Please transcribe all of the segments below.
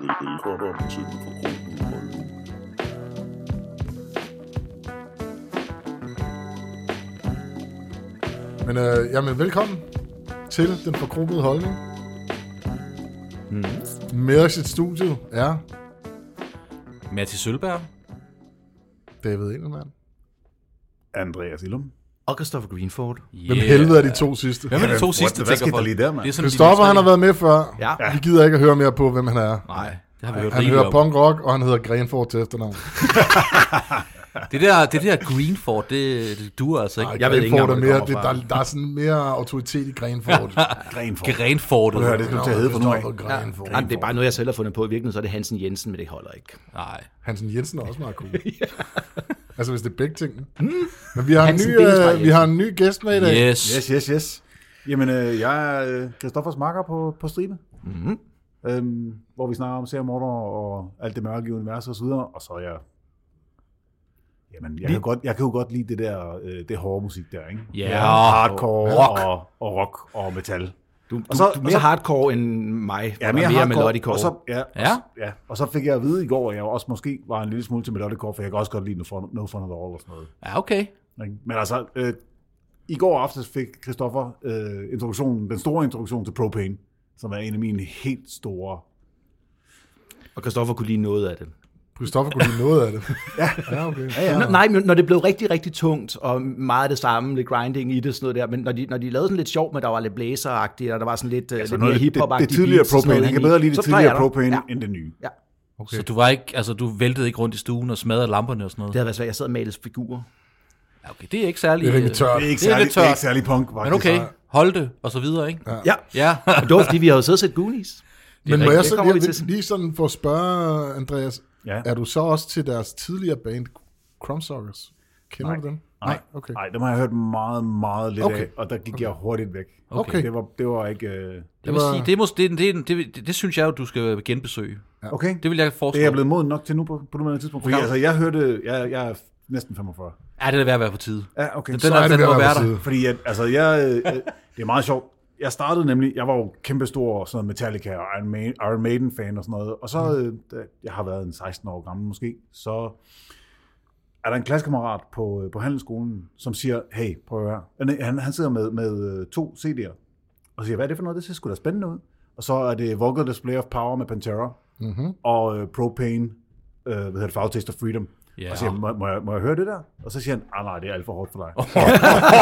Velkommen til Mikrofonen Radio. Men øh, jamen, velkommen til Den Forkromede Holdning. Mm. Med os i studiet er Matti Sølberg. David Engelmann. Andreas Illum. Og Christopher Greenford. Yeah. Hvem yeah. helvede er de to sidste? Hvem er de to What- sidste, hvad tænker skete der folk? lige der, mand? Det er sådan, de Christopher, mindste- han har været med før. Ja. Vi gider ikke at høre mere på, hvem han er. Nej, det har vi hørt Han rigeligt hører om. punk rock, og han hedder Grenford til efternavn. Det der, det der Greenford, det, det duer altså ikke. Ej, jeg ved ikke Grenford engang, hvor er mere, det kommer det, fra. der, der, er sådan mere autoritet i Grenford. Grenfor. Grenfortet. Prøv at høre, det skal du til at hedde for nu af. Grenford. Jamen, det er bare noget, jeg selv har fundet på. I virkeligheden så er det Hansen Jensen, men det holder ikke. Nej. Hansen Jensen er også meget cool. Altså, hvis det er begge ting. Men vi har, en Hansen ny, Bensvej øh, Jensen. vi har en ny gæst med i dag. Yes. Yes, yes, yes. Jamen, øh, jeg er øh, Christoffers makker på, på stribe. Mm-hmm. Øhm, hvor vi snakker om seriemorder og alt det mørke i universet osv. Og så er jeg... Jamen, jeg kan, godt, jeg kan jo godt lide det der øh, det hårde musik der, ikke? Ja, og og hardcore rock. Og, og rock og metal. Du, du, Og så- du er og mere så- hardcore end mig. Ja, og mere, hardcore, melodicore. Og så, ja, Ja. Og, så- ja, og så fik jeg at vide i går, at jeg også måske var en lille smule til melodicore, for jeg kan også godt lide No Fun, no fun At All og sådan noget. Ja, okay. Ikke? Men altså, øh, i går aftes fik Christoffer øh, introduktionen, den store introduktion til Propane, som er en af mine helt store... og Christoffer kunne lide noget af det. Christoffer kunne lide noget af det. ja. ja, okay. Ja, ja. Nå, nej, men når det blev rigtig, rigtig tungt, og meget det samme, lidt grinding i det, sådan noget der, men når de, når de lavede sådan lidt sjovt, men der var lidt blæseragtigt, og der var sådan lidt, ja, lidt mere noget, det, hiphop det, det tidligere Propane, jeg kan bedre lide det tidligere Propane Ja. end det nye. ja. okay. Så du var ikke, altså du væltede ikke rundt i stuen og smadrede lamperne og sådan noget? Det havde været svært. Jeg sad og malede figurer. Ja, okay, det er ikke særlig... Det er rimelig øh, tørt. Det er ikke Det er særlig, lidt det er ikke tørt. særlig punk, faktisk. Men okay, hold det, og så videre, ikke? Ja. Ja. ja. Og det var fordi, vi havde siddet og set Goonies. Men må rigtigt. jeg Det så kommer lige, vi til. lige sådan for at spørge, Andreas, Ja. ja. er du så også til deres tidligere band, Crumbsuckers? Kender Nej. du dem? Nej, okay. Nej, dem har jeg hørt meget, meget lidt Okay. af, og der gik jeg hurtigt væk. Okay. Det var, det var ikke... Øh... Jeg vil var- sige, det, er måske, det, er- det, er- det, det, det, synes jeg jo, du skal genbesøge. Okay, Det vil jeg det foreslå. er jeg blevet moden nok til nu på, på nuværende tidspunkt. Fordi, gammel? altså, jeg hørte... Jeg, jeg er næsten 45. Ja, det er ved at være på tide. Ja, okay. Den, så den, er er, det den ved må at være være på der. tide. Fordi at, altså, jeg, øh, øh, det er meget sjovt. Jeg startede nemlig, jeg var jo kæmpestor sådan noget Metallica og Iron, Man, Iron Maiden fan og sådan noget. Og så, øh, Mm. da jeg har været en 16 år gammel måske, så er der en klassekammerat på, øh, på handelsskolen, som siger, hey, prøv at høre. Øh, nej, Han, han sidder med, med øh, to CD'er og siger, hvad er det for noget? Det ser sgu da spændende ud. Og så er det Vocal Display of Power med Pantera Mhm. Mm-hmm. og øh, Propane, øh, hvad hedder det, Fagtaste of Freedom. Ja. Yeah. Og siger, må, må, jeg, må jeg høre det der? Og så siger han, ah, nej, det er alt for hårdt for dig. Oh.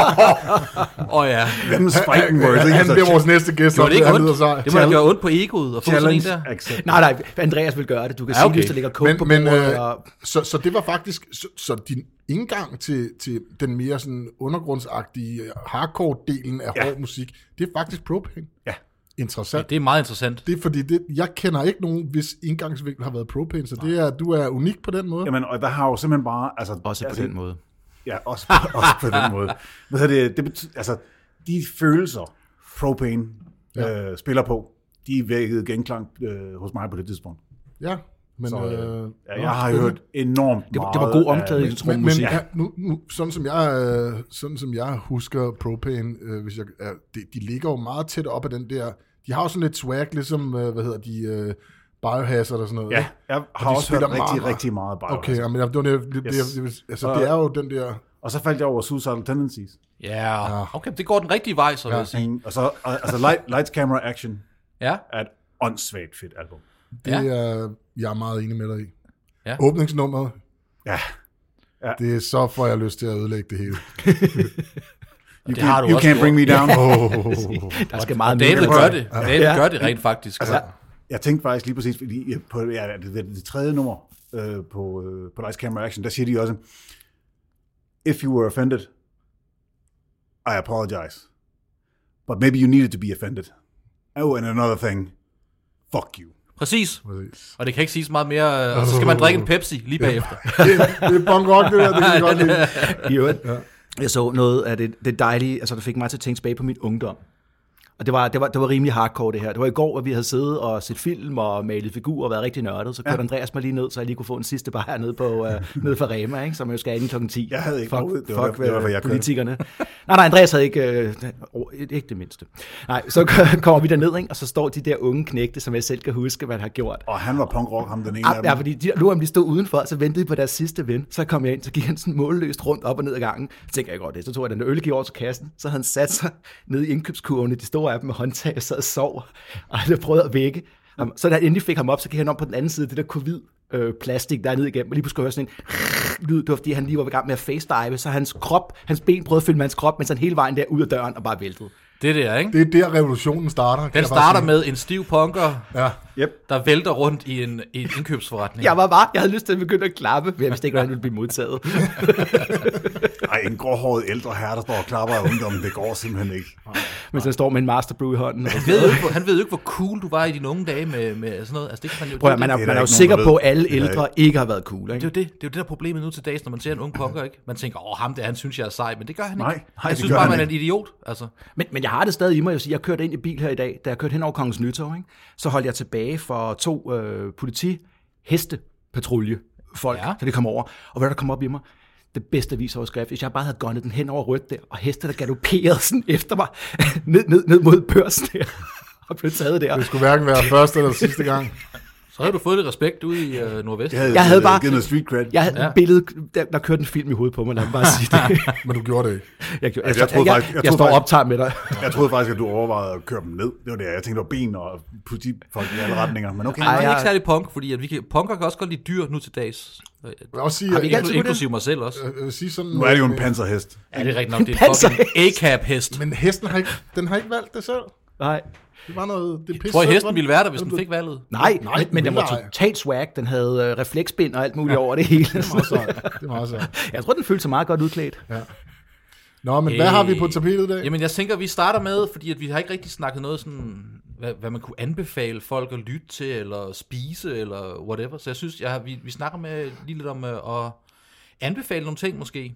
Åh oh, ja. Hvem's fighting words? ikke? Han Altså, bliver vores næste gæst, Gjorde og det ikke han ondt? lyder sej. Det må da gøre ondt på egoet at få sådan en Challenge der. accepted. Nej, nej, Andreas vil gøre det. Du kan Ja, ja, okay. okay. se, hvis der ligger kog Men- på men, bordet. øh, og... Så, så det var faktisk så, så din indgang til, til den mere sådan undergrundsagtige hardcore-delen af ja. Ja. hård musik, det er faktisk propane. Ja. Interessant. Det er meget interessant. Det er fordi, det, jeg kender ikke nogen, hvis indgangsvinkel har været propane, så det er, du er unik på den måde. Jamen, og der har jo simpelthen bare... Altså, Også på altså, den måde. Ja, også, på- også på den måde. Hvad hedder det, det betyder, altså, de følelser, Propane ja. øh, spiller på, de vækkede genklang øh, hos mig på det tidspunkt. Ja, men... Så, øh, øh, Ja, nå, jeg har spændende. hørt enormt Det var- meget det var god af- omklædningsrum. Men, men musik. ja, nu, nu, sådan, som jeg, øh, sådan som jeg husker Propane, øh, hvis jeg, øh, de, de ligger jo meget tæt op af den der... De har jo sådan lidt swag, ligesom, øh, hvad hedder de, øh, Biohazard og sådan noget. Ja, ikke? jeg Og har de også hørt spiller rigtig, meget, meget. rigtig meget bare. Okay, men det, var det, det, Yes. det, det, altså, Og- det er jo den der... Og så faldt jeg over Suicidal Tendencies. Ja, Ah. yeah. okay, det går den rigtige vej, så vil jeg sige. Og så, og, altså, light, Lights, Camera, Action Ja, er et åndssvagt fedt album. Det Ja. er jeg er meget enig med dig i. Ja. Åbningsnummeret, Ja, det er så får jeg lyst til at ødelægge det hele. you, det har can't, du you også can't bring me down. Oh. Der skal meget mere. David Prøv gør at- det. David gør det rent faktisk. Altså, jeg tænkte faktisk lige præcis, fordi øh, på ja, det, det, det tredje nummer øh, på, øh, på Dice Camera Action, der siger de også, If you were offended, I apologize. But maybe you needed to be offended. Oh, and another thing, fuck you. Præcis. Præcis. Og det kan ikke siges meget mere. øh, Og så skal man drikke en Pepsi lige bagefter. det, det er punk rock, det der, det kan jeg godt lide. I øvrigt, jeg så noget af det, det dejlige, altså der fik mig til at tænke tilbage på min ungdom. Og Og det var, det, var, det var rimelig hardcore, det her. Det var i går, at vi havde siddet og set film og malet figurer og været rigtig nørdet. Så kørte ja. Andreas mig lige ned, så jeg lige kunne få en sidste bajer nede, på, øh, nede fra Rema, ikke? som jo skal ind kl. 10. Jeg havde ikke fuck, noget. Det det var var, derfor- fuck det var derfor, jeg jeg kørte. politikerne. nej, nej, Andreas havde ikke, øh, oh, ikke det mindste. Nej, så kommer vi derned, ikke? og så står de der unge knægte, som jeg selv kan huske, hvad han har gjort. Og han var punkrock, ham den ene af Ah, Ja, dem. ja, fordi de, nu om de stod udenfor, så ventede de på deres sidste ven. Så kom jeg ind, så gik han sådan målløst rundt op og ned ad gangen. Så tænkte jeg godt det. Så tog jeg den der øl, gik over til kassen. Så havde han sat sig ned i indkøbskurvene, de store af dem med håndtag, og sad og sov. Og jeg prøvede at vække ham. Så da jeg endelig fik ham op, så gik han om på den anden side af det der covid øh, plastik, der er nede igennem, og lige pludselig kunne jeg høre sådan en lyd, det var fordi han lige var i gang med at facedive, så hans krop, hans ben prøvede at fylde med hans krop, mens han hele vejen der ud af døren og bare væltede. Det der, ikke? Det er der, revolutionen starter. kan Den jeg bare starter sige. med en stiv punker, Ja. Yep. der vælter rundt i en, i en indkøbsforretning. Jeg var bare, jeg havde lyst til at begynde at klappe, men jeg vidste ikke, hvordan han ville blive modtaget. Ej, en gråhåret ældre herre, der står og klapper af ungdommen, det går simpelthen ikke. Mens han står med en master brew i hånden. Og Han ved, jo ikke, hvor, han ved jo ikke, hvor cool du var i dine unge dage med, med sådan noget. Altså, det kan man jo, Prøv det, at, man er, Det er der man er jo ikke nogen, sikker der på, ved. at alle Det er der ældre ikke har været cool. det, er Ikke? jo det. Det er jo det, der er problemet nu til dags, når man ser en ung punker, ikke? Man tænker, åh, ham der, han synes, jeg er sej, men det gør han ikke. Nej, nej, han det synes gør bare, han man er en idiot, altså. Men, men jeg har det stadig i mig. Jeg, vil sige, jeg kørte ind i bil her i dag, da jeg kørte hen over Kongens Nytorv, ikke? så holdt jeg tilbage for to øh, politihestepatrulje folk, Ja. ja. da de kom over. Og hvad der kom op i mig? Det bedste avisoverskrift, hvis jeg bare havde gunnet den hen over rødt der, og heste, der galopperede sådan efter mig, ned, ned, ned mod børsen der, og blev taget der. Det skulle hverken være første eller sidste gang. Så havde du fået lidt respekt ude i øh, Nordvest. Det havde, Jeg havde det bare- givet noget street cred. Jeg havde ja. billedet, der, der kørte en film i hovedet på mig, lad mig bare sige det. Men du gjorde det ikke. Jeg, jeg, jeg, jeg jeg, troede jeg, faktisk- jeg, jeg jeg troede står og faktisk- optager med dig. Jeg troede faktisk, at du overvejede at køre dem ned. Det var det, jeg tænkte, det var ben og politifolk i alle retninger. Men okay, Ej, jeg er jeg- ikke særlig punk, fordi at vi kan, punker kan også godt lide dyr nu til dags. Øh, Jeg vil også sige, Har vi at- ikke Inklu- altid kunnet inklusiv mig selv også. jeg vil sige sådan, øh, nu er det jo en panserhest. Ja, det er rigtigt nok. Det er en panserhest. fucking A-cap-hest. Men hesten har ikke, den har ikke valgt det selv. Nej. Det var noget, det er pisse Tror jeg, selv, hesten var- ville være der, hvis den fik valget? Nej, Nej, Nej men, men den var vildt ej. totalt swag. Den havde øh, refleksbind og alt muligt over det hele. Det er meget sejt. Det er meget sejt. jeg tror, den følte sig meget godt udklædt. Nå, men hvad Øh, har vi på tapetet i dag? Jamen, jeg tænker, vi starter med, fordi at vi har ikke rigtig snakket noget sådan, hvad, hvad man kunne anbefale folk at lytte til, eller spise, eller whatever. Så jeg synes, jeg, har- vi, vi snakker med lige lidt om øh, at anbefale nogle ting, måske.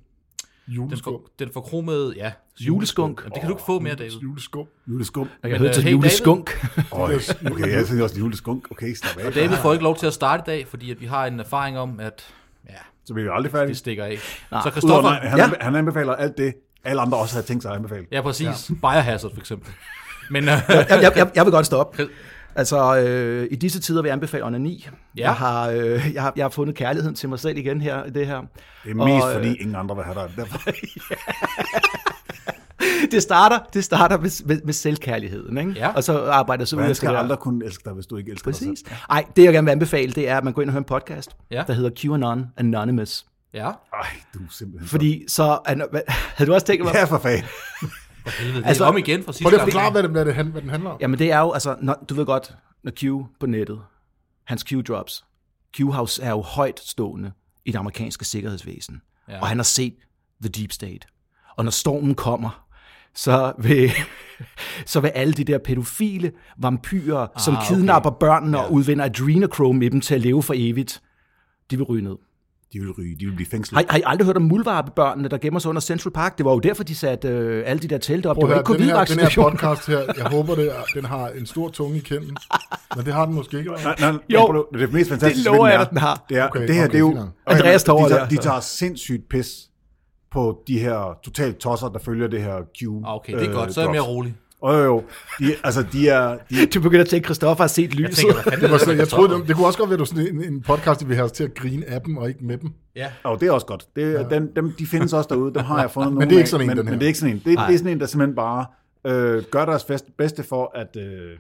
Den, Juleskum. for, den forkromede, ja. Juleskunk. Jamen, det kan du ikke få mere, David. Juleskum. Juleskum. Jeg Men, kan høre øh, til hey, hey, juleskunk. Øj, okay, jeg tænkte også juleskunk. Okay, slap af. David får ikke lov til at starte i dag, fordi at vi har en erfaring om, at ja, Så bliver vi aldrig det færdige. stikker af. Så Udover, Christoffer, nej, han, Ja. anbe- han anbefaler alt det, alle andre også havde tænkt sig at anbefale. ja præcis, ja. Biohazard for eksempel. Men øh, jeg, jeg, jeg, jeg vil godt stoppe. Altså, øh, i disse tider vil jeg anbefale onani. Ja. Jeg, har, øh, jeg, har, jeg har fundet kærligheden til mig selv igen her i det her. Det er mest, Og, øh, fordi ingen andre vil have dig. Derfor, Det starter, det starter med, med, med selvkærligheden, ikke? Ja. og så arbejder jeg så ud man af skal det her. aldrig kunne elske dig, hvis du ikke elsker dig Præcis. selv. Ej, det jeg gerne vil anbefale, det er, at man går ind og hører en podcast, Ja. der hedder QAnon Anonymous. ja, Ej, du er simpelthen... Fordi... Fordi så... Havde du også tænkt mig... Ja, for fanden. helvede, det Altså, er om igen fra sidste Prøv lige at gang. forklare, hvad, det, hvad, det, han- hvad den handler om. Jamen det er jo, altså, når, du ved godt, når Q på nettet, hans Q-drops, Q-house er jo højt stående i det amerikanske sikkerhedsvæsen. Ja. Ja. Og han har set The Deep State. Og når stormen kommer, så vil, så vil alle de der pædofile vampyrer, ah, som okay. kidnapper okay. børnene ja. og udvinder adrenochrome i dem til at leve for evigt, de vil ryge ned. De vil ryge, de vil blive fængslet. Har, I- har I aldrig hørt om muldvarpebørnene, der gemmer sig under Central Park? Det var jo derfor, de satte øh, alle de der telte op. Prøv det var at ikke høre, den her, den her covid-vaccination. podcast her, jeg håber, det er, den har en stor tunge i kænden. Men det har den måske ikke. Nej, nej, nej, Jo, prøv at- det er det mest fantastiske. lover ved jeg dig, den har. Det, er, okay, Okay, det her, okay, det er jo... fint nok. Okay, Andreas men Tover de, tager, der, de så. tager sindssygt pis på de her totalt tosser, der følger det her Q. Ah, Okay, det er godt, Øh, så er jeg mere rolig. Og jo, jo, de, altså de er... De, Du begynder at tænke, at Christoffer har set lyset. tænker, hvad fanden Det, var er sådan, der jeg for troede, noget? det, det kunne også godt være, at det var sådan en, en podcast, der vi har os til at grine af dem og ikke med dem. Ja. og det er også godt. Det, ja. dem, dem, de findes også derude, dem har jeg fundet det er nogle ikke sådan af, en, men, den her. men det er ikke sådan en. Det, det er sådan en, der simpelthen bare øh, gør deres bedst, bedste for at øh,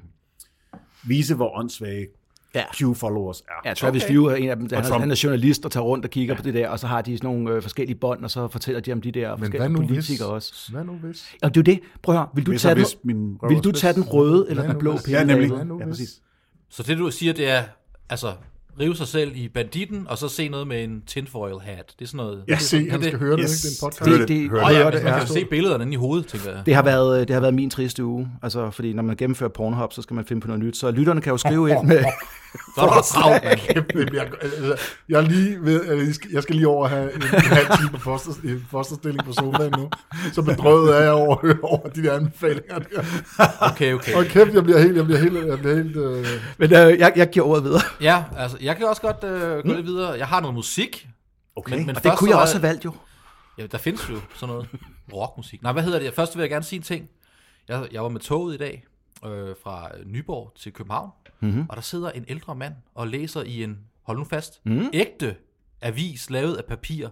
vise, hvor åndssvage Ja. Q-followers er. Ja, Travis okay. View er en af dem. Han, er- Trump. han er journalist og tager rundt og kigger ja. på det der, og så har de sådan nogle øh, forskellige bånd, og så fortæller de om de der Men hvad forskellige nu hvis? politikere også. Hvad nu hvis? Og det er jo det. Prøv at høre, vil du, Hvis tage og den, hvis min røv vil er du spids. tage den røde eller den nu blå hvis? pille? Ja, nemlig. David? Hvad nu Ja, hvis? præcis. Så det du siger, det er, altså, rive sig selv i banditten, og så se noget med en tinfoil hat. Det er sådan noget... Jeg se, det, han det, skal høre det, Yes. ikke? Det er en podcast. Hør Det- det- hør Åh ja, Hør hvis det, man ja. kan se billederne inde i hovedet, tænker jeg. Det har, været, det har været min triste uge, altså, fordi når man gennemfører Pornhub, så skal man finde på noget nyt. Så lytterne kan jo skrive ind med, Så er der travlt, mand. Kæmpe, men jeg, altså, jeg, er lige ved, eller jeg skal- jeg skal lige over og have en, en halv time på foster, en fosterstilling på sofaen nu. Så bedrøvet er jeg over, over de der anbefalinger. Der. Okay, okay. Og kæft, jeg bliver helt, jeg bliver helt, jeg bliver helt... Øh, Men øh, jeg, jeg giver ordet videre. Ja, altså, jeg kan også godt øh, Hmm? gå lidt videre. Jeg har noget musik. Okay. men Og det først kunne så jeg var- også have valgt jo. Ja, der findes jo sådan noget rockmusik. Nej, hvad hedder det? Først vil jeg gerne sige en ting. Jeg, jeg var med toget i dag øh, fra Nyborg til København, Mhm. mm-hmm. og der sidder en ældre mand og læser i en, hold nu fast, Mhm. mm. ægte avis lavet af papir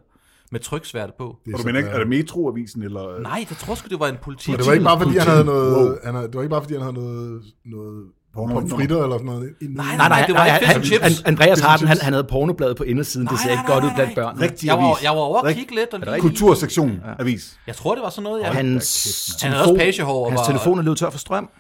med tryksværte på. det, Og er du sådan, mener ikke, er øh, det metroavisen, eller... Nej, jeg tror sgu, det var en politi. og det var ikke bare, fordi han havde noget, Wow. han havde, det var ikke bare, fordi han havde noget, noget Porno. pomfritter eller sådan noget. ind- Nej, Nej, nej, det var nej, ikke han, fish and han, chips. Andreas Fish and Harden, han, chips. han havde porno bladet på indersiden. det Nej, ser nej, ikke nej, godt ud nej, blandt nej. børnene. Rigtig Jeg var, avis. jeg var over at Rigtig kigge lidt. Og lige, Kultursektion avis. Jeg tror, det var sådan noget. Jeg, han, Hans, han havde også pagehår. og hans var- telefon er løbet tør for strøm.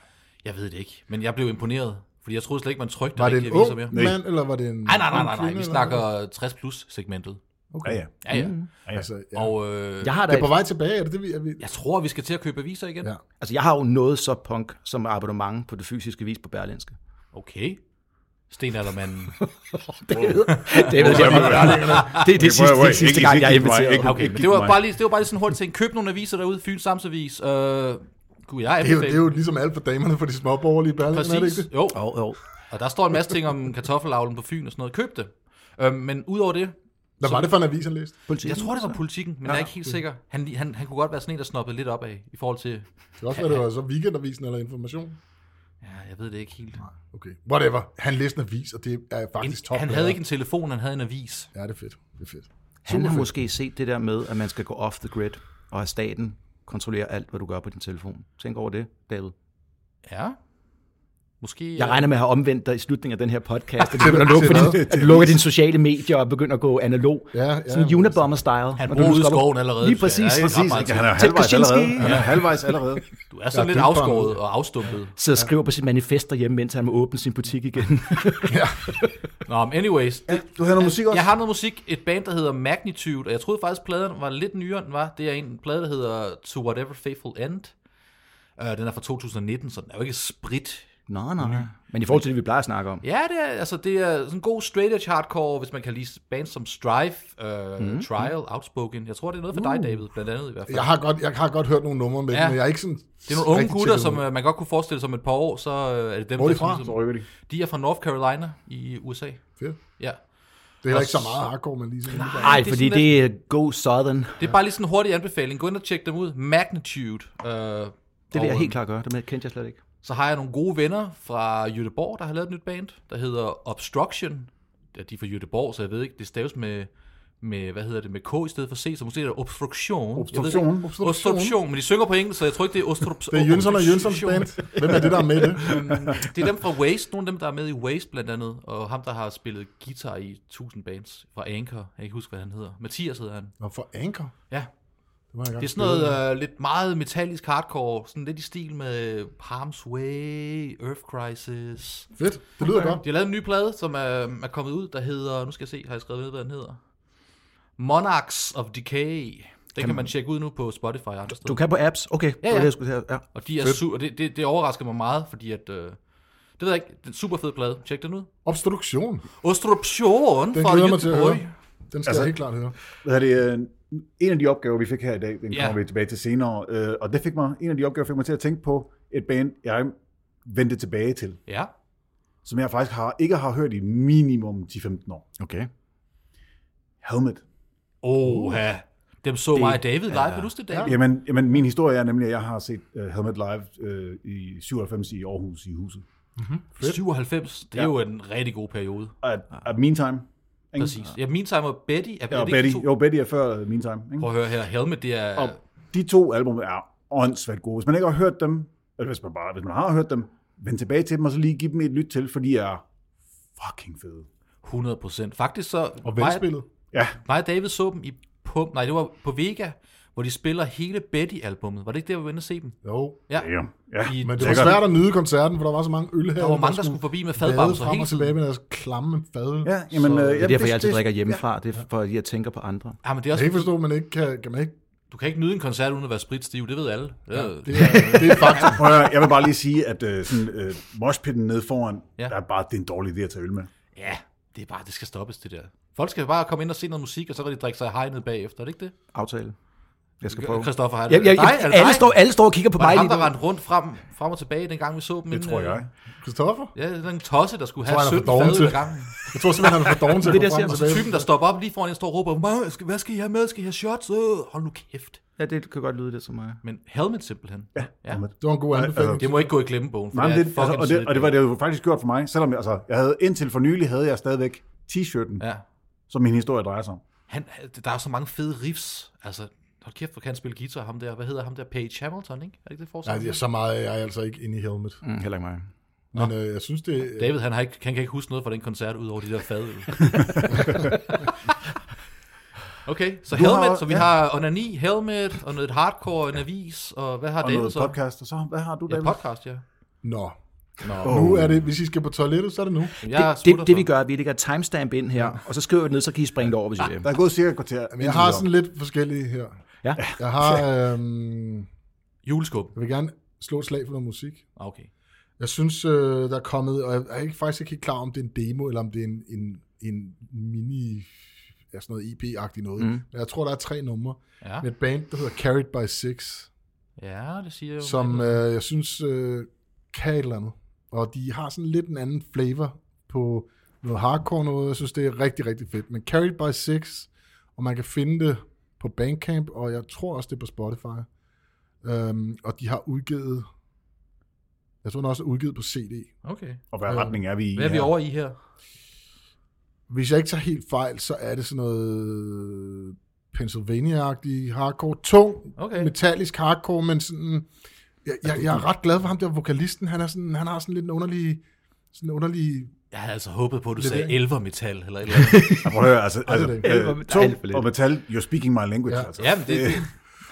Jeg ved det ikke, men jeg blev imponeret. Fordi jeg troede slet ikke, man trykte Var det en rigtige ung aviser mere. mand, eller var det en... Nej, nej, nej, ung nej, nej. kvinde, Vi eller snakker 60 plus segmentet. Okay. Ja, ja. Ja, ja. Mm. hvad? Altså, ja. Og øh, Jeg har, da, Det er på vej tilbage, er det det, vi... Er vi jeg tror, vi skal til at købe aviser igen. Ja. altså, jeg har jo noget så punk som abonnement på det fysiske vis på Berlinske. Okay. Stenaldermanden. Det ved det ved jeg godt. Det er det sidste, det er sidste gang, jeg er inviteret. Okay, men det var bare lige, det var bare lige sådan hurtigt ting. Køb nogle aviser derude. Fyns Amtsavis. Øh, gud, jeg Det er, jo, anbefaler. det er jo ligesom alt for damerne for de småborgerlige Berlin, er det ikke Præcis. det? Jo. Jo, jo. Og der står en masse ting om kartoffelavlen på Fyn og sådan noget. Køb det. Øh, men udover det, Hvad var det for en avis, han læste? Politiet. jeg tror, det var politikken, men jeg er ikke helt sikker. Han, han, han kunne godt være sådan en, der snoppede lidt op af i forhold til... Det kan også være, det var så weekendavisen eller information. Ja, jeg ved det ikke helt. Okay, whatever. Han læste en avis, og det er En, faktisk top. han det havde er. ikke en telefon, han havde en avis. Ja, det er fedt. Det er fedt. Han har måske set det der med, at man skal gå off the grid, og at staten kontrollerer alt, hvad du gør på din telefon. Tænk over det, David. Ja. Måske... Jeg øh, regner med at have omvendt dig i slutningen af den her podcast, at du begynder at lukke, for din, at du lukker dine sociale medier og begynder at gå analog. Ja, ja, Sådan en Unabomber-style. Han hvor du bor ude i skal op og- skoven allerede. Lige præcis, Ja, præcis. Ret meget Ja, han er jo Ted halvvejs Kaczynski. allerede. Han er halvvejs allerede. Du er sådan Ja, lidt dybere. afskåret og afstumpet. sidder og skriver på sit manifest derhjemme, mens han må åbne sin butik igen. Nå, men anyways. Det, Du havde noget musik også? jeg har noget musik, et band, der hedder Magnitude, og jeg troede faktisk, pladen var lidt nyere, end den var. Det er en plade, der hedder To Whatever Faithful End. Uh, den er fra 2019, så den er jo ikke sprit. Nå, nej. Men i forhold til det, vi plejer at snakke om. Ja, det er, altså, det er sådan en god straight edge hardcore, hvis man kan lide bands som Strife, uh, Mm-hmm. mm. Trial, Outspoken. Jeg tror, det er noget for Uh. dig, David, blandt andet i hvert fald. Jeg har, godt, jeg har godt hørt nogle numre med, Ja. ja. men jeg er ikke sådan... Det er nogle unge gutter, som uh, man godt kunne forestille sig om et par år, så uh, er det dem, Hvor er de der sådan fra? Så ligesom- rykker de. De er fra North Carolina i USA. Fedt. Ja. Det er heller ikke så meget hardcore, men lige sådan... Nej, det er fordi sådan det er Go Southern. Det er bare lige sådan en hurtig anbefaling. Gå ind og tjek dem ud. Magnitude. Øh, det Det vil jeg helt klart gøre. Det kendte jeg slet ikke. Så har jeg nogle gode venner fra Jødeborg, der har lavet et nyt band, der hedder Obstruction. Ja, de er fra Jødeborg, så jeg ved ikke, det staves med, med hvad hedder det, med K i stedet for C, så måske er det Obstruction. Jeg ved det ikke. Obstruktion. Obstruktion. Obstruktion, men de synger på engelsk, så jeg tror ikke, det er Ostrups. Det er Jønsson og Jønssons band. Hvem er det, der er med i det? Det er dem fra Waste, nogle af dem, der er med i Waste blandt andet, og ham, der har spillet guitar i 1000 bands fra Anchor. Jeg kan ikke huske, hvad han hedder. Mathias hedder han. Nå, for Anchor. Ja, Det, var jeg Det er sådan noget øh, lidt meget metallisk hardcore, sådan lidt i stil med Harm's Way, Earth Crisis. Fedt. Det lyder godt. De har lavet en ny plade, som er, er kommet ud, der hedder, nu skal jeg se, har jeg skrevet ned, hvad den hedder? Monarchs of Decay. Den kan man tjekke ud nu på Spotify og andre Du steder. kan på apps. Okay, det var ja. det, jeg skulle til at- ja. Og de er su- og det, det, det overrasker mig meget, fordi at, øh, det ved jeg ikke, det er en super fed plade. Tjek den ud. Obstruktion. Ostruption Den fra glæder jeg mig til at høre. Göteborg. Den skal Altså- jeg helt klart høre. Hvad er det? øh, En af de opgaver, vi fik her i dag, den Ja. kommer vi tilbage til senere, øh, og det fik mig, en af de opgaver fik mig til at tænke på et band, jeg vendte tilbage til, Ja. som jeg faktisk har, ikke har hørt i minimum 10-15 år. Okay. Helmet. Oha. Dem så mig og David live. Vil du huske det, David? Jamen, jamen, min historie er nemlig, at jeg har set uh, Helmet live øh, i 97 i Aarhus i huset. 97, det er Ja. jo en rigtig god periode. At, at Meantime. Ikke? Ah. Præcis. Ja, min time og Betty. Er, Ja, er og det Betty. ikke de to? Jo, Betty er før uh, Meantime. Ikke? Prøv at høre her. Helmet, det er... Og de to album er åndssvagt gode. Hvis man ikke har hørt dem, eller hvis man, bare, hvis man har hørt dem, vend tilbage til dem, og så lige give dem et lyt til, for de er fucking fede. 100 procent. Faktisk så... Og mig, velspillet. Ja, mig og David så dem i... På, nej, det var på Vega, hvor de spiller hele Betty-albummet. Var det ikke der, vi var inde og se dem? Jo. Ja. ja, ja. I, Men det men var Sikkert. svært at nyde koncerten, for der var så mange øl her. der var mange, der skulle forbi med fadbamser frem hele og tilbage tiden. med deres klamme fadøl. ja jamen, Så- øh, Det er derfor, jeg altid drikker hjemmefra. Det er fordi, jeg tænker på andre. Ja, men det er Jeg også... kan ikke forstå, at man ikke kan, kan man ikke Du kan ikke nyde en koncert uden at være spritstiv, det ved alle. Øh, Ja, det, Det er, det er faktisk... Prøv at høre, jeg vil bare lige sige, at øh, sådan, øh, moshpitten nede foran, Ja. ja. der er bare, det er en dårlig idé at tage øl med. ja, det er bare, det skal stoppes, det der. Folk skal bare komme ind og se noget musik, og så kan de drikke sig hegnet bagefter, er det ikke det? Aftale. Jeg skal prøve. Christoffer har det. Jeg, jeg, Nej, er jeg, det alle, dig? står, alle står og kigger på Var mig det ham, lige der nu. rendte rundt frem, frem og tilbage, dengang vi så dem? øh, Det tror jeg. Christoffer? Ja, den tosse, der skulle tror, have han er 17 for doven fad i til. gangen. Jeg tror simpelthen, han er for doven til at Det er komme frem det, jeg og siger. tilbage. Altså, Typen, der stopper op lige foran en står og råber, "Hvad skal- hvad skal I have med? Skal I have shots? Øh, hold nu kæft. Ja, det kan godt lyde det som mig. Men helmet simpelthen. Ja. ja. helmet. Det var en god anbefaling. altså, Det må ikke gå i glemmebogen, for Nej, men det er det, fucking altså, og, det, og det var det. det jo faktisk gjort for mig, selvom jeg, altså, jeg havde, indtil for nylig havde jeg stadigvæk t-shirten, ja. Ja. som min historie drejer sig om. Han, der er så mange fede riffs. Altså, hold kæft, hvor kan han spille guitar, ham der. Hvad hedder ham der? Page Hamilton, ikke? Er det ikke det Nej, forsøg? det er så meget jeg er jeg altså ikke inde i helmet. Mm, heller ikke mig. Men øh, jeg synes, det er... David, han, har ikke, han kan ikke huske noget fra den koncert, udover de der fadøl. okay, så Du har- helmet, så vi ja. har onani, helmet, og noget hardcore, en avis, og hvad har Og David noget så? podcast, og så, hvad har du, Ja, David? podcast, ja. Nå. Nå. Nu er det, hvis I skal på toilettet, så er det nu. Jamen, jeg Det, det, det vi gør, er, at vi lægger et timestamp ind her, og så skriver vi det ned, så kan I springe det over, hvis I vil. Der er gået cirka et kvarter. Men jeg har sådan lidt forskellige her. Ja. Jeg har... Øhm, Juleskub. jeg vil gerne slå et slag for noget musik. Ah, Okay. Jeg synes, øh, der er kommet... Og jeg er ikke, faktisk ikke helt klar, om det er en demo, eller om det er en, en, en mini... Ja, sådan noget EP-agtigt noget. Mm. Men jeg tror, der er tre numre. Ja. Med et band, der hedder Carried by Six. Ja, det siger jeg jo. som lidt. øh, jeg synes øh, kan et eller andet. Og de har sådan lidt en anden flavor på noget hardcore noget. Jeg synes, det er rigtig, rigtig fedt. Men Carried by Six, og man kan finde det på Bandcamp, og jeg tror også, det er på Spotify. Øhm, og de har udgivet, jeg tror, den er også er udgivet på CD. øh, Okay. Og hvad retning er vi i? Hvad er vi her? over i her? Hvis jeg ikke tager helt fejl, så er det sådan noget Pennsylvania-agtig hardcore. Tung, Okay. metallisk hardcore, men sådan... Jeg, jeg, jeg er ret glad for ham der vokalisten. Han, er sådan, han har sådan lidt en underlig... Sådan en underlig... Jeg havde altså håbet på, at du Levering. sagde elvermetal eller et eller andet. Ja, Prøv at høre, altså, altså det er det. øh, Der er alt for tung lidt. og metal, you're speaking my language. Ja. Altså. ja, men det, det,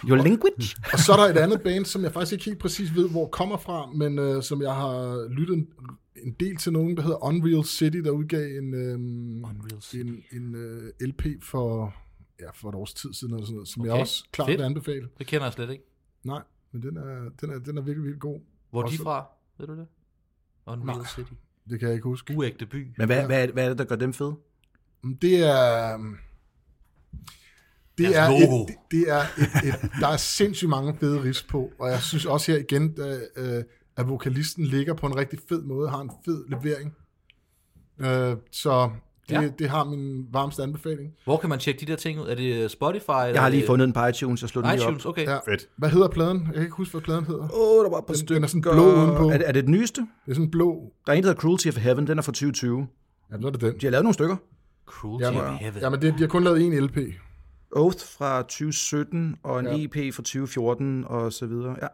Your language? Og så er der et andet band, som jeg faktisk ikke helt præcis ved, hvor kommer fra, men øh, som jeg har lyttet en, en del til nogen, der hedder Unreal City, der udgav en, øh, Unreal City. en, en øh, LP for, ja, for et års tid siden, eller sådan noget, som okay. jeg Okay. også klart Fedt. vil anbefale. det kender jeg slet ikke. Nej, men den er, den er, den er virkelig, virkelig god. Hvor er Og de så- fra? Ved du det? Unreal Nej. City. Det kan jeg ikke huske. Uægte by. Men hvad, hvad, er- hvad er det, der gør dem fede? Men Det er... Det Deres er, logo. et, det- det er et, et, der er sindssygt mange fede riffs på, og jeg synes også her igen, da, øh, at vokalisten ligger på en rigtig fed måde, har en fed levering. Øh, så det, Ja. ja. det har min varmeste anbefaling. Hvor kan man tjekke de der ting ud? Er det øh, Spotify? Jeg har lige fundet den på iTunes, jeg slog den lige op. iTunes, okay. Ja. Fedt. Hvad hedder pladen? Jeg kan ikke huske, hvad pladen hedder. Åh, oh, der var et par Den- den er sådan blå udenpå. Er, det- er det den nyeste? Det er sådan en blå... Der er en, der hedder Cruelty of Heaven, den er fra 2020. Ja, så er det den. De har lavet nogle stykker. Cruelty Jamen, of Heaven. Jamen, det, de har kun lavet én LP. Oath fra 2017, og en ja. EP fra 2014, og så videre. Ja,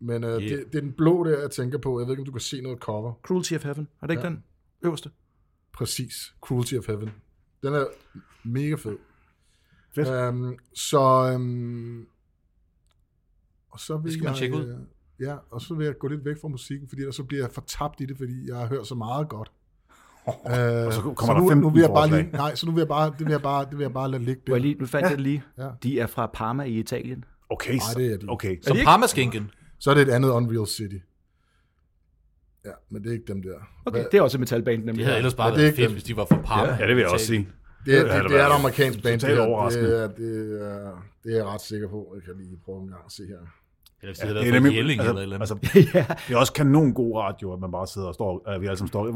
Men øh, yeah. Yeah. det, det er den blå, der jeg tænker på. Jeg ved ikke, om du kan se noget cover. Cruelty of Heaven. Er det ikke ja. den øverste? Præcis. Cruelty of Heaven. Den er mega fed. Fedt. Øhm, så... Øhm, og så vil Det skal man jeg, tjekke ud. øh, Ja, og så vil jeg gå lidt væk fra musikken, fordi ellers så bliver jeg fortabt i det, fordi jeg har hørt så meget godt. Øh, og så kommer nu, der 15 nu vil jeg bare forslag. lige, Nej, så nu vil jeg bare, det vil jeg bare, det vil jeg bare lade ligge Må der. jeg lige, nu fandt ja. jeg det lige. Ja. De er fra Parma i Italien. Okay, Nej, så, det er de. okay. Som parmaskinken. Så er det et andet Unreal City. Ja, men det er ikke dem der. Okay, Hvad- det er også et metalband, Det nemlig. havde ellers bare Ja, det er været ikke fedt, dem. hvis de var fra Parma. Ja, det vil jeg også sige. Det, er, Det havde det, da det er et været amerikansk band. totalt det her. overraskende. Det, er, det, er, det er jeg ret sikker på. Jeg kan lige prøve en gang at se her. Eller hvis Ja, de havde det er været fra nemlig- Jelling altså- eller et eller andet. altså, ja. Det er også kanon god radio, at man bare sidder og står, at vi alle sammen står.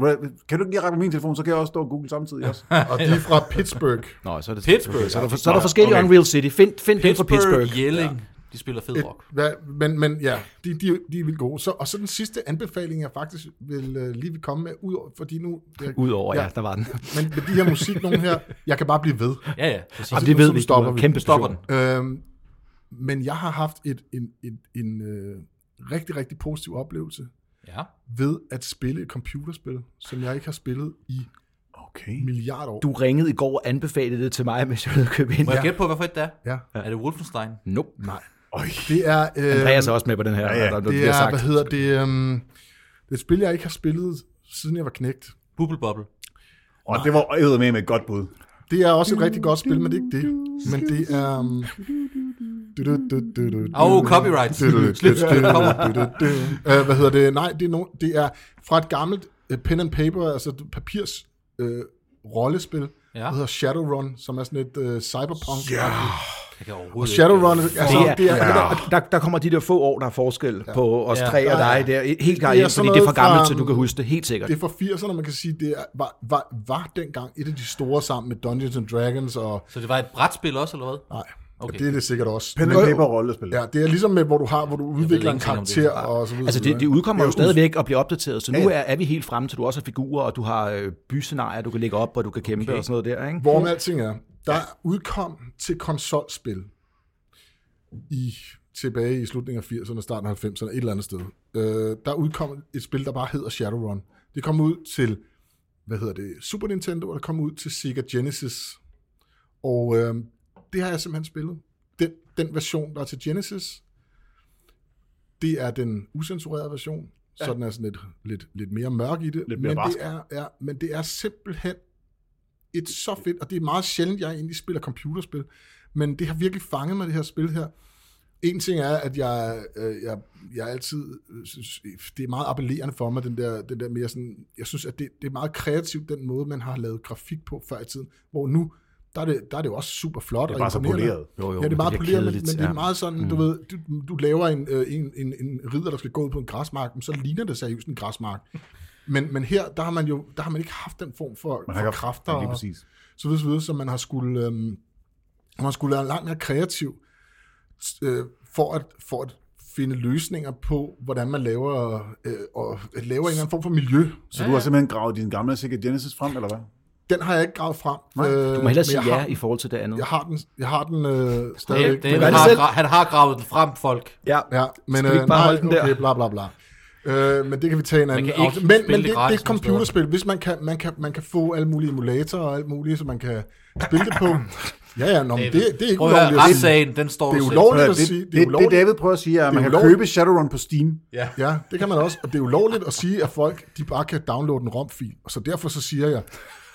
Kan du ikke lige række på min telefon, så kan jeg også stå og google samtidig også. Og de er fra Pittsburgh. Nå, så er det... Pittsburgh. Så er der, for, så er Nå, der forskellige okay. okay. Unreal City. Find, find den fra Pittsburgh. Pittsburgh, Jelling. De spiller fed Et, rock. hvad, men, men ja, de, de, de er vildt gode. Så, og så den sidste anbefaling, jeg faktisk vil øh, lige vil komme med, ud, over- fordi nu... Jeg, Udover, ja, der var den. Men med de her musik, nogen her, jeg kan bare blive ved. Altså, Ja, ja, præcis. Jamen, nu- det ved så vi. stopper Du vi. har Kæmpe Stopper passion. Øhm, men jeg har haft et, en, en, en øh, rigtig, rigtig positiv oplevelse Ja. ved at spille et computerspil, som jeg ikke har spillet i Okay. milliard år. Du ringede i går og anbefalede det til mig, mens jeg ville købe ind. Må jeg gætte på, hvad for et det er? Ja. Er det Wolfenstein? Nope. Nej. Øj. Det er... Øh, Andreas er også med på den her. ja, der, der det bliver er, sagt. hvad hedder det, øhm, det er et spil, jeg ikke har spillet, siden jeg var knægt. Bubble Bobble. Og det var æder med med et godt bud. Det er også et rigtig godt spil, men det er ikke det. Men det er... Um... Åh, oh, copyright. Slip, slip, kommer. uh, hvad hedder det? Nej, det er, no, det er fra et gammelt øh, pen and paper, altså papirs øh, rollespil, ja. der hedder Shadowrun, som er sådan et øh, cyberpunk. Ja. Jeg kan Og overhovedet Shadowrun, ikke, øh, altså, det er, det er, ja. der, der, der kommer de der få år, der er forskel ja. på os Ja. tre og Ja, ja. dig der. Helt klart, Det er ja, sådan fordi det er for noget gammelt, fra- så du kan huske det helt sikkert. det er fra 80'erne, man kan sige, det er, var, var, var dengang et af de store sammen med Dungeons and Dragons og... Så det var et brætspil også, eller hvad? Nej, okay. Okay. det er det sikkert også. Pen and Men- paper rollespil. Ja, det er ligesom med, hvor du har, hvor du udvikler en ingenting om det. karakter og så videre. Altså, så videre, det, det ikke? udkommer jo Det er stadigvæk og bliver opdateret, så nu Ja, er, er vi helt fremme til, du også har figurer, og du har øh, byscenarier, du kan lægge op, og du kan kæmpe okay. og sådan noget der, ikke? Hvorom alting er, der udkom til konsolspil i, tilbage i slutningen af 80'erne, starten af 90'erne, et eller andet sted. Øh, der udkom et spil, der bare hedder Shadowrun. Det kom ud til, hvad hedder det, Super Nintendo, og det kom ud til Sega Genesis. Og øh, det har jeg simpelthen spillet. Den, den version, der er til Genesis, det er den usensurerede version, ja. så den er sådan lidt, lidt, lidt mere mørk i det. Lidt mere men, barsk. det er, ja, men det er simpelthen et så fedt, og det er meget sjældent, jeg egentlig spiller computerspil, men det har virkelig fanget mig, det her spil her. En ting er, at jeg, øh, jeg, jeg altid øh, synes, det er meget appellerende for mig, den der, den der mere sådan, jeg synes, at det, det er meget kreativt, den måde, man har lavet grafik på før i tiden, hvor nu, der er det, der er det jo også super flot. Det er bare så poleret. Jo, jo, ja, det er meget poleret, men, men kedeligt, det er meget sådan, Mm. du ved, du, du laver en, øh, en, en, en ridder, der skal gå ud på en græsmark, men så ligner det seriøst en græsmark. Men, men her, der har man jo der har man ikke haft den form for, Man har for ikke haft- kræfter. ja, lige og- præcis. så videre, så videre, så man har skulle, øhm, man har skulle være langt mere kreativ s- øh, for, at, for at finde løsninger på, hvordan man laver, øh, og laver en eller anden form for miljø. Så du har simpelthen gravet din gamle Sega Genesis frem, eller hvad? Den har jeg ikke gravet frem. øh, Nej, du må Du må hellere sige men jeg ja har, i forhold til det andet. Jeg har den, jeg har den øh, Dave, stadigvæk. Dave, gør han, det har, selv. gra- han har gravet den frem, folk. Ja. Ja, men Skal vi ikke øh, bare nej, holde den der? Okay, bla bla bla. Øh, men det kan vi tage en anden kan ikke aften. Men, spille men det det, det, er gratis et nogen steder. computerspil. Hvis man kan, man, kan, man kan få alle mulige emulatorer og alt muligt, så man kan spille det på. Ja, ja, nå, men det, det er ikke Prøv at høre, ulovligt at sige. retssagen, den står Det er du selv. ulovligt. Prøv at at høre, sige, det, det er det, det, ulovligt. David prøver at sige, er, at Det er man kan ulovligt. købe Shadowrun på Steam. Ja. Ja, det kan man også. Og det er ulovligt at sige, at folk de bare kan downloade en ROM-fil. Og så derfor så siger jeg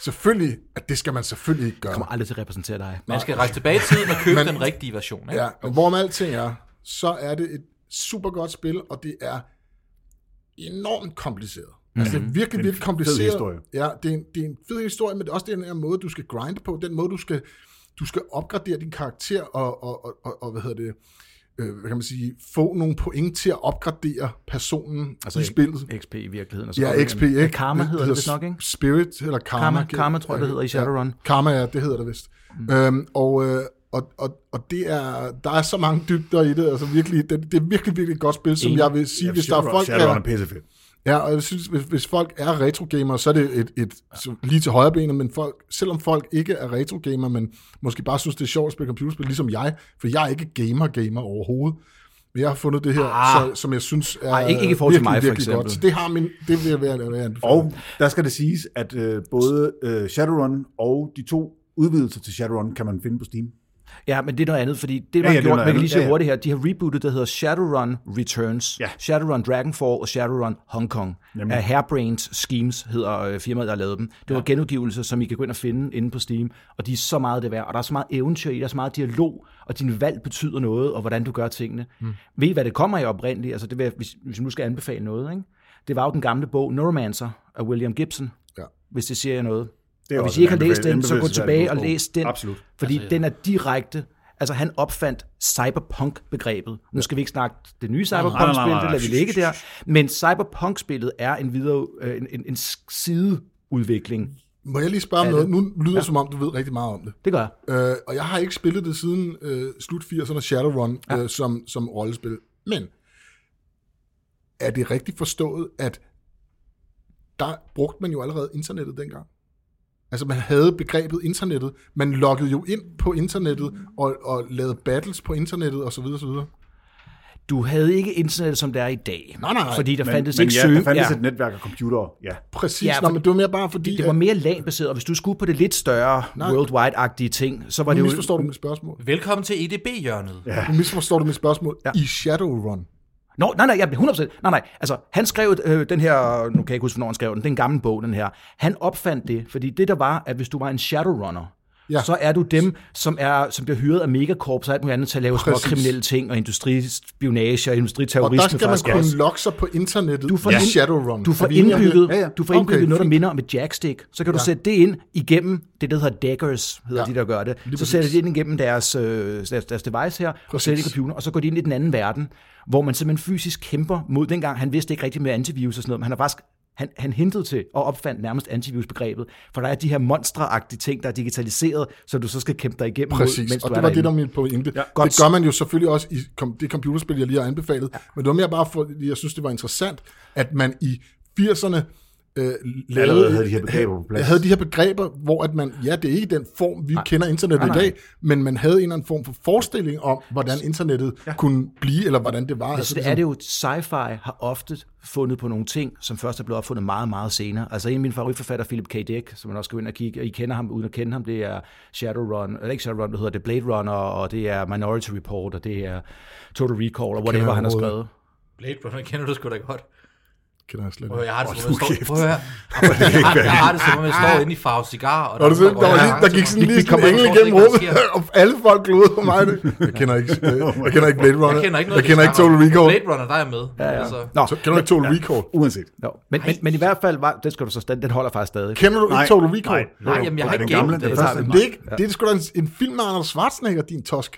selvfølgelig, at det skal man selvfølgelig ikke Jeg gøre. kommer aldrig til at repræsentere dig. Man skal rejse tilbage i tiden og købe den rigtige version. Ikke? Ja, og hvorom alting er, så er det et super godt spil, og det er enormt kompliceret. Altså, det er virkelig, virkelig kompliceret. historie. Ja, det er, en, det er en fed historie, men det er også den her måde, du skal grinde på, den måde, du skal, du skal opgradere din karakter, og, og, og, og, og hvad hedder det, øh, hvad kan man sige, få nogle point til at opgradere personen altså, i spillet. XP i virkeligheden. Og så Ja, XP, ikke? Men Karma hedder det, det nok, ikke? Spirit, eller Karma. Karma- Karma, tror jeg, det hedder i Shadowrun. Ja, karma, ja, det hedder det vist. Mm. Øhm, og, øh, og, og, og det er, der er så mange dybder i det, altså virkelig, det, det er virkelig, virkelig et godt spil, som jeg vil sige, hvis der er folk, Shadowrun er der, pissefedt. ja, og jeg synes, hvis, hvis folk er retrogamere, så er det et, et så lige til højre benet, men folk, selvom folk ikke er retrogamer, men måske bare synes, det er sjovt at spille computerspil, ligesom jeg, for jeg er ikke gamer-gamer overhovedet, men jeg har fundet det her, Ah. ah. så, som jeg synes er Ej, ikke- ikke i forhold til mig, for eksempel. Så det har min, det vil jeg være, være anbefale. Og der skal det siges, at øh, både øh, Shadowrun og de to udvidelser til Shadowrun kan man finde på Steam. Ja, men det er noget andet, fordi det, man, ja, ja, det ja, er gjort, noget man kan lige andet. se Ja, ja. hurtigt her, de har rebootet, der hedder Shadowrun Returns, Ja. Shadowrun Dragonfall og Shadowrun Hong Kong. Nemlig. Af Hairbrains Schemes hedder øh, firmaet, der har lavet dem. Det var genudgivelser, som I kan gå ind og finde inde på Steam, og de er så meget det værd, og der er så meget eventyr i, der er så meget dialog, og din valg betyder noget, og hvordan du gør tingene. Hmm. Mm. Ved I, hvad det kommer i oprindeligt? Altså, det vil, jeg- hvis, hvis jeg nu skal anbefale noget, ikke? det var jo den gamle bog Neuromancer af William Gibson, Ja. hvis det siger jer noget. Det er Og hvis også I ikke har en læst anbefale- den, så gå anbefalelse tilbage af og en god læs bog. den. Absolut. Fordi altså, den er direkte... Altså, han opfandt cyberpunk-begrebet. Nu skal vi ikke snakke det nye nej, nej, cyberpunk-spil, nej. det lader vi ligge der. Men cyberpunk-spillet er en videre øh, en, en, en sideudvikling. Må jeg lige spørge om noget? Nu lyder det, som om du ved rigtig meget om det. Det gør jeg. Øh, og jeg har ikke spillet det siden øh, slut 80'erne Shadowrun ja. øh, som, som rollespil. Men er det rigtigt forstået, at der brugte man jo allerede internettet dengang? Altså man havde begrebet internettet, man loggede jo ind på internettet og, og lavede battles på internettet osv. osv. Du havde ikke internet, som det er i dag. Nej, nej, nej. Fordi der Men, fandtes men ikke ja, søge. der fandtes ja. et netværk af computere. Ja. Præcis, Ja, ja, Nå, for- men det var mere bare fordi... Det var mere landbaseret, og hvis du skulle på det lidt større worldwide-agtige ting, så var at, det nu jo... misforstår du mit spørgsmål. Velkommen til E EDB-hjørnet. Ja. Nu misforstår du mit spørgsmål. Ja. I Shadowrun, Nå, nej, nej, jeg bliver 100%. Nej, nej, altså, han skrev øh, den her, nu kan jeg ikke huske, hvornår han skrev den, den gamle bog, den her. Han opfandt det, fordi det der var, at hvis du var en Shadowrunner, Ja. ja. så er du dem, som, er, som bliver hyret af megakorps og alt muligt andet til at lave små Præcis. kriminelle ting, og industrispionage og Og der industriterrorisme skal man faktisk også. kunne logge sig på internettet Du får i ind- Shadowrun. Du får Er vi enige om det? indbygget, Ja, ja. Du får indbygget okay, noget, der fint. minder om et jackstick. Så kan du sætte det ind igennem det, der hedder daggers, hedder Ja. ja. de, der gør det. så præcis. sætter de det ind igennem deres, øh, deres, deres device her, og sætter det i computeren, og så går de ind i den anden verden, hvor man simpelthen fysisk kæmper mod dengang. Han vidste ikke rigtigt med antivirus og sådan noget, men han har faktisk han, han hintede til og opfandt nærmest antivirusbegrebet, for der er de her monstreagtige ting, der er digitaliseret, så du så skal kæmpe dig igennem mod, Præcis, mens og du det er var det, der derinde. var min pointe. Ja, godt. det gør man jo selvfølgelig også i kom- det computerspil, jeg lige har anbefalet, ja. men det var mere bare, fordi jeg synes, det var interessant, at man i 80'erne øh, Allerede lavede, havde de her begreber på plads. havde de her begreber, hvor at man, ja, det er ikke den form, vi nej. kender internettet Nej, nej. i dag, men man havde en eller anden form for forestilling om, hvordan internettet ja. kunne blive, eller hvordan det var. Altså, det er det jo, sci-fi har ofte fundet på nogle ting, som først er blevet opfundet meget, meget senere. Altså en af mine favoritforfatter, Philip K. Dick, som man også skal ind og kigge, og I kender ham uden at kende ham, det er Shadowrun, eller ikke Shadowrun, det hedder det Blade Runner, og det er Minority Report, og det er Total Recall, og whatever han har overhovedet. skrevet. Blade Runner kender du sgu da godt. Kender jeg slet Prøv, ikke. at- jeg har det, som om jeg står... Prøv at høre. Jeg har, jeg har det, som om jeg står inde i Farve Cigar. Og Og det, der, nogen, var lige, går- der gik sådan Vi- lige vi sådan kommer en engel ikke- igennem vi kommer rummet, ikke- og alle folk glodede på mig. Jeg kender ikke, øh, jeg kender ikke Blade Runner. Jeg kender ikke noget. jeg kender af ikke det, Total snakker om. Recall. Blade Runner, der er jeg med. Ja, ja. Altså, Nå, Så kender du ikke Total Recall? Uanset. no. men, men, men, i hvert fald, var, den, skal du så, den, den holder faktisk stadig. Kender du ikke Nej, Total Recall? nej. nej, jamen, jeg har Nej, ikke den gamle, gamet den det. første. Men det, er ikke, det er sgu da en, en film med Arnold Schwarzenegger, din tosk.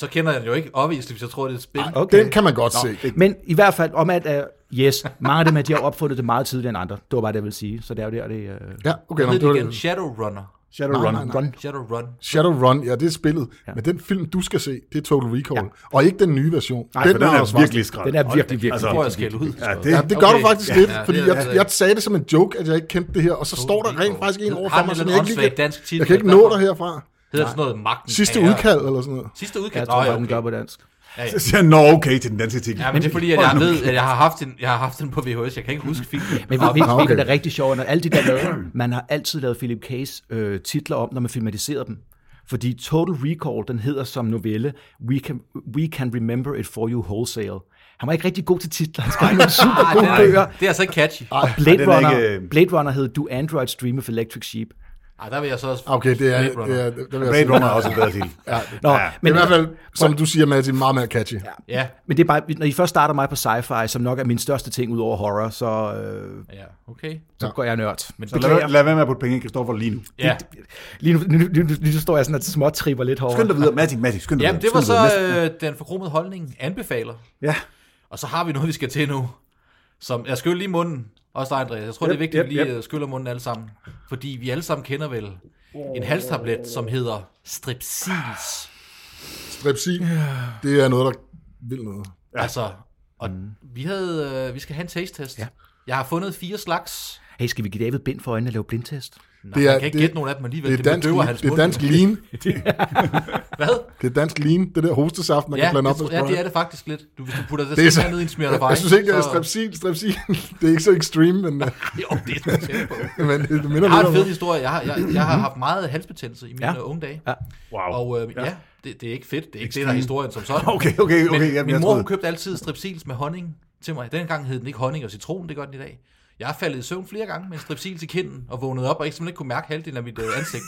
Så kender jeg den jo ikke, obviously, hvis jeg tror, det er et spil. Okay. Den kan man godt Nå, se. Men i hvert fald, om at, uh, yes, mange af dem, her, de har opfundet det meget tidligere end andre. Det var bare det, jeg ville sige. Så det er jo der, det er... Uh, Ja, okay, Hvad nå, hed det det var igen? det. Shadowrunner. Shadowrun. Nej, nej, run. Shadowrun. Shadowrun, ja, det er spillet. Ja. Men den film, du skal se, det er Total Recall. Ja. Og ikke den nye version. Nej, for den, med Arnold er Schwarzenegger. virkelig skrald. Den er virkelig, virkelig. Altså, Altså, Det tror jeg, jeg skal ud. Ja, det, Ja, det gør Okay. du faktisk Ja, lidt, ja, det fordi er- jeg, altså- jeg sagde det som en joke, at jeg ikke kendte det her, og så står der Recall. rent faktisk en Har over den for en mig, som eller jeg anden ikke lige åndssvag dansk kan, titel, Hmm. jeg kan ikke der nå kommer? dig herfra. Hedder sådan noget Magten. Sidste af- udkald eller sådan noget. Sidste udkald. jeg tror, Nå, ja, hvad den okay. gør på dansk. Så siger jeg, nå okay til den danske titel. Ja, men det er fordi, at jeg ved, at jeg har haft en, jeg har haft den på VHS. Jeg kan ikke huske filmen. Men Og- ved, ved, okay. okay. det er rigtig sjovt, når alle de der lavet, man har altid lavet Philip K's øh, titler om, når man filmatiserer dem. Fordi Total Recall, den hedder som novelle, We Can, We Can Remember It For You Wholesale. Han var ikke rigtig god til titler, han skrev nogle super Ah, gode den er- bøger. Det er altså ikke catchy. Og den Blade er Runner, ikke, øh, Blade Runner hed Do Android Dream of Electric Sheep. Ej, der vil jeg så også... Okay, det er... Blade Runner. Det er, det, det er, Blade Runner er også en bedre titel. Nå, Ja, Men i hvert fald, som du siger, Mads, meget mere catchy. Ja. Ja, Men det er bare, når I først starter mig på sci-fi, som nok er min største ting ud over horror, så, øh, ja, okay. så går jeg nørd. Men Så lad, lad være med at putte penge i Christoffer lige nu. Ja. Lige nu, nu, nu, nu, nu står jeg sådan og småtripper lidt hårdere. Skynd dig videre, Matti, Matti, skynd dig Jamen, det videre, var skynd så dig videre. øh, den forkromede holdning anbefaler. Ja, Og så har vi noget, vi skal til nu. Som, jeg skyller lige munden, også dig, Andreas. Jeg tror, det er Yep, vigtigt, at vi yep, lige yep. øh, skyller munden alle sammen. Fordi vi alle sammen kender vel en halstablet, som hedder strepsils. Strepsil, det er noget, der vil noget. Ja. Altså, og mm. vi, havde, øh, vi skal have en taste test. Ja. Jeg har fundet fire slags. Hey, skal vi give David bind for øjnene og lave blindtest? Altså- Nå, Det det er- er, jeg kan ikke det- gætte nogen af dem alligevel. Det er dansk, bedøver lean. hans det er mund. dansk lean. Hvad? Det er dansk lean, det der hostesaft, man Ja, kan blande op det, med ja, det er Sprite. det faktisk lidt. Du, hvis du putter det, Det er det så- ned i en smirner Jeg, jeg synes ikke, at strepsil, strepsil, det er ikke så ekstrem, men, øh, Jo, det er sgu tæt på. men det det minder Jeg har lidt en om fed historie. Jeg har, jeg, jeg har haft meget halsbetændelse i mine Ja. ja. unge dage. Ja. wow. Og øh, ja, ja det, det er ikke fedt. Det er ikke det, der er historien som sådan. Okay, okay, okay. Men jamen, min jeg mor troede- hun købte altid strepsils med honning til mig. Dengang hed den ikke honning og citron, det gør den i dag. Jeg er faldet i søvn flere gange med en strepsils i kinden og vågnet op og ikke simpelthen ikke kunne mærke halvdelen af mit øh, ansigt.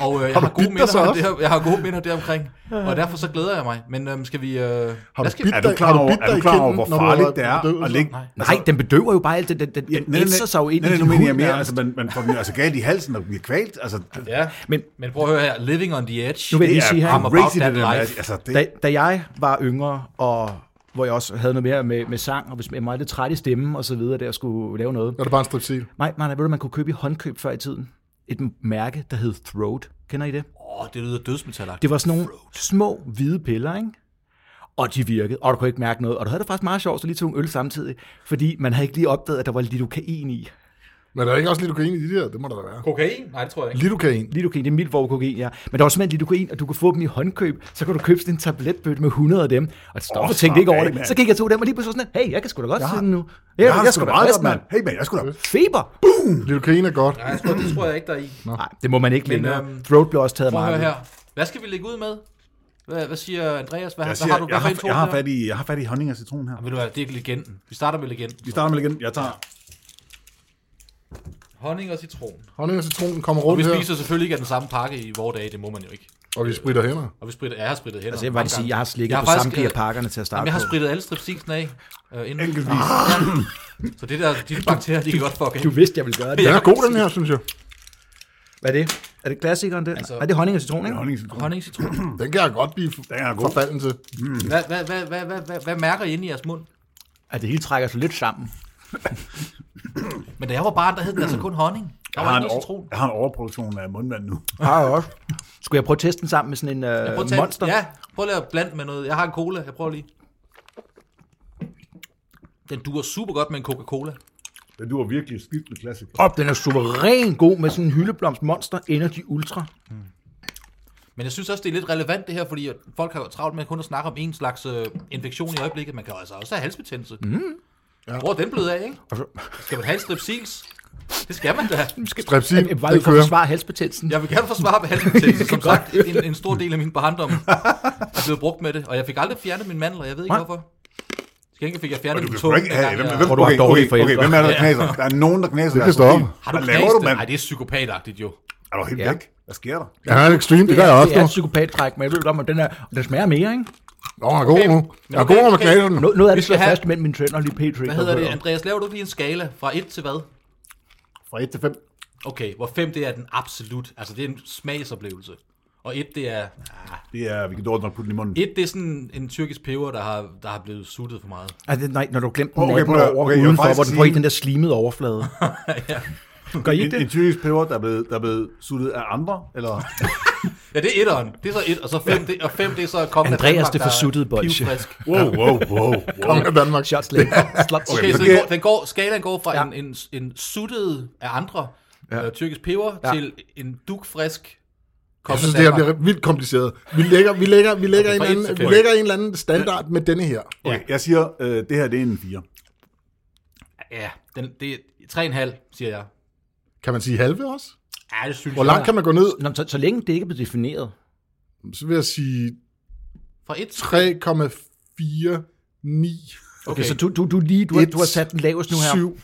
og øh, jeg, har bidt gode dig minder så om også? det, jeg har gode minder deromkring. Og derfor så glæder jeg mig. Men øh, skal vi... Øh, Har hvad du skal, bidt Er du dig, klar har du over, bidt er dig du i klar over kinden, hvor når du farligt har det er at bedøvelse? ligge... Nej. Nej, den bedøver jo bare alt det. Den, den, den ætser sig jo ind nej, i nej, din nu mener jeg hud mere, nærmest. altså, man, man får den altså, galt i halsen og bliver kvalt. Altså, det Ja, Men men prøv at høre her. Living on the edge. Nu vil jeg lige er sige her, I'm about crazy, det that der med, life. altså, det, da, da jeg var yngre, og hvor jeg også havde noget mere med, med sang, og hvis jeg var lidt træt i stemmen og så videre, der jeg skulle lave noget. Er det bare en strepsil? Nej, nej, nej, ved du, man kunne købe i håndkøb før i tiden. Et mærke, der hed Throat. Kender I det? Åh, det lyder dødsmetalagtigt. Det var sådan nogle små hvide piller, ikke? Og de virkede, og du kunne ikke mærke noget. Og du havde det faktisk meget sjovt, så lige tog en øl samtidig, fordi man havde ikke lige opdaget, at der var lidokain i. Men er der ikke også lidokain i de der? Det må der da være. Kokain? Nej, det tror jeg ikke. Lidokain. lidokain, det er mildt kokain, ja. Men der var simpelthen lidokain, og du kunne få dem i håndkøb, så kunne du købe sådan en tabletbøtte med 100 af dem. Og stop, Åh, oh, tænkte ikke slap over af, det. mand. Så gik jeg to af dem, og lige pludselig sådan, hey, jeg kan sgu da godt sidde nu. Ja, jeg, jeg sgu skulle da da meget frisk, godt, mand. Hey, man, jeg skulle da... Feber! Lidokain er godt. Nej, jeg tror, det tror jeg ikke, der er i. Nej, det må man ikke Men, længere. øhm, Throat blev også taget af Prøv at høre markedet. her. Hvad skal vi lægge ud med? Hvad, hvad siger Andreas? Hvad, Altså, Jeg, hvad siger, har du? Hvad jeg, for har, en tone jeg, har her? fat i, jeg har fat i honning og citron her. Ved du hvad, det er legenden. Vi starter med legenden. Vi starter med igen. Jeg tager... Honning og citron. Honning og citronen kommer Og rundt vi her, spiser selvfølgelig ikke af den samme pakke i vore dage, det må man jo ikke. og vi spritter hænder. Og vi spritter, jeg har sprittet hænder. Altså, jeg vil bare mange lige sige, gange. jeg har Jeg slikket jeg har på faktisk- samtlige af pakkerne til at starte Jamen, jeg har på. sprittet alle strepsilsen af. Øh, inden. Enkeltvis. Ah! Så det der, de bakterier, de kan godt fucke af. Du vidste, jeg ville gøre det. Den er god, den her, synes jeg. Hvad er det? Er det klassikeren, det? Altså, Altså- er det honning og citron, ikke? Honning, Honning, citron. Den kan jeg godt blive Den er god. forfalden til. Hvad, hvad, hvad, hvad, hvad, hvad, hvad mærker I inde i jeres mund? At det hele trækker sig lidt sammen. Men da jeg var barn, der hed den altså kun honning. Der Jeg var har, en ikke over, citron. jeg har en overproduktion af mundvand nu. Har jeg også. Skulle jeg prøve at teste den sammen med sådan en Jeg øh, prøver at tage, monster? Ja, prøv lige at blande med noget. Jeg har en cola, jeg prøver lige. Den duer super godt med en Coca-Cola. Den duer virkelig skidt med klassik. Op, den er suveræn god med sådan en hyldeblomst monster Energy Ultra. Men jeg synes også, det er lidt relevant det her, fordi at folk har jo travlt med kun at snakke om en slags øh, infektion i øjeblikket. Man kan jo altså også have halsbetændelse. Mm. Ja. Hvor er den blevet af, ikke? Skal man have en strepsils? Det skal man da. Strepsil, Jeg var jo den for at kører. forsvare halsbetændelsen. Ja. Jeg vil gerne forsvare med halsbetændelse. Som sagt, en, en stor del af min barndom er blevet brugt med det. Og jeg fik aldrig fjernet min mandler, jeg ved ikke Nej. hvorfor. Til gengæld fik jeg fjernet Du min kan tunge. sgu ikke have... dengang Hvem, jeg- hvem, Tror, du har okay, dårlige okay, okay, forældre. hvem er der, der knaser? Der er nogen, der knaser. Det kan deres stå op. profil. Har du Hvad laver du, knast det? mand? Nej, det er psykopatagtigt jo. Er du helt Ja. væk? Hvad sker der? Ja, han er ekstrem, det gør jeg også Det nu. er et psykopatdræk, men jeg ved godt, men den, er, den smager mere, ikke? Nå, han er god nu. Jeg er god, når man okay. knaser den. Nå, noget af Vi det skal slår have- fast mellem mine tænder og lige Petri. Hvad hedder det? Andreas, laver du ikke lige en skala fra 1 til hvad? Fra 1 til 5. Okay, hvor 5 det er den absolut. Altså, det er en smagsoplevelse. Og 1 det er... Ah, Det er, vi kan dårligt nok putte den i munden. 1 det er sådan en tyrkisk peber, der har, der har blevet suttet for meget. Altså, nej, når du glemte den Okay, natten prøv at- over okay, jeg vil udenfor, faktisk hvor den får sige- ikke den der slimede overflade. Gør I En, ikke det? en tyrkisk peber, der er blevet, der er blevet suttet af andre? Eller? Ja, det er etteren. Det er så et, og så fem, det, og fem det er så kommet Andreas, det forsuttede bolsje. Wow, wow, wow. wow. Kongen af Danmark. Shots later. Slots. Okay, så det- den går, den går, skalaen går fra Ja. ja. en, en, en suttet af andre ja. øh, tyrkisk peber Ja. ja. til en dukfrisk Jeg synes, det her bliver vildt kompliceret. Vi lægger, vi lægger, vi lægger, Okay, en, fra anden, et til vi fem. lægger en eller anden standard med denne her. Okay, jeg siger, øh, det her det er en 4. Ja, den, det er 3,5, siger jeg. Kan man sige halve også? Ja, det synes Hvor jeg. langt kan man gå ned? Nå, men så, så længe det ikke er blevet defineret. Så vil jeg sige Fra et 3,49. Okay, så du, du, du, lige, du, har, Et, du har sat den lavest nu her. Syv.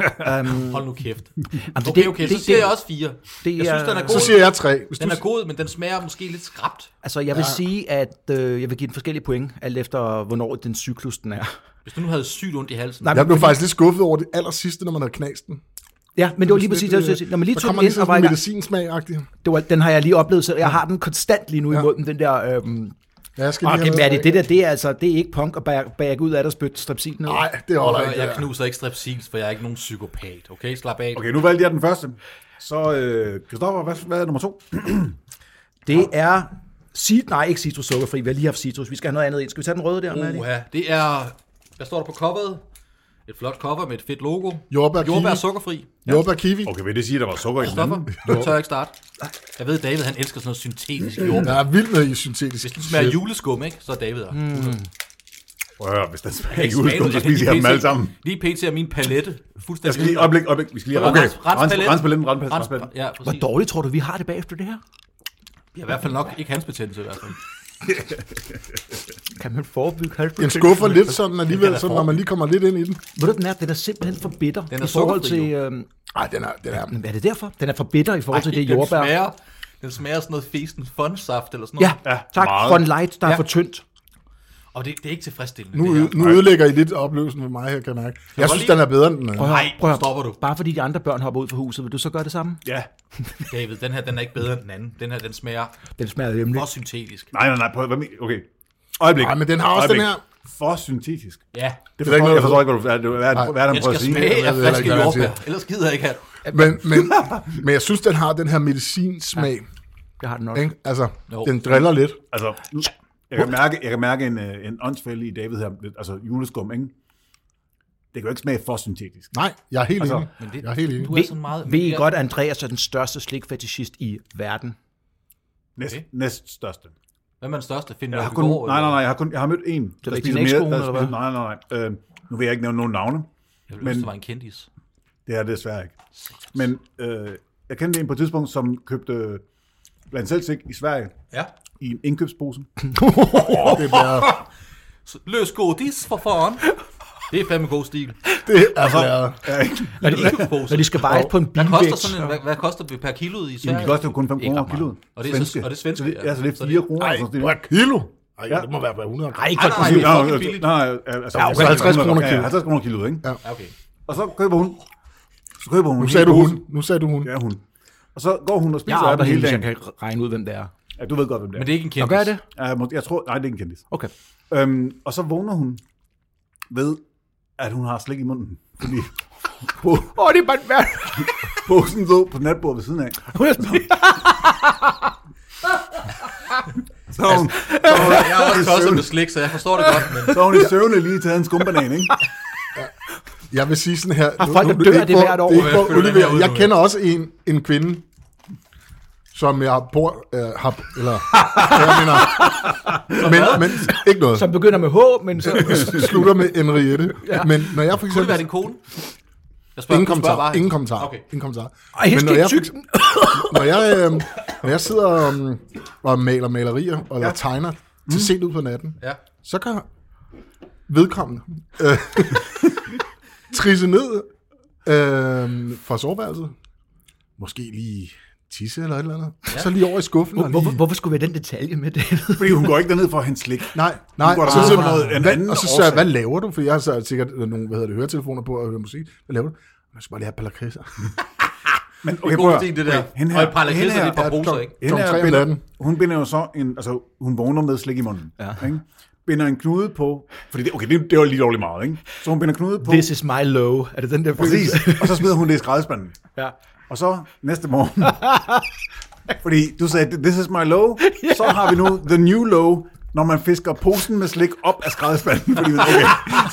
Um, Hold nu kæft. Jamen, Okay, okay, så siger jeg også fire. det Jeg synes, den er Så god. siger jeg 3. Hvis Den du er god, men den smager måske lidt skræbt. Altså, jeg vil ja. sige, at øh, jeg vil give den forskellige point, alt efter, hvornår den cyklus den er. Hvis du nu havde sygt ondt i halsen. Nej, Jeg blev men- faktisk lidt skuffet over det aller sidste, når man havde knast den. øh, Ja, men det var lige præcis det, jeg skulle sige. Når man lige så tog kommer den lige ind, og sådan var i en gang, medicinsmag-agtig. det var, den har jeg lige oplevet, så jeg har den konstant lige nu ja. i munden, den der... Øh, Ja, jeg skal og lige det, have hvad er noget det, det der, det er altså, det er ikke punk at bag- bagge ud af det og spytte strepsil ned. Nej, det holder jeg, ikke. jeg det der. knuser ikke strepsils, for jeg er ikke nogen psykopat. Okay, slap af. Okay. Okay, nu valgte jeg den første. Så, øh, Christoffer, hvad, hvad er nummer to? Det er cit, nej, ikke citrus sukkerfri, vi har lige haft citrus, vi skal have noget andet ind. Skal vi tage den røde der? Maddie? Uha, det er... Hvad står der på coveret? Et flot cover med et fedt logo. Jordbær, Jordbær kiwi. sukkerfri. Jordbær kiwi. Okay, vil det sige, at der var sukker i den Stoffer, anden? du tør ikke starte. Jeg ved, David han elsker sådan noget syntetisk jordbær. Jeg er vild med i syntetisk. Hvis den smager juleskum, ikke, så er David der. Mm. Prøv at høre, hvis den smager ikke udeskum, så spiser jeg dem alle sammen. Lige pt. er min palette fuldstændig. Jeg skal lige, øjeblik, øjeblik, vi skal lige Okay. rense, rense, rense paletten, rense Rens, paletten, rense ja, Hvor præcis. dårligt tror du, vi har det bagefter det her? Ja, i hvert fald nok ikke hans betændelse i hvert fald. Kan man forebygge Den halsbetændelse? skuffer lidt sådan alligevel, Den er sådan, når man lige kommer lidt ind i den. Ved du, den er, den er simpelthen for bitter Den er i forhold sukkerfri, til... Øh, Nej, den er, den er. er det derfor? Den er for bitter i forhold til det den jordbær. Smager, den smager sådan noget festen fondsaft eller sådan Ja, noget. ja tak. meget. For en light, der ja. er Ja. for tyndt. Og det, det er ikke tilfredsstillende. Nu, det her. nu ødelægger I lidt oplevelsen for mig her, kan jeg mærke. Jeg synes, lige- den er bedre end den anden. at- Nej, at- stopper du. Bare fordi de andre børn hopper ud fra huset, vil du så gøre det samme? Ja. David, den her den er ikke bedre end den anden. Den her den smager Den smager hjemligt. for syntetisk. Nej, nej, nej, prøv, hvad men- okay. Øjeblik. Nej, men den har også Øjeblik. den her. For syntetisk. Ja, Det er da ikke forstår, jeg, noget- jeg forstår ikke, hvad du hvad, hvad, hvad, hvad, hvad er den den skal prøver at sige. smage af ved friske heller ikke, hvad jordbær. han Ellers gider jeg ikke have det. Men, men, men jeg synes, den har den her medicinsmag. Jeg har den også. Ikke? Altså, Jo. den driller lidt. Altså, nu- jeg kan mærke, jeg kan mærke en, øh, en åndsfælde i David her, lidt- altså juleskum, ikke? Det kan jo ikke smage for syntetisk. Nej, jeg er helt Altså, enig. Men det, Jeg er helt enig. Du er sådan meget... Ved I godt, at Andreas er den største slikfetishist i verden? Næst, Okay. næst største. Hvem er den største? Finder Jeg du har i kun, går, nej, nej, eller? nej, jeg har, kun, jeg har mødt en, da der ikke spiser din mere. ekskone, Der eller spiser, hvad? nej, nej, nej. Øh, nu vil jeg ikke nævne nogen navne. Jeg ville ønske, Men- det var en kendis. Det er det desværre ikke. Men øh, jeg kendte en på et tidspunkt, som købte øh, blandt selv slik i Sverige Ja. i en indkøbspose. Det er bare, Løs godis for foran. Det er fandme god stil. Altså, Når de, når de skal vejes på en Hvad koster bilvægt. sådan en, hvad, hvad koster det per kilo i Sverige? Jamen, de koster jo kun 5 Ikke kroner ret kiloet. meget. Og det er så- og det er svenske, Så det, ja. ja, så det Så er det- 4 kroner. Ej, altså, det, hvor er kilo? Ej, ja. det må være på 100 Ej, Nej, nej, det er fucking billigt. Nej, altså, Ja, okay, 50 kroner Ja, kiloet. 50 kroner kiloet, ikke? Ja. Ja, Okay. Og så køber hun. Så køber hun Nu en sagde hel du hun. pose. Nu sagde du hun. Ja, hun. Og så går hun og Jeg spiser af er den helt, hele hvis jeg dagen. kan regne ud, hvem det er. Ja, du ved godt, hvem det er. Men det er ikke en kendis. Og gør jeg det? Ja, må- Jeg tror, nej, det er ikke en kendis. Okay. Øhm, og så vågner hun ved, at hun har slik i munden. Fordi po- Åh, oh, det er bare værd. posen lå på natbordet ved siden af. Hun er sådan, Så har hun, så har hun, Jeg har også kostet med slik, så jeg forstår det godt, men så har hun i søvne lige taget en skumbanan, ikke? Jeg vil sige sådan her. folk, der det dør er af ikke for- det hvert år. Det er ikke for Jeg føler den her Oliver. ud Jeg nu, ja. kender også en, en kvinde, som jeg bor... Øh, har, eller... Jeg mener... men, men ikke noget. som begynder med H, men så... slutter med Henriette. ja. Men når jeg for kunne det eksempel... være din kone? Jeg Ingen du kommentar. bare. Ingen kommentar. Okay. Ingen kommentar. Ej, jeg skal når jeg, tyk. når jeg, øh, når jeg sidder øh, og maler malerier, eller ja. tegner, til sent ud på natten, Ja. så kan vedkommende øh, trisse ned øh, fra soveværelset. Måske lige tisse eller et eller andet. Ja. Så lige over i skuffen. og Hvorfor, lige, hvorfor skulle vi have den detalje med det? Fordi hun går ikke derned for at hente slik. Nej, nej. går Og der så, ud så, fra noget- en hvad, anden og så sagde jeg, årsag. hvad laver du? For jeg har så sikkert nogle hvad hedder det, høretelefoner på og hører musik. Hvad laver du? Jeg skal bare lige have et par lakridser. Men Det er en god idé, det der. hende Og et par lakridser, hende her- det er et par Ja, poser, kom. ikke? Hende Klokken her tre om binder- natten. Hun binder jo så en, altså hun vågner med slik i munden, ja. ikke? Binder en knude på, fordi det, okay, det, det var lige lovligt meget, ikke? Så hun binder knude på, This is my low. Er det den der præcis, og så smider hun det i skraldespanden. Ja. Og så næste morgen, fordi du sagde, this is my low, så har vi nu the new low, når man fisker posen med slik op af skraldespanden, fordi man, okay,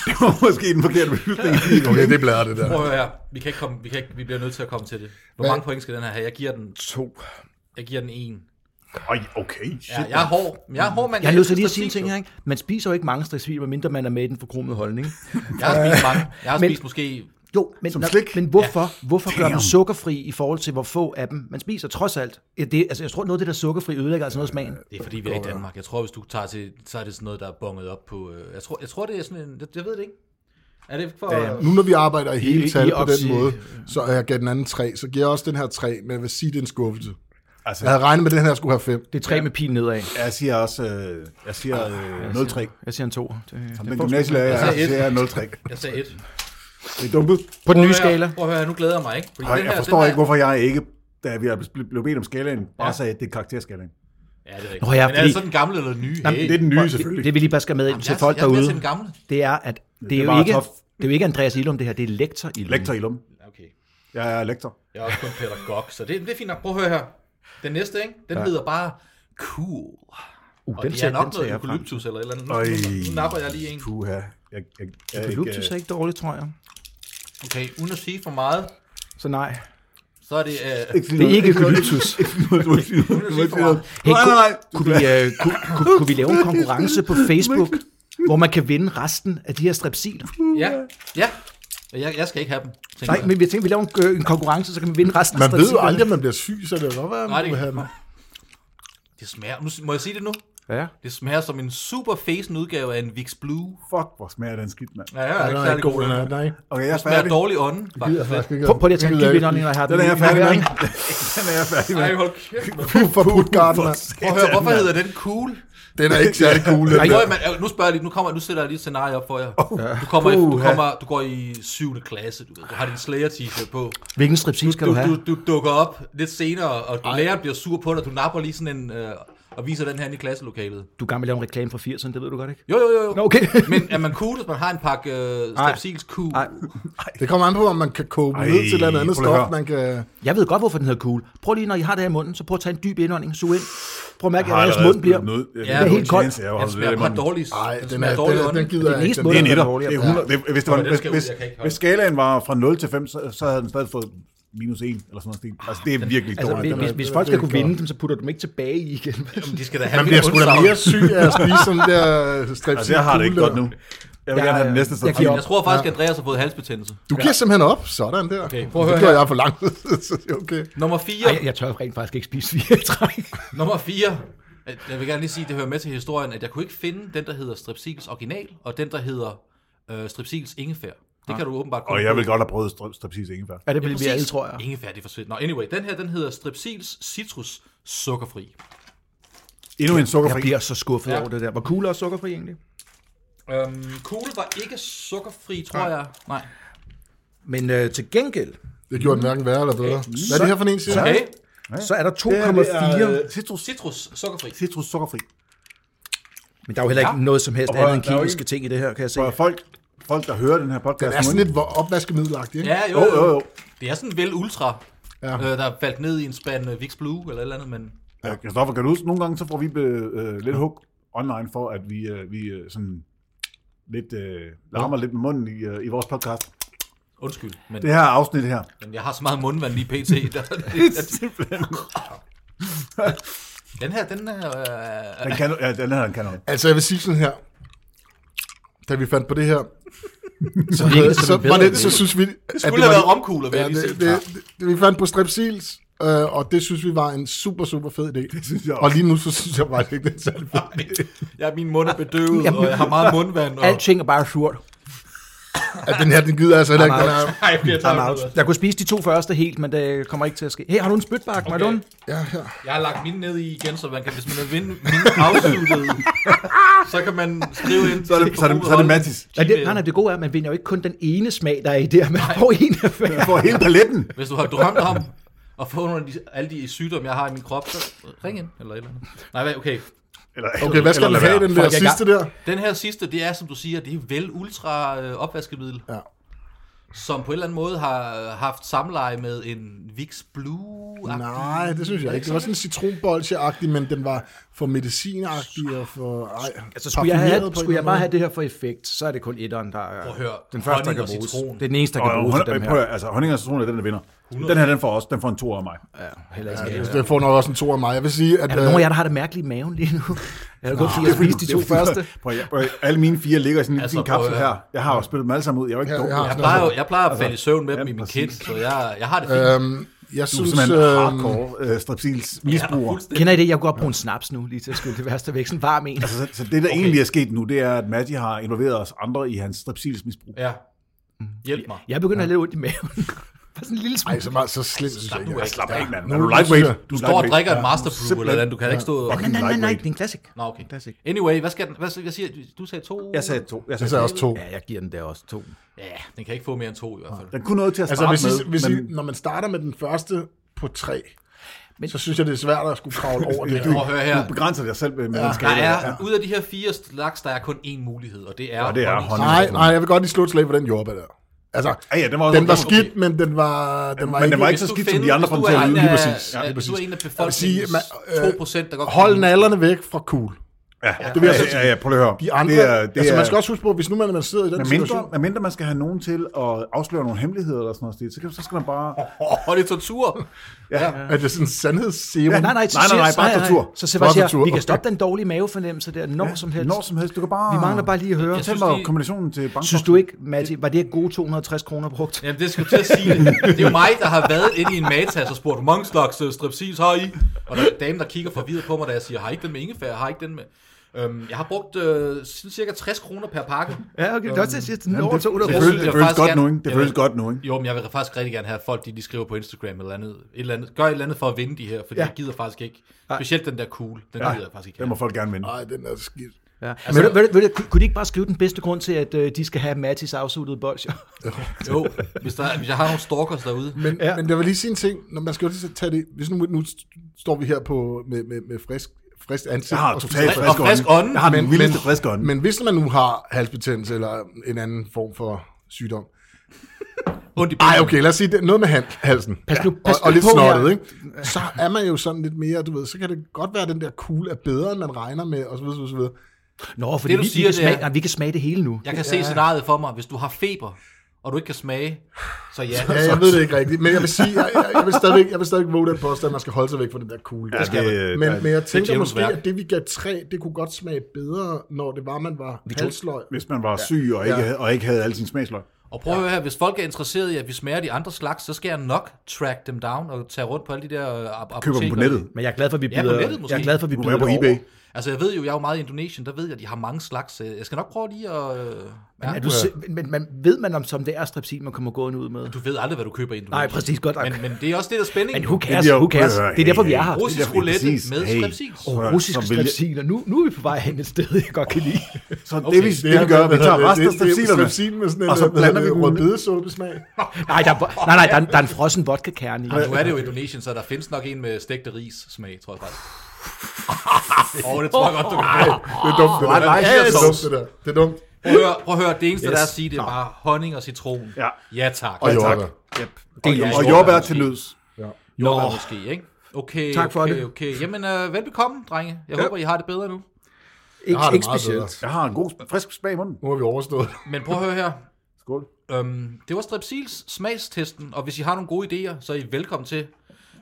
det var måske den forkerte beslutning. Okay, det blæder det der. Prøv at høre her. Vi, kan ikke komme, vi, kan ikke, vi bliver nødt til at komme til det. Hvor Hvad? mange point skal den her have? Jeg giver den, To. jeg giver den en. Ej, okay, Ja, shit. jeg er hård. Jeg er hård, mand. Jeg er nødt til lige at elsker sige slik, en ting jo. her, ikke? Man spiser jo ikke mange striks svin, medmindre man er med i den forkromede holdning. Jeg har spist mange. Jeg har Men- spist måske... Jo, men, Som når- slik? men hvorfor, ja. hvorfor gør Damn. man sukkerfri i forhold til, hvor få af dem man spiser? Trods alt, Ja, det, altså, jeg tror, noget af det der sukkerfri ødelægger altså noget af smagen. Det er fordi, vi er i Danmark. Jeg tror, hvis du tager til, så er det sådan noget, der er bonget op på... øh, Jeg tror, jeg tror det er sådan en... Jeg, jeg ved det ikke. Er det for... Ja, Nu når vi arbejder i I- hele I tal på opsige- den måde, så er jeg gav den anden tre, så giver jeg også den her tre, men jeg vil sige, det er en skuffelse. Altså, Jeg havde regnet med, at den her skulle have fem. Det er tre med pil nedad. jeg siger også, øh, jeg siger øh, 0-3. Jeg siger en to. Det, Men gymnasielærer, jeg, Altså, jeg et. siger jeg er 0-3. Jeg sagde et. Det er dumt. på den Prøv nye at høre- skala. Prøv at høre, nu glæder jeg mig, ikke? Fordi Ej, den jeg her- forstår den her- ikke, hvorfor jeg ikke, da vi blev- blev bedt om skalaen, bare Ja. sagde, at det er karakterskalaen. Ja, det er Nå rigtigt. ja, Men er fordi- det så den gamle eller den nye? Jamen, Hey. Det er den nye, Det, selvfølgelig. det vi lige bare skal med ind til folk jeg, Jeg er mere derude, til den gamle. det er, at det, er er jo bare ikke, tof. det er jo ikke Andreas Ilum, det her. Det er lektor Ilum. Lektor i lum. Okay. Jeg er lektor. Jeg er også kun pædagog, så det, det er fint nok. Prøv at høre her. Den næste, ikke? Den ja. hedder bare Cool. Uh, Og den det ser- er nok den ser noget jeg frem eukalyptus eller et eller andet. Nu, Øj. nu, nu napper jeg lige en. Puha. Jeg, jeg, jeg, jeg, til. Luksus er øh- ikke dårligt, tror jeg. Okay, uden at sige for meget, Så nej. så er det... Øh, Det er ikke noget. Eukalyptus. Du må ikke sige noget. Du må ikke sige noget. Hey, Nej, nej, nej. Du Kunne vi, skal- uh, kunne, kunne, kunne vi lave en konkurrence på Facebook, hvor man kan vinde resten af de her strepsiler? ja, ja. Jeg, jeg skal ikke have dem. tænker Nej, jeg. men vi tænkte, vi laver en, øh, en konkurrence, så kan vi vinde resten Man af ved jo strepsilerne. aldrig, at man bliver syg, så det kan godt være, at Nej, man det vil have kan den. Det smager... Nu, må jeg sige det nu? Ja. Det smager som en super fesen udgave af en Vicks Blue. Fuck, hvor smager den skidt, mand. Ja, jeg Ja, er den ikke er særlig ikke god, god. den her. Nej, Okay, jeg er Den er færdig. dårlig ånden. det er faktisk ikke. Prøv, prøv lige at tage en dyb Gider indånding, når jeg har øh, den. Den er jeg i- i færdig med. hænderne. Den er jeg færdig med. Ej, hold kæft. mand. ikke. For Puttgarden, mand. Prøv at høre, hvorfor hedder den Cool? Den er ikke særlig cool. den Ej, der. prøv, man, nu spørger jeg lige, nu, kommer, nu sætter jeg lige et scenarie op for jer. Oh. Du, kommer i, du, kommer, du går i 7. klasse, du, ved, du har din slayer t-shirt på. Hvilken strepsil skal du, Du, have? du, du dukker op lidt senere, og læreren bliver sur på dig, du napper lige sådan en, øh, og viser den her ind i klasselokalet. Du er gammel at lave en reklame fra 80'erne, det ved du godt, ikke? Jo, jo, jo. jo. Nå, okay. Men er man cool, hvis man har en pakke øh, Strepsils Q? Nej. Det kommer an på, om man kan koge den Ej, ned til et eller andet prøv lige at stof, høre. man kan... Jeg ved godt, hvorfor den hedder cool. Prøv lige, når I har det her i munden, så prøv at tage en dyb indånding, sug ind. Prøv at mærke, at jeres mund bliver... Nød. Jeg Ja, ved helt ikke, hvor kold. tjeneste, jeg har Den holdt smager lidt i bare munden. dårligt. Ej, Altså, den den, smager er, den, dårlig er, den ånden. gider jeg mest ikke. Den- måde, Det er en Den etter. er dårlig, Det er ja. 100. Det- Hvis, det var, Nå, den hvis, skal ud, hvis, jeg kan ikke holde hvis skalaen var fra 0 til 5, så, så havde den stadig fået minus 1 eller sådan noget. Altså, det er virkelig Altså, dårligt. hvis, den er- hvis, hvis den er folk skal virkelig kunne klar. vinde dem, så putter du dem ikke tilbage i igen. De skal da have Man bliver lidt sgu da undsavn. mere syg af at spise sådan der øh, strepsil. Altså, jeg har det ikke godt nu. Jeg vil Ja, gerne have den ja. næste Jeg giver strepsil. op. Jeg tror faktisk, Andreas har fået halsbetændelse. Du giver simpelthen op. Sådan der. Okay, prøv at det høre gjorde her. jeg for langt. Så det er okay. Nummer Ej, 4. jeg tør rent faktisk ikke spise fire i træk. Nummer 4. Jeg vil gerne lige sige, det hører med til historien, at jeg kunne ikke finde den, der hedder Strepsils original, og den, der hedder øh, strepsils ingefær. Det kan du åbenbart kun Og jeg få. vil godt have prøvet strip, striptease ingefær. Ja, det bliver vi præcis. alle, tror jeg. Ingefær, det forsvinder. Nå, anyway, den her, den hedder Strepsils Citrus Sukkerfri. Endnu en Jeg sukkerfri. bliver så skuffet Ja. over det der. Hvor cool er sukkerfri egentlig? Øhm, Kugle var ikke sukkerfri, tror Nej. jeg. Nej. Men øh, til gengæld, Det gjorde den hverken værre eller bedre. Hvad er det her for en, siger du? Okay. så er der Det her, det er, 2,4. øh, Citrus, Citrus Sukkerfri. citrus sukkerfri. Men der er jo heller ikke noget som helst Og prøv at- andet end der er jo kemiske ikke- ting i det her, kan jeg se. For folk, folk, der hører den her podcast, Det er nu, sådan ikke? lidt hvor- opvaskemiddelagtigt, ikke? Ja, jo, Jo, jo, jo. Det er sådan vel ultra, Ja. ja. øh, der er faldt ned i en spand øh, Vicks Blue eller et eller andet, men Ja, Christoffer, kan du huske, nogle gange så får vi be- øh, lidt hug online for, at vi, øh, vi øh, sådan lidt øh, larmer lidt med munden i, øh, i vores podcast. undskyld. Men, Det her afsnit her. men jeg har så meget mundvand lige pt. Der, den her, den er... Øh, Den kan, ja, den her den kan noget. Altså, jeg vil sige sådan her. Da vi fandt på det her, så, virkede det som så, en bedre var det, idé. så synes vi... at Det skulle have var- været romkugler, vil Ja, jeg lige det, sige. det, det, det, vi fandt på strepsils, øh, og det synes vi var en super, super fed idé. Det synes jeg Og lige nu, så synes jeg faktisk ikke, det er særlig fed. ja, min mund er bedøvet, og jeg har meget mundvand. Og, Alting er bare surt. At den her, den gider altså heller ikke. Den er, Ej, bliver I'm out. Jeg kunne spise de to første helt, men det kommer ikke til at ske. Hey, har du en spytbak, okay. Marlon? ja, her. Jeg har lagt mine ned i igen, så man kan, hvis man vil vinde mine afsluttede, så kan man skrive ind Så er det, så er det, så er det Mathis. Nej, det, nej, nej, det gode er, at man vinder jo ikke kun den ene smag, der er i der, man får en af hver. Jeg får hele paletten. Hvis du har drømt om at få nogle af de, alle de sygdomme, jeg har i min krop, så ring ind, eller et eller andet. Nej, hvad- okay. Eller, Okay, hvad skal eller du lad have, være. den der Folk er i sidste der? Den her sidste, det er, som du siger, det er vel ultra øh, opvaskemiddel, Ja. som på en eller anden måde har øh, haft samleje med en Vicks Blue. Nej, det synes jeg ikke. Det var sådan citronbolsje-agtig, men den var for medicinagtig og for... Ej, Altså, skulle jeg, have, parfumeret på en skulle jeg eller bare anden have det her for effekt, så er det kun etteren, der er Prøv at høre, den første, der honning kan og bruges. citron. Det er den eneste, der Og, kan bruges hun, af dem prøv, her. at- altså, honning og citron er den, der vinder. Den her, den får også, den får en to af mig. Ja, heller ikke. måde. Ja, det får nok også en to af mig. Jeg vil sige, at... øh, Er der nogen af jer, der har det mærkeligt i maven lige nu? Jeg har kun fordi, jeg spiste de to første. Prøv, jeg, prøv, alle mine fire ligger i sådan en altså, Altså, fin kapsel prøv, her. Jeg har jo spillet dem alle sammen ud. Jeg er jo ikke Ja, dum. jeg har Jeg sådan plejer, jo, jeg plejer Altså, at falde i søvn med ja, dem i min kind, præcis. så jeg, jeg har det fint. Øhm, jeg Du er synes, simpelthen øhm, hardcore øh, strepsils misbruger. fuldstændig. Kender I det? Jeg kunne godt bruge en snaps nu, lige til at skylle det værste væk. Sådan en varm en. Altså, så, så det, der okay. egentlig er sket nu, det er, at Matti har involveret os andre i hans strepsils misbrug. Ja. Hjælp mig. Jeg begynder at have lidt ondt i maven. Bare sådan en lille smule. Ej, så meget så slemt synes jeg Slap ikke. altså. nu af, slap af, mand. Er du lightweight? synes jeg- Du Du er står og lightweight. drikker en master brew, eller simpelthen. andet. Du kan da ikke stå og... Nej, nej, nej, nej, det er en klassik. Nå, okay. Classic. Anyway, hvad skal den... Hvad, jeg siger, du sagde to... Jeg sagde to. Altså, Jeg Jeg sagde sagde også to. Ja, jeg giver den der også to. Ja, den kan ikke få mere end to i hvert fald. Den kunne noget til at Altså, starte hvis I, med, hvis I, men når man starter med den første på tre, Men- så synes jeg, det er svært at skulle kravle over det. Prøv at høre her. du begrænser dig selv med med den Der skala. Ja. er, ud af de her fire slags, der er kun én mulighed, og det er... Og det er honning. honning. Nej, nej, jeg vil godt lige slå et slag på den jordbær der. Altså, Ja, ja, den var, også- den var skidt, men den var, den var Men den var ikke... ikke Hvis så du skidt, som findes- de andre hvis får den du til er at en lyde. Lige af- præcis. Ja, af- lige Hvis præcis. du er en af Jeg vil sige, befolkningens man- øh, 2%, der godt Hold kan lide- nallerne væk fra cool. Ja, det vil jeg ja, så sige. ja, ja, prøv lige at høre. De andre, det er, det altså, er, man skal også huske på, hvis nu man, man sidder i den med mindre, situation... med mindre man skal have nogen til at afsløre nogle hemmeligheder eller sådan noget, stil, så, kan, så skal man bare... Og det er tortur. Er det sådan en sandhedsserum? Nej, nej, så Nej, nej, siger- nej, bare tortur. Så Sebastian Bare siger, tortur, vi kan okay. stoppe den dårlige mavefornemmelse der, når som helst. Når som helst. Du kan bare... Vi mangler bare lige at høre. Jeg Fortæl synes, mig de- kombinationen til bank. Synes du ikke, Matti, var det gode 260 kroner brugt? Jamen, det skal jeg til at sige. Det er jo mig, der har været inde i en matas og spurgt, hvor mange slags øh, strepsils har I? Og der er en dame, der kigger forvirret på mig, da jeg siger, har I ikke den med ingefær? Har I ikke den med... Øhm, jeg har brugt øh, sådan cirka 60 kroner per pakke. Ja, okay. Det er også til at sige, at den er over Det 200 Øhm, Jeg synes, kroner. føles, jeg det føles faktisk godt gerne- nu, ikke? Det Jeg føles vil- godt nu, ikke? Jo, men jeg vil faktisk rigtig gerne have at folk, de, de skriver på Instagram eller andet, et eller andet. Gør et eller andet for at vinde de her, for ja. jeg gider faktisk ikke. Specielt den der cool, den ja. gider jeg faktisk ikke. Det må Have. folk gerne vinde. Nej, den er skidt. Ja. Altså, ved, du- ved, du- ved, du- kunne- kunne de ikke bare skrive den bedste grund til, at øh, de skal have Mattis afsuttede bolsjer? Jo, hvis, der, hvis jeg har nogle stalkers derude. Men, ja. men jeg vil lige sige en ting, når man skal jo lige tage det, hvis nu, nu står vi her på, med, med, med frisk, frisk ansigt. Jeg har og totalt spiser- frisk frisk og frisk ånde. ånde. Jeg har den Men- vildeste men- frisk ånde. Men hvis man nu har halsbetændelse eller en anden form for sygdom. Ondt i Ej, benene. okay, lad os sige det. Noget med han- halsen. Pas nu- Ja. pas og, og nu lidt på her. snottet, ikke? Så er man jo sådan lidt mere, du ved, så kan det godt være, at den der kugle er bedre, end man regner med, og så videre, så videre, så videre. Nå, fordi du vi, siger, vi, kan det er- smage, nej, vi kan smage det hele nu. Jeg kan se scenariet for mig, hvis du har feber, og du ikke kan smage, så ja. Ja, jeg ved det ikke rigtigt, men jeg vil sige, jeg, jeg, jeg vil stadigvæk, jeg vil stadigvæk våge den påstand, at man skal holde sig væk fra den der kugle. Ja, der. det- øh, men, men der- jeg det er tænker djævelens måske, værk. at det vi gav tre, det kunne godt smage bedre, når det var, man var halsløg. Hvis man var syg og ikke, havde, og ikke havde alle sine smagsløg. Og prøv at høre her, hvis folk er interesseret i, at vi smager de andre slags, så skal jeg nok track dem down og tage rundt på alle de der øh, ap- apoteker. Køber dem på nettet. Men jeg er glad for, at vi Ja, på bider, nettet måske. jeg er glad for, at vi Du bider er på det eBay. over. Altså, jeg ved jo, jeg er jo meget i Indonesien, der ved jeg, at de har mange slags. øh, Jeg skal nok prøve lige at... øh, Men, Ja. er du, si- men, men, men ved man, om som det er strepsil, man kommer gående ud med? Du ved aldrig, hvad du køber i Indonesien. Nej, præcis, godt nok. Men, men det er også det, der er spænding. Men who Det cares, bliver- who cares? Øh, Det er derfor, vi hey, er her. hey, Russisk det er- roulette præcis. med Hey, strepsils. så- Russisk så vil jeg- strepsil, og nu, nu er vi på vej hen et sted, jeg godt kan lide. Så det vi, det, vi gør, vi tager resten af strepsilerne, strepsilerne, med sådan en, og så blander vi en dem rød i- bedesåbesmag. Nej, der, er- nej, nej, der, er- der er en frossen vodka-kerne i. Nu er det jo Indonesien, så der findes nok en med stegte ris smag, tror jeg faktisk. Åh, oh, det tror jeg godt, du kan. Det er dumt, det der. nej, Ja, det er det er dumt, sovs. det der. Det er dumt. Prøv at høre, prøv at høre det eneste, yes. der er at Yes. sige, det er bare honning og citron. Ja. ja tak. Og Ja, tak. jordbær. og, er og jordbær jordbær måske. til nøds. Jordbær Nå. måske, ikke? Okay, Tak for okay, det. okay. Jamen, øh, velbekomme, drenge. Jeg ja. håber, I har det bedre nu. Ikke, har det ikke meget specielt. Jeg har en god, frisk smag i munden. Nu har vi overstået. Men prøv at høre her. Skål. Øhm, det var Strepsils smagstesten, og hvis I har nogle gode idéer, så er I velkommen til,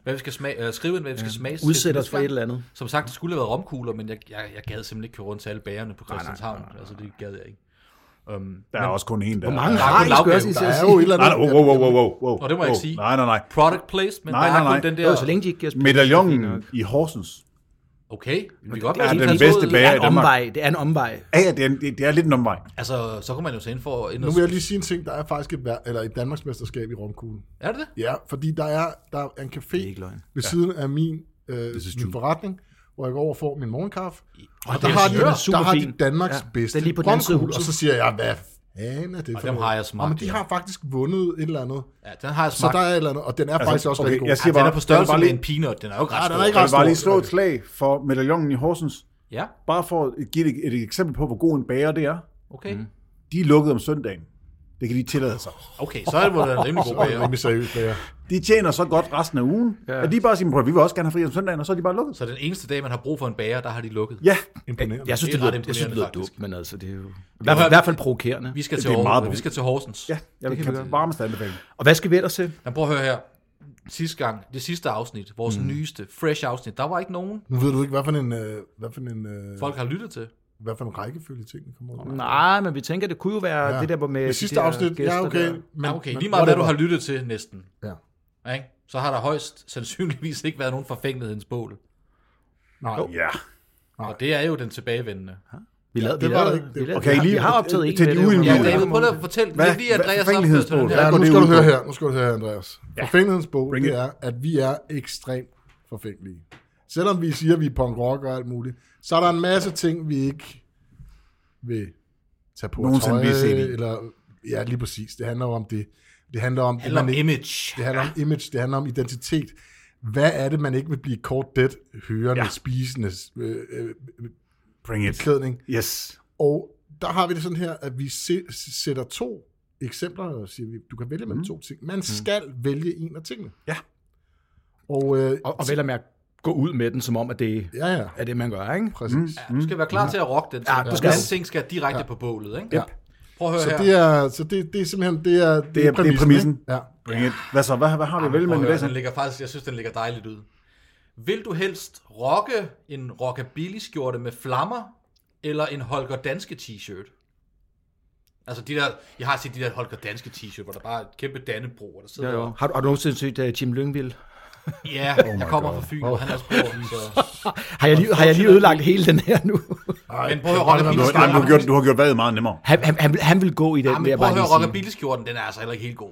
hvad vi skal smage, øh, skrive ind, hvad vi skal ja. smage. til Udsæt os næste for gang. et eller andet. Som sagt, det skulle have været romkugler, men jeg, jeg, jeg gad simpelthen ikke køre rundt til alle bagerne på Christianshavn. Altså, det gad jeg ikke. Der er også kun én der. Hvor mange der er har kun I, skal jeg lavkage. også lige Der til at er jo sige? et eller Nej, nej, andet. wow, wow, wow, wow, wow. Og det må jeg wow. ikke sige. Nej, nej, nej. Product placement, Nej, der er nej, nej. kun den Det var, så der... længe de ikke giver os Medaljongen i Horsens. Okay, vi kan godt det er være den sådan, bedste at- Det bager. er Ja, i en Danmark. omvej, det er en omvej. Ja, ja, det er, det, det er lidt en omvej. Altså, så kunne man jo se ind for... Ind Nu og, vil jeg lige sige en ting. Der er faktisk et, ver- eller et Danmarksmesterskab i romkuglen. er det det? Ja, fordi der er, der er en café ikke løgn. ved siden af min, øh, is true. min forretning, hvor jeg går over og får min morgenkaffe. Og den der, har de, er der har de superfin. Danmarks Ja, ja, bedste den er lige på den anden side af romkugle, Og huset. så siger jeg, hvad fanden er det for dem noget? har jeg smagt, Jamen, de ja. har faktisk vundet et eller andet. Ja, den har jeg Så smagt. der er et eller andet, og den er altså, faktisk også okay, rigtig god. jeg Jeg siger den bare, er på størrelse jeg vil med bare en peanut. Den er jo ikke ret Nej, den er stor. ikke Jeg ret vil bare lige stor. slå et slag for medaljongen i Horsens. Ja, Bare for at give et, et eksempel på, hvor god en bager det er. okay. Mm. De er lukket om søndagen. Det kan de tillade sig. Okay, så er det måske en rimelig god det er bager. rimelig seriøst, hvad jeg. De tjener så godt resten af ugen, ja. at de bare siger, "Prøv at vi vil også gerne have fri om søndagen, og så er de bare lukket. Så den eneste dag, man har brug for en bager, der har de lukket. Ja, Imponerende. Jeg synes, Det det er lyder, ret jeg synes, det lyder imponerende, dumt, men altså, det er jo... I hvert høre, fald, i hvert fald provokerende. Vi skal til Det er meget Aarhus. Vi bevidst. skal til Horsens. ja jeg Det vil kan vi kan godt. varmest anbefale. Og hvad skal vi ellers til? Men prøv at høre her. Sidste gang, det sidste afsnit, vores mm. nyeste, fresh afsnit, der var ikke nogen, Nu ved du ikke, hvad for en, øh, hvad for en, øh, folk har lyttet til. hvad for en rækkefølge ting, der kommer ud. Nej, men vi tænker, det kunne jo være Ja. det der hvor med... de det sidste der afsnit, gæster ja okay. der. Men, Men, okay, men lige meget hvad du whatever. har lyttet til næsten, Ja. ikke? så har der højst sandsynligvis ikke været nogen forfængelighedens bål. Nej, Ja. Og det er jo den tilbagevendende. Vi lavede, vi det var lavede, der ikke. vi lavede, Okay, vi har- lige- vi har optaget til en med de det. uindvidede. Ja, Ja, David, prøv lige at fortælle. Hvad- Hvad, lige hvad- Andreas opgave til forfængelighedsbål? den her. Ja, Hvad går nu det skal ud du høre på? her, nu skal du høre her, Andreas. Ja. Forfængelighedens bog, Bring det it. er, at vi er ekstremt forfængelige. Selvom vi siger, at vi er punk rock og alt muligt, så er der en masse ting, vi ikke vil tage på Nogensinde tøj, blive set i. eller Ja, lige præcis. Det handler jo om det. Det handler om, det Handler om man ikke- image. det handler om image, det handler om identitet. Hvad er det, man ikke vil blive kort dead, hørende, ja. Ja. spisende, øh, øh, Bring it. klædning? Yes. Og der har vi det sådan her, at vi se- sætter to eksempler, og siger, vi, du kan vælge mellem mm. to ting. Man skal mm. vælge en af tingene. Ja. Og, øh, Og, og vel at mærke, gå ud med den, som om, at det ja, ja, er det, man gør, ikke? præcis. Du skal være klar til at rocke den. Ja, Ja, du du skal- skal. ting skal direkte på bålet, ikke? Mm. Ja. Prøv at høre Så, her. det er, så det, det er simpelthen, det er, det er- det er præmissen. ikke? Ja. Bring it. Hvad så? Hvad, hvad har vi vel Prøv med at i høre, dag? så? den ligger faktisk, jeg synes, den ligger dejligt ud. Vil du helst rocke en rockabilly-skjorte med flammer, eller en Holger Danske t-shirt? Altså de der, jeg har set de der Holger Danske t-shirt, hvor der bare er et kæmpe dannebro, og der Jo, sidder... jo. Har, du- har du nogensinde set uh, Jim Lyngvild? Ja, jeg kommer fra Fyn, og han er også på, så... Har jeg, lige, har jeg lige ødelagt hele den her nu? Ej, Men prøv kan at høre, godt Rollebil være Du, med. skal- nej, du, har gjort, du har gjort vejret meget nemmere. Han, han, han, vil- han vil gå i Ja, den, vil Ah, men jeg prøv at bare høre, lige sige. rockabilly-skjorten, den er altså heller ikke helt god.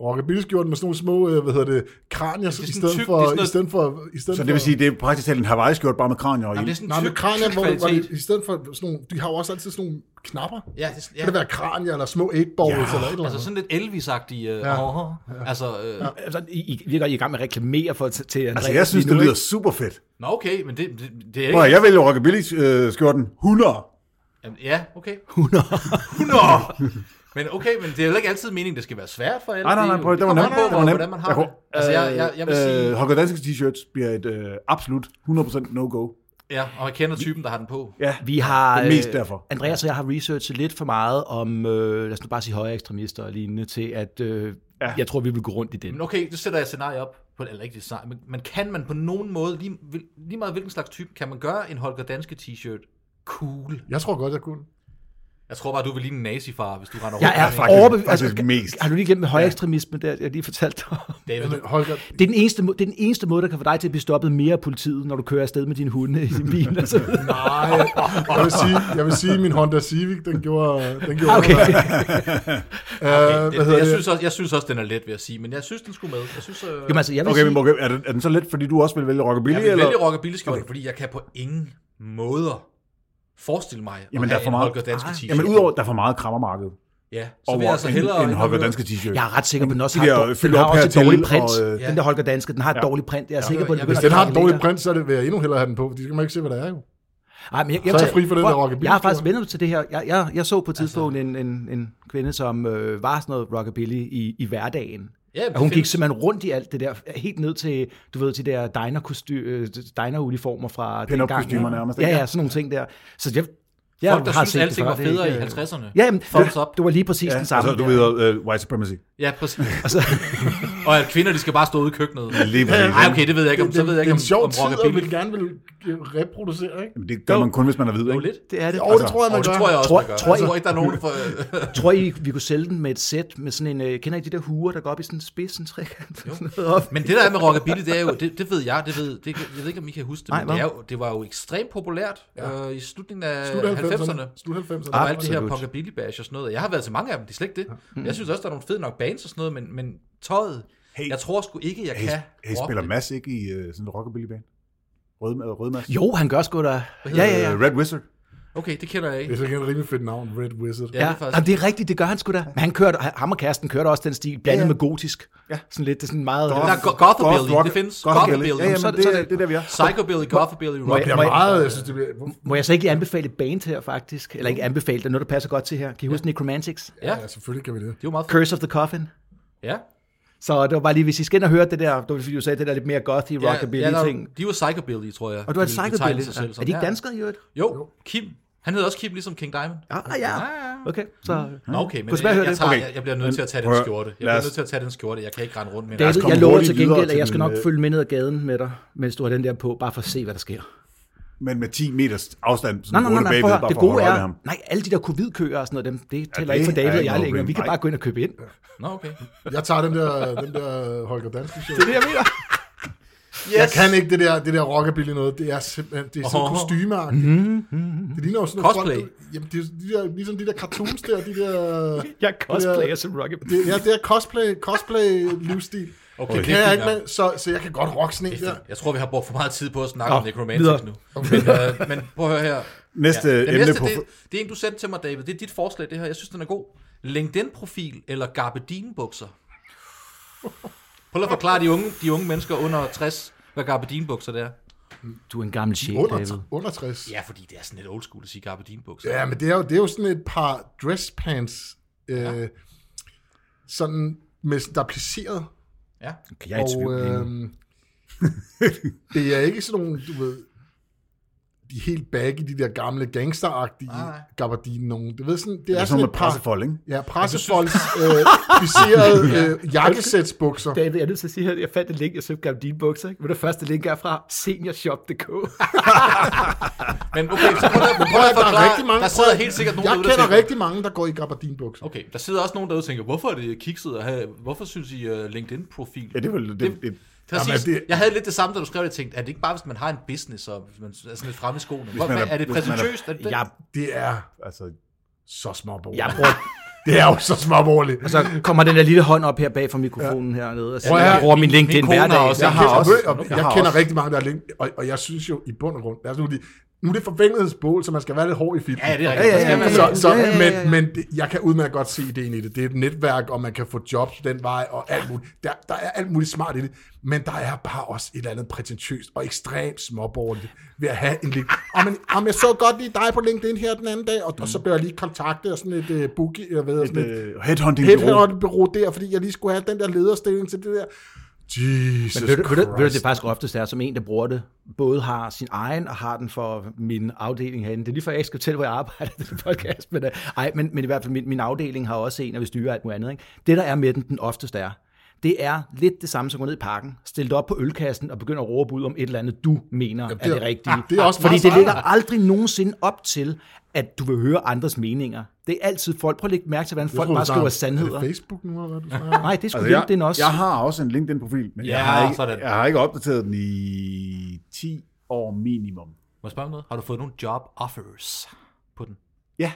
Rockabilly-skjorten med sådan nogle små, øh, hvad hedder det, kranier, sådan i stedet tyk, det er for, sådan noget- i stedet for, i stedet Så det vil for- sige, det er praktisk talt en Hawaii-skjort bare med kranier og Jamen, det er ild. sådan Nej, en men tyk, kranier, tyk hvor, hvor kvalitet. det, i stedet for sådan nogle, de har jo også altid sådan nogle knapper. Ja. Ja, det, er- Kan ja. det være kranier, eller små 8-balls, ja. eller et eller andet? Altså sådan lidt Elvis-agtig. Øh, ja. Altså, øh, ja. Altså, I, I, I, er godt i gang med at reklamere for, til, til Andreas Altså, jeg synes, lige det nu, lyder ikke? super fedt. Nå, okay, men det, det, det er Prøv, ikke... at, jeg vælger rockabilly-skjorten øh, 100. Jamen, ja, okay. 100. 100! Men okay, men det er jo ikke altid meningen, det skal være svært for alle. Nej, nej, Det er nej, jo- prøv, det var kommer nemt. an Det På, var nemt. hvordan man har Jeg det. kunne- Altså, jeg, jeg, jeg vil Øh, sige, Holger Danske t-shirts bliver et øh, absolut 100% no-go. ja, og jeg kender typen, der har den på. øh, Ja, Vi har, Det er mest øh, derfor. Andreas og jeg har researchet lidt for meget om, øh, lad os nu bare sige højere ekstremister og lignende, til at øh, ja. Ja. jeg tror, vi vil gå rundt i Men den. okay, nu sætter jeg et scenarie op. På, eller ikke det scenarie, men, men kan man på nogen måde, lige, hvil- lige meget hvilken slags type, kan man gøre en Holger Danske t-shirt cool? Jeg tror godt, jeg kunne. Jeg tror bare, du vil ligne en nazifar, hvis du render Jeg er rundt. faktisk- overbevist. faktisk mest. Har du lige glemt med højekstremisme, der jeg lige fortalte dig om? David, Jamen, Holger, Det er, den eneste, må- det er den eneste måde, der kan få dig til at blive stoppet mere af politiet, når du kører afsted med din hunde i din bil. Og så videre. nej, jeg vil sige, jeg vil sige min Honda Civic, den gjorde... Den gjorde Okay. Øh, det, hvad det, hedder jeg, det? synes også, jeg synes også, den er let ved at sige, men jeg synes, den skulle med. Jeg synes, øh, Jamen, Jamen, altså, jeg vil Okay, sige, men okay, er, den, er den så let, fordi du også vil vælge rockabilly? jeg vil eller? vælge rockabilly-skjorten, okay. fordi jeg kan på ingen måder forestille mig at Jamen, der er have for en meget- Holger Danske t-shirt. Jamen udover, der er for meget krammermarked ja, så vil over jeg altså hellere... en, en Holger hellere- Danske t-shirt. jeg er ret sikker på, at den også har, de der dår, den fyldt har op også et hertil, dårligt print. og, øh, Den der Holger Danske, den har et dårligt print. Jeg er sikker på, at jeg- den Hvis den har en dårlig print, så er det, vil jeg endnu hellere have den på, fordi så kan man ikke se, hvad der er jo. Ej, men jeg, jeg, Så er jeg fri for den prøv, der rockabilly-tur. Jeg har faktisk vendt til det her. Jeg, jeg, jeg så på et tidspunkt altså. en, en, en kvinde, som øh, var sådan noget rockabilly i, i hverdagen. Ja, men og hun det gik findes. simpelthen rundt i alt det der, helt ned til, du ved, til der diner, diner uniformer fra den gang. Pin-up-kostymer nærmest, Ja, ikke? ja, sådan nogle ting der. Så jeg, jeg Folk, der har synes, set det alting før, var det er federe i ikke, øh, 50'erne. Ja, jamen, Thumbs det, up. det var lige præcis Ja, den samme. altså, du der. ved, uh, white supremacy. Ja, præcis. Altså, Og at kvinder, de skal bare stå ude i køkkenet. Lige præcis. Nej, okay, det ved jeg ikke om. Så ved jeg det ikke, er om, en sjov om tid, og rockabilly... vil gerne vil reproducere, ikke? Jamen, det gør man kun, hvis man er hvid, Jo, ikke? lidt. det er det. Jo, det tror jeg, Og man Altså, gør. det tror jeg øh, også, Tror- man gør. tror Jeg I- tror ikke, der er nogen for... Tror I, vi kunne sælge den med et sæt med sådan en, øh, kender I de der huer, der går op i sådan en spids, sådan en trekant? Sådan noget op? Men det der er med rockabilly, det er jo, det, det ved jeg, det ved, det, jeg ved ikke, om I kan huske det, Nej, men hvad? det, er jo, det var jo ekstremt populært øh, i slutningen af Slut 90'erne. 90'erne. Slut 90'erne. Og alt det her Absolut. punkabilly bash og sådan noget. Jeg har været til mange af dem, det er slet ikke det. Jeg synes også, der er nogle fede nok bands og sådan noget, men, men tøjet, Hey. jeg tror sgu ikke, jeg Hey, kan hey, rocke spiller det. Mads ikke i uh, sådan en rockabilly-band? Rød, uh, rød Mads? Jo, han gør sgu da. Ja, ja, ja. Øh, Red Wizard? Okay, det kender jeg Det ikke. er så igen et rimelig fedt navn, Red Wizard. Ja, det er Ja, det faktisk- Jamen, det er rigtigt, det gør han sgu da. Men han kørte, ham og kæresten kørte også den stil, blandet Ja, ja. ja. med gotisk. Ja. Sådan lidt, det er sådan meget... Der er go- Gothabilly, Goth- det findes. Goth- Gothabilly. Ja, ja, men Så- det, så- er- det er der, vi er. Psychobilly, Gothabilly, rock. Det Må er jeg- meget, jeg synes, det bliver... Hvor- Må jeg så ikke lige anbefale et band her, faktisk? Eller ikke anbefale, det er noget, der passer godt til her. Kan I huske Necromantics? Ja, Ja, selvfølgelig kan vi det. det er jo meget fedt. Curse of the Coffin? Ja. Så det var bare lige, hvis I skal ind og høre det der, du vil sagde det der lidt mere gothy, Ja, ja, rockabilly der- ting. De var psychobilly, tror jeg. Og du har et de ville psychobilly. betegne sig selv som. Er de ikke Ja. danskere i øvrigt? Jo, Kim. Han hedder også Kim, ligesom King Diamond. Ah, ja. Okay, så... Nå, okay, men Kunne smage jeg, høre jeg, det? tager, Okay. jeg, jeg bliver nødt til at tage Prøv den at- skjorte. Jeg lad bliver os- nødt til at tage den skjorte. Jeg kan ikke rende rundt med os David, komme jeg lover hurtigt til videre gengæld, at til jeg skal den, nok øh, følge med ned ad gaden med dig, mens du har den der på, bare for at se, hvad der sker. Men med 10 meters afstand. Nej, nej, nej, nej prøv at høre. Det gode er, Ham. nej, alle de der covid-køer og sådan noget, dem, det tæller det ikke for er David og ikke jeg noget længere. Vi problem. kan Nej. bare gå ind og købe ind. Nå, okay. Jeg tager den der, den der Holger Danske show. Det er det, jeg mener. Yes. Jeg kan ikke det der, det der rockabilly noget. Det er simpelthen det er sådan Åh. oh. kostymeagtigt. Mm-hmm. Det ligner jo sådan nogle Cosplay. Folk, der- jamen, det er de der, ligesom de der cartoons der, de der... Jeg cosplayer Ja. som Rocket. Det, ja, det er cosplay, cosplay-livsstil. Okay, det det er kan jeg fint ikke nok. med, så, så jeg kan godt rocke sådan en der. Jeg tror, vi har brugt for meget tid på at snakke Nå, om Necromantics videre. nu. Men, øh, men prøv at høre her. Næste Den emne næste, på... det, det er en, du sendte til mig, David. Det er dit forslag, det her. Jeg synes, den er god. LinkedIn-profil eller gabardinebukser? Prøv lige at forklare de unge, de unge mennesker under 60, hvad gabardinebukser det er. Du er en gammel chef, Under, under 60. Ja, fordi det er sådan lidt old school at sige gabardinebukser. Ja, men det er jo, det er jo sådan et par dresspants, øh, ja. sådan med, der er placeret. ja. Jeg er i tvivl og lige nu. øh, det er ikke sådan nogle, du ved, de helt baggy, de der gamle gangsteragtige Nej, nej. gabardine nogen. Det, ved sådan, det Det er, er altså, sådan sådan noget et med par pressefold, ikke? ja, pressefolds øh, plisserede øh, jakkesætsbukser. David, jeg er nødt til at sige her, jeg fandt et link, jeg søgte gammel dine bukser, ikke? Men det første link er fra seniorshop.dk. Men okay, så prøv lige at- prøv lige at der er forklare. rigtig mange- Der sidder helt sikkert nogen Jeg derude, der kender tænker- rigtig mange, der går i gabardinebukser. Okay, der sidder også nogen derude og tænker, hvorfor er det kikset at have, hvorfor synes I uh, LinkedIn-profil? Ja, det er vel... Det, det, Præcis. Jamen, det- Jeg havde lidt det samme, da du skrev det, jeg tænkte, er det ikke bare, hvis man har en business, og hvis man er sådan lidt fremme i skoene? Hvor, man er, er- er det hvis man er- præsentøst? Er det det? jeg, Det er altså, så småborgerligt. jeg bruger, Det er jo så småborgerligt. og så kommer den der lille hånd op her bag fra mikrofonen ja. hernede, og siger, Prøv at jeg høre, bruger min min- LinkedIn min kone hver har dag. også- Jeg Jeg, har- har også, Nå, jeg, jeg jeg har kender også. rigtig mange, der er link, og, og jeg synes jo i bund og grund, lad os nu, lige, nu er det forventelsesbål, så man skal være lidt hård i filmen. Ja, det er rigtigt. Ja, ja, ja, Man skal- Så, så, Ja, ja, ja, Men, ja. men det- jeg kan udmærket godt se ideen i det. Det er et netværk, og man kan få jobs den vej, og alt muligt. Der, der er alt muligt smart i det, men der er bare også et eller andet prætentiøst og ekstremt småborgerligt ved at have en link. Om, en, om jeg så godt lige dig på LinkedIn her den anden dag, og, og så blev jeg lige kontaktet af sådan et uh, bookie, eller hvad, hedder sådan Mm. et, øh, headhunting et headhunter-bureau der, fordi jeg lige skulle have den der lederstilling til det der. Jesus Men ved, du, ved, du, ved du, Christ. det faktisk oftest er, som en, der bruger det, både har sin egen og har den for min afdeling herinde. Det er lige før, jeg ikke skal fortælle, hvor jeg arbejder i den podcast. Men, øh, ej, men, men i hvert fald, min, min afdeling har også en, og vi styrer alt muligt andet. Ikke? Det, der er med den, den oftest er, Det er lidt det samme som at gå ned i parken, stille dig op på ølkassen og begynde at råbe ud om et eller andet, du mener Jamen, det er, er det rigtige. ah, det er også Fordi meget det ligger smart. aldrig nogensinde op til, at du vil høre andres meninger. Det er altid folk. Prøv at lægge mærke til, hvordan folk troede, bare du snakker- skriver Er sandheder. det Facebook nu, eller hvad du snakker om? Nej, det skulle Altså, altså, jeg, LinkedIn også. jeg har også en LinkedIn-profil, men jeg, Ja, har sådan. ikke, jeg har ikke opdateret den i 10 år minimum. Må jeg spørge om noget? Har du fået nogle job offers på den? Ja,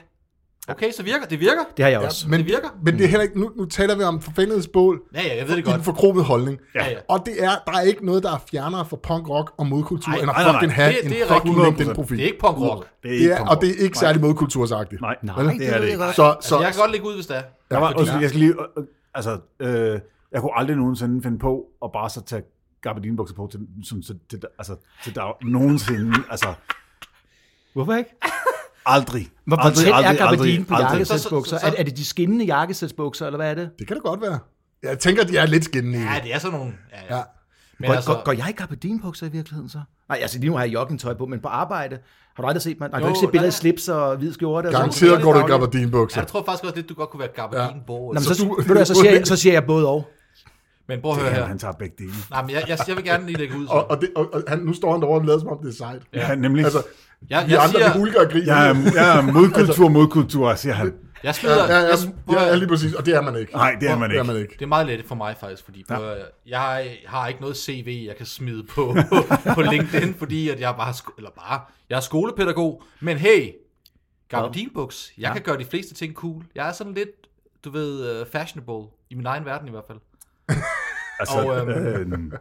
Okay, så virker det. virker. Det har jeg også. Men, Det virker. Men det er heller ikke, nu, nu taler vi om forfængelighedsbål Ja, ja, jeg ved det i godt. en forkromet holdning. Ja, ja. Og det er, der er ikke noget, der er fjernere for punk rock og modkultur, Ej, end at nej, nej, nej. fucking have Det- en det er fucking rigtigt. LinkedIn-profil. Det er ikke punk rock. det er, Det er, ikke og det er ikke særlig modkultursagtigt. Nej, Nej, det er det ikke. godt. Så, så, Så, Altså, jeg kan godt lægge ud, hvis det er. Jeg, var, fordi- også, jeg skal lige, øh, øh, altså, øh, jeg kunne aldrig nogensinde finde på at bare så tage gabardinebukser på til, som, til, til, altså, til dag, nogensinde, altså Hvorfor ikke? aldrig. Hvor hvor aldrig, tæt er aldrig, gabardinen på aldrig, aldrig. jakkesætsbukser? Så- så- så- Er, er det de skinnende jakkesætsbukser, eller hvad er det? det kan det godt være. Jeg tænker, de er lidt skinnende. i Ja, det. det er sådan nogle... Ja, ja. Ja. Men Går, altså, går, går jeg i gabardinebukser i virkeligheden så? Nej, altså lige nu har jeg joggingtøj på, men på arbejde har du aldrig set mig. Nej, du har Jo, ikke set billeder i nej. slips og hvid skjorte. og sådan noget? Garanteret går du i ja, gabardinbukser. jeg tror faktisk også lidt, du godt kunne være gabardin ja. Nå, men så, Så så, du- du, ved du, hvad, så, siger jeg, så siger jeg både og. Men prøv at høre Ja, her. han tager begge dele. Nej, men jeg, jeg, jeg vil gerne lige lægge ud. Så. Og, og, det, og, og han, nu står han derovre og lader som om, det er sejt. Ja, nemlig. Altså, Altså, Jeg, vi jeg, andre, vi siger, hulker og griner. jeg, er, jeg er modkultur, modkultur, siger han. jeg ja, smider... ja, ja, jeg, prøv ja, at- ja, lige præcis. Og det er man ikke. Nej, det er man Det er man ikke. ikke. Det er meget let for mig faktisk, fordi ja. på, jeg har ikke noget CV, jeg kan smide på, på LinkedIn, fordi at jeg bare, er sko- eller bare, jeg er skolepædagog, men hey, gabardinbuks, jeg ja. kan gøre de fleste ting cool. Jeg er sådan lidt, du ved, øh, fashionable, i min egen verden i hvert fald, Altså, Og, øhm, øhm,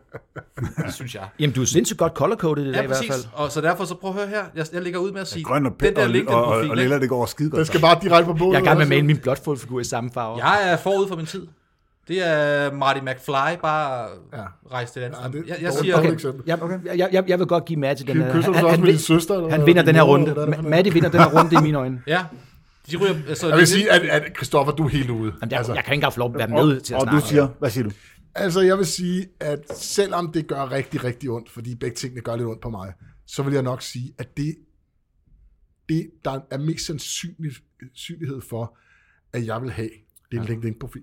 det synes jeg. Jamen, du er sindssygt godt colorcoded i dag Ja, i hvert fald. præcis, og så derfor så prøv at høre her, jeg, jeg ligger ud med at sige, grøn og, den der og, og, og, og LinkedIn-profil, Lilla, ikke? det går skide godt. Den skal bare direkte på bålet. Jeg er i gang med at altså. male min blotfold-figur i samme farve. jeg er forud for min tid. Det er Marty McFly, bare Ja. ja. rejse til et andet Ja, det er sted. Jeg, dårligt- dårligt jeg siger, Okay, eksempel. jeg, jeg, jeg, jeg vil godt give Matt til den her. Kysser du så også med din søster? eller han hvad? vinder den her Din mor, runde. eller hvad er det for Ma- noget? Matte vinder den her runde i mine øjne. ja, de ryger, altså, Jeg vil sige, at, at Christoffer, du er helt ude. Jamen, jeg, jeg kan ikke engang få lov at være med til at og snakke. du om det. siger, hvad siger du? Altså, jeg vil sige, at selvom det gør rigtig, rigtig ondt, fordi begge tingene gør lidt ondt på mig, så vil jeg nok sige, at det, det der er mest sandsynlig synlighed for, at jeg vil have, det er en LinkedIn-profil.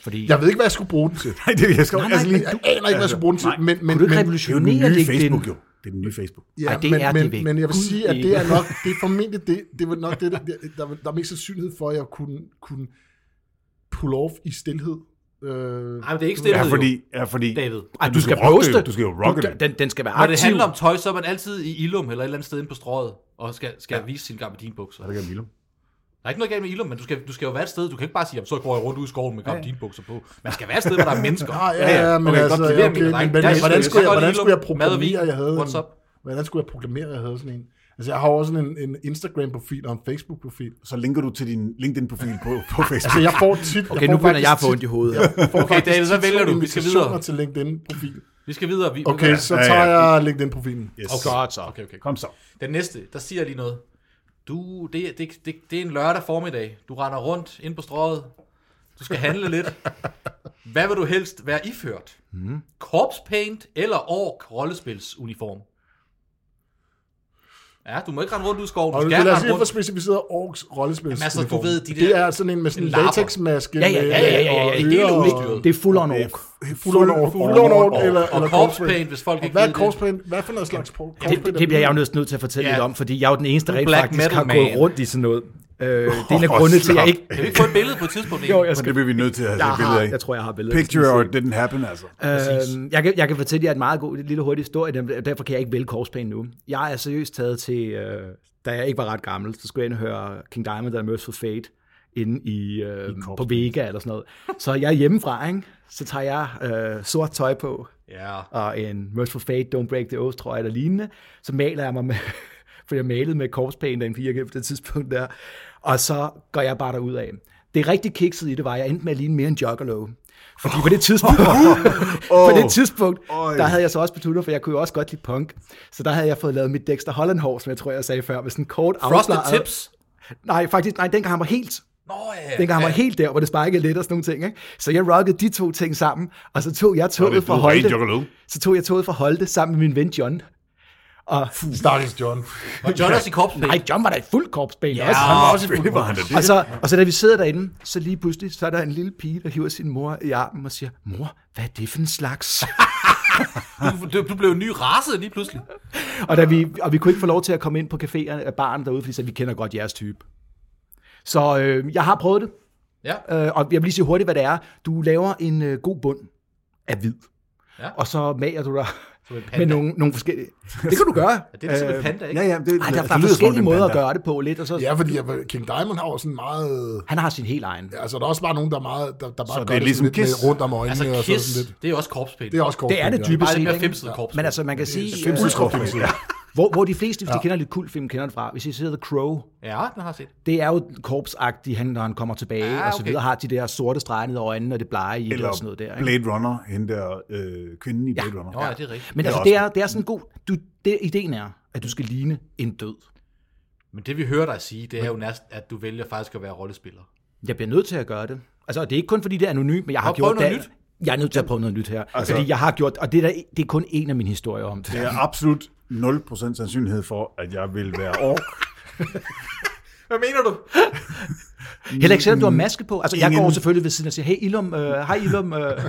Fordi, Jeg ved ikke, hvad jeg skulle bruge den til. Nej, det jeg skal Nej, nej, altså lige. Jeg aner ikke, hvad jeg skulle bruge den til. nej. Men, men, kunne men, du ikke Det er jo den revolutionere nye LinkedIn? Facebook, jo. Det er den nye Facebook. ja, Ej, det men, er det men, væk. men jeg vil Gud sige, at ikke. det er nok, det er formentlig det, det er nok det, der, der, der er mest sandsynlighed for, at jeg kunne, kunne pull off i stillhed. Øh, Nej, men det er ikke stille. Ja, jo. fordi... Ja, fordi David. Når Ej, Men du skal rocke poste. det jo. Du skal jo rocke det. Den, den skal være det aktiv. handler om tøj, så er man altid i Ilum eller et eller andet sted inde på strået, og skal, skal ja. vise sin gabardinbukser. Hvad Der gør Willem? er ikke noget galt med Ilum, men du skal, du skal jo være et sted. Du kan ikke bare sige, "Jamen, så går jeg rundt ud i skoven med gabardinbukser på. Man skal være et sted, hvor der er mennesker. Ah, ja, ja, ja, men Okay, altså, godt, det er okay, min men, dreng. men, Jeg men, elsker hvordan det. skulle Så jeg, godt hvordan lige skulle jeg lukke mad og vin. proklamere, at jeg havde What's en, up? hvordan skulle jeg proklamere, at jeg havde sådan en? Altså, jeg har også sådan en, en Instagram-profil og en Facebook-profil. Så linker du til din LinkedIn-profil på, på Altså, Facebook. jeg får tit... Okay, jeg nu får begynder jeg at få ondt faktisk i hovedet. tit- jeg får Okay, faktisk David, hvad tit vælger sådan du? Vi skal invitationer videre. til LinkedIn-profil. Vi skal videre. Vi, Okay, så Ja, ja. tager jeg LinkedIn-profilen. Yes. Godt så. okay, okay. Kom Oh så. Den næste, der siger jeg lige noget. Du, det, det, det, det er en lørdag formiddag. Du render rundt ind på strået. Du skal handle lidt. Hvad vil du helst være iført? Mhm. Mm. Corpse paint eller ork rollespilsuniform? Ja, du må ikke rende rundt ud i skoven. Og Du det skal er altså rende for rundt. specificeret Orks rollespil. Jamen, altså, du ved, de der- det er sådan en med sådan en Lapper. latexmaske. Ja, ja, ja, ja, ja, ja. med, ja. øh, Det er og helt ører udstyret. Det er fuld on ork. Fuld on ork. Fuld on ork, eller, Og eller corpse paint, hvis folk Og ikke hvad er ved det. corpse paint? Hvad for noget slags por- corpse Det, paint? det, det bliver jeg jo næsten nødt til at fortælle Ja. lidt om, fordi jeg er jo den eneste, der rent Black faktisk har metal gået man. rundt i sådan noget. Øh, det er en af grundene til, at jeg slap ikke... Kan vi ikke få et billede på et tidspunkt? Jo, egentlig? jeg Men skal det bliver vi nødt til at have jeg, et billede har, af. jeg tror, jeg har billeder. Picture or it didn't happen, altså. Øhm, jeg, kan, jeg kan fortælle jer en meget god, lille hurtig historie, dem- derfor kan jeg ikke vælge korsplanen nu. Jeg er seriøst taget til, øh, da jeg ikke var ret gammel, så skulle jeg ind og høre King Diamond og Merciful Fate inde i, øh, på Vega eller sådan noget. Så jeg er hjemmefra, ikke? så tager jeg øh, sort tøj på, Ja. og en Merciful Fate, Don't Break the Oath, tror jeg, eller lignende. Så maler jeg mig med, for jeg malede med korpspaint af en pige på det tidspunkt der. Og så går jeg bare derud af. Det rigtig kiksede i det var, at jeg endte med at ligne mere en juggalo. Fordi på det tidspunkt, Uh, på oh. det tidspunkt der havde jeg så også besluttet, for jeg kunne jo også godt lide punk. Så der havde jeg fået lavet mit Dexter Holland hår, som jeg tror, jeg sagde før, med sådan en kort Frosted afslaget- tips. Nej, faktisk, nej, dengang han var helt Nå, ja. Dengang han var helt der, hvor det sparkede lidt og sådan nogle ting. Ikke? Så jeg rockede de to ting sammen, og så tog jeg det toget fra blevet ren Holte. juggalo. Så tog jeg toget fra Holte sammen med min ven John. Og, Stakkels John. Og John er i korpsbæk. nej, John var da i fuld korpsbane ja, også. Altså, også i var han Og så, og så da vi sidder derinde, så lige pludselig, så er der en lille pige, der hiver sin mor i armen og siger, mor, hvad er det for en slags? Du, du, du blev en ny race lige pludselig. og, da vi, og vi kunne ikke få lov til at komme ind på caféerne af baren derude, fordi så, vi kender godt jeres type. Så øh, jeg har prøvet det, Ja. øh, og jeg vil lige sige hurtigt, hvad det er. Du laver en øh, god bund af hvid, Ja. og så mager du dig Som en panda. med nogle, nogle forskellige... Det kan du gøre. Øh, Ja, det Øhm, er ligesom en panda, ikke? Ja, ja, det, Ej, der, det der er lyder som om det forskellige en måder at panda. gøre det på lidt, og så... Ja, fordi jeg- King Diamond har jo sådan meget... Han har sin helt egen. Altså, der er også bare nogen, der er meget... Der, der bare Så gør det er ligesom sådan lidt Kiss? med rundt om øjnene Altså, og Kiss, sådan lidt. det er også korpspæn. Det er også kort. Det er det dybest Meget set, mere ikke? femset korpsspil. Men altså, man kan sige... øh, Ultrakorpsbane. Ja. Hvor, hvor de fleste, hvis de kender lidt kultfilm, kender den fra. Hvis I ser The Crow, Ja, den har jeg set. det er jo korpsagtigt, han, når han kommer tilbage Ah, ah, okay. og så okay. videre, har de der sorte streger ned over øjnene, og det blege i det Eller og sådan noget der. Ikke? Blade Runner, hende der øh, kvinden i Blade Runner. Nå, ja, det er rigtigt. Men altså, også- det er, det er sådan en god... Du, det, ideen er, at du skal ligne en død. Men det vi hører dig sige, det er jo næsten, at du vælger faktisk at være rollespiller. Jeg bliver nødt til at gøre det. Altså, og det er ikke kun fordi, det er anonymt, men jeg har Prøv- prøv gjort det. noget Jeg er nødt til at prøve noget nyt her. Altså, Altså- fordi jeg har gjort... Og det er, der, det er kun en af mine historier om det. Der er absolut 0% sandsynlighed for, at jeg vil være ork. Hvad mener du? Heller ikke selvom du har maske på. Altså, jeg Mm. Ingen- går selvfølgelig ved siden og siger, hey Ilum, øh, hej Ilum. Øh.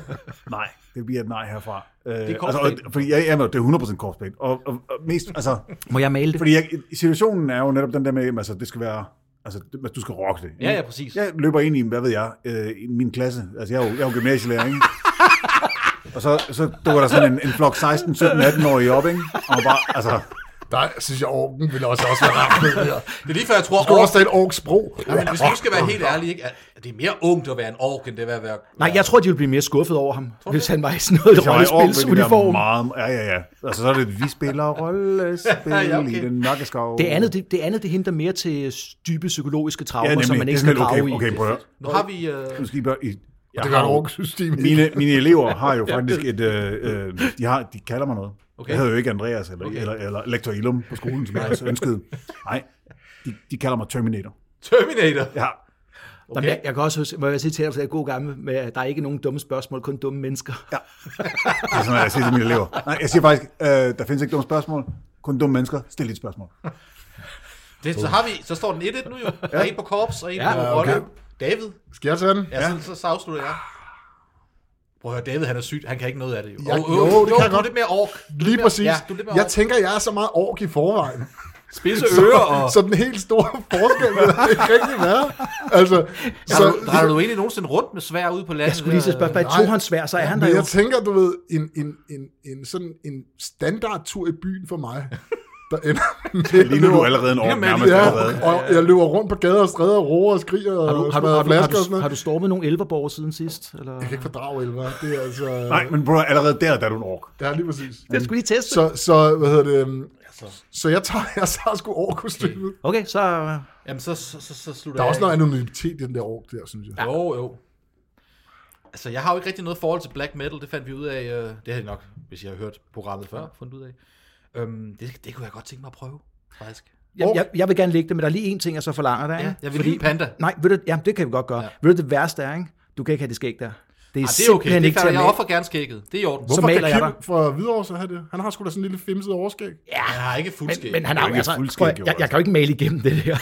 Nej, det bliver et nej herfra. Øh, det er altså, korpsbane. og- fordi jeg, jeg, det er 100% korpsbane. Og, og, og, mest, altså, Må jeg male det? fordi jeg, situationen er jo netop den der med, at altså, det skal være, altså, det- du skal rocke det. Ja, ikke? ja, præcis. Jeg løber ind i, hvad ved jeg, øh, i min klasse. Altså, jeg er jo, jeg er jo gymnasielærer, ikke? og så, så dukker der sådan en, en flok 16, 17, 18-årige op, ikke? Og bare, altså, Der synes jeg, Orken ville også, også være ramt med det her. Det er lige før, jeg tror, Du ork, også tale Orks sprog. ja, men hvis du skal være helt ærlig, ikke? at det er mere ungt at være en ork, end det er at være... Nej, jeg tror, de ville blive mere skuffet over ham, hvis han var i sådan noget jeg var i år, hvilket er rollespilsuniform. meget, ja, ja, ja. Altså, så er det, vi spiller rollespil Ja, ja, ja, okay. okay. i den mørke skov. Det andet, det, det andet, det henter mere til dybe psykologiske traumer, ja, ja, nemlig, som man ikke det er skal sådan grave lidt, okay, okay, prøv at høre. Nu har vi... Øh, Nu skal I bare, I, Og jeg det gør har et jo- Ork-system. ikke. mine, mine elever har jo faktisk et, øh, øh, de, har, de kalder mig noget. Okay. Okay. Jeg hedder jo ikke Andreas eller, okay. eller, eller Lektor Ilum på skolen, som jeg også ønskede. Nej, de, de kalder mig Terminator. Terminator. Ja, i. Okay. Jeg, jeg kan også huske, må jeg sige til dig, at jeg er god gammel med, at der er ikke nogen dumme spørgsmål, kun dumme mennesker. Ja. det er sådan, jeg siger til mine elever. Nej, jeg siger faktisk, øh, der findes ikke dumme spørgsmål. Kun dumme mennesker. Stil dit spørgsmål. Det, så, har vi, så står den 1-1 nu jo. Der er en på korps og en Ja, på okay. rolle. David. Skal jeg tage den? Ja, så, så, så afslutter jeg. Prøv at høre, David han er syg. Han kan ikke noget af det jo. Ja, Og- jo, øh, det du- kan jeg du er godt. lidt mere ork. Du er lidt Lige mere- præcis. Ja, du er lidt mere Jeg ork. tænker, jeg er så meget Ork i forvejen. Spidse ører og... Så den helt store forskel vil der ikke rigtig være. Altså, Så, drejer du egentlig nogensinde rundt med svær ude på landet? Jeg skulle lige så spørge, bare nej. tog han svær, så er han der Men jo. jeg tænker, du ved, en, en, en, en, sådan en standardtur i byen for mig, der ender med... Lige nu er du allerede en år Jamen, nærmest Ja, allerede. og jeg løber rundt på gader og stræder og roer og skriger Har du, og har, du, smadrer har, du, har, flasker og sådan du, har noget. du stormet nogle elverborger siden sidst? Eller? Jeg kan ikke fordrage elver. Det er altså... Nej, men bror, allerede der, der er du en ork. Det er lige præcis. Jeg skulle lige teste. Så. Så, så hvad hedder det? øhm, Så jeg tager, jeg tager sgu over kostymet. Okay, så... øh, Jamen, så, så, så, så slutter Der er jeg også noget anonymitet i den der år der, synes jeg. af. Jo, jo. Altså, jeg har jo ikke rigtig noget forhold til black metal. Det fandt vi ud af. Øh, det havde I nok, hvis jeg har hørt programmet før, fundet ud af. Øhm, det, det kunne jeg godt tænke mig at prøve, faktisk. Ah, Jeg, jeg, jeg vil gerne lægge det, men der er lige en ting, jeg så forlanger der. Ja, ikke? jeg vil lige panda. Nej, ved du, jamen, det kan vi godt gøre. Ja. Ja. Ved du, det værste er, ikke? Du kan ikke have det skæg der. Det er, Ah, det er okay. simpelthen Det ikke til kan at jeg male. offer gerne skægget. Det er i orden. Så Hvorfor maler jeg kan dig. Kim fra Hvidovre så have det? Han har sgu da sådan en lille femset overskæg. Ja, jeg har ikke fuld skæg. Men han har Det er jo jo altså, ikke fuldskæg, prøv, at- jeg, jo, jeg altså. kan jo ikke male igennem det der.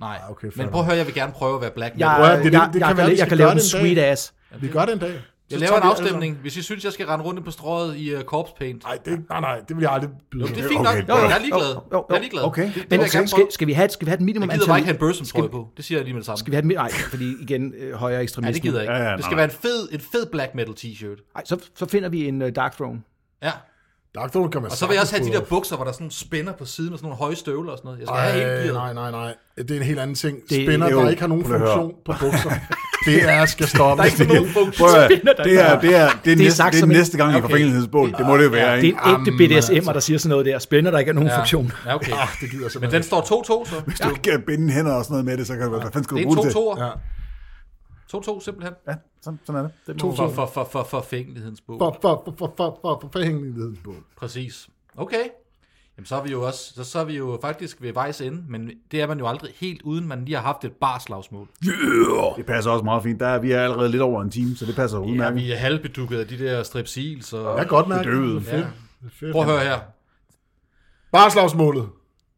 Nej, Ah, okay, okay, fair men prøv at høre, jeg vil gerne prøve at være black metal. Jeg, Prøv at- det- det- jeg, det kan jeg, kan, være, la- vi jeg skal kan lave gøre en det en dag. sweet ass. Vi gør det en dag. Jeg laver en afstemning, hvis I synes, jeg skal rende rundt på strøget i uh, korpspaint. Nej, det, nej, nej, det vil jeg aldrig byde. Det er mig. fint Okay, nok. jo, jo, Jeg er ligeglad. jo, jo, jo. Jeg er ligeglad. Okay. Det- Det, vil Men jeg skal, gerne skal, prøve. skal, vi have, et- skal vi have et minimum Jeg gider bare ikke have en antal? børsum trøje på. Det siger jeg lige med det samme. Skal vi have et minimum? Nej, fordi igen, øh, højere Ja, det ekstremisme. gider jeg ikke. Ja, ja, det nej, skal nej. være en fed, en fed black metal t-shirt. Ej, så, så finder vi en uh, Dark Throne. Ja. Dark Throne kan man Og så vil jeg også have de der sagtens bukser, hvor der er sådan nogle spænder på siden og sådan nogle høje støvler og sådan noget. Jeg skal bryde have hele op. Ej, gearet. nej, nej, nej. Det er en helt anden ting. Spænder, det er der jo- ikke har nogen prøv at høre. funktion på bukser. Det er, skal stoppe. Der er ikke sådan nogen funktion. Prøv at, høre, det er, det er, det er, næste, sagt det er som en- næste gang, jeg får Okay. fængselsbål. Det må det jo være, Det er ikke? en ægte altså. BDSM'er, der siger sådan noget der. Spænder, der ikke er nogen Ja. funktion. Ja, okay. Ah, det gider jeg Men simpelthen den ikke. står 2-2, så. Hvis du ikke kan binde hænder og sådan noget med det, så kan du hvad fanden skal Det du er en bruge det Ja. 2-2'er. til? 2-2 simpelthen. Ja, sådan, sådan er det. det For, for, for, for, for fængelighedens bog. For, for, for, for, for, for, for forhængeligheden på. Præcis. Okay. Jamen, så er vi jo også, så, så er vi jo faktisk ved vejs ende, men det er man jo aldrig helt uden, man lige har haft et barslagsmål. Det passer også meget fint. Der er, vi er allerede lidt over en time, så det passer Ja, udmærket. vi er halvbedukket af de der strepsils, og... Jeg kan godt mærke, Bedøvet. det er fedt. Prøv at høre her. Barslagsmålet.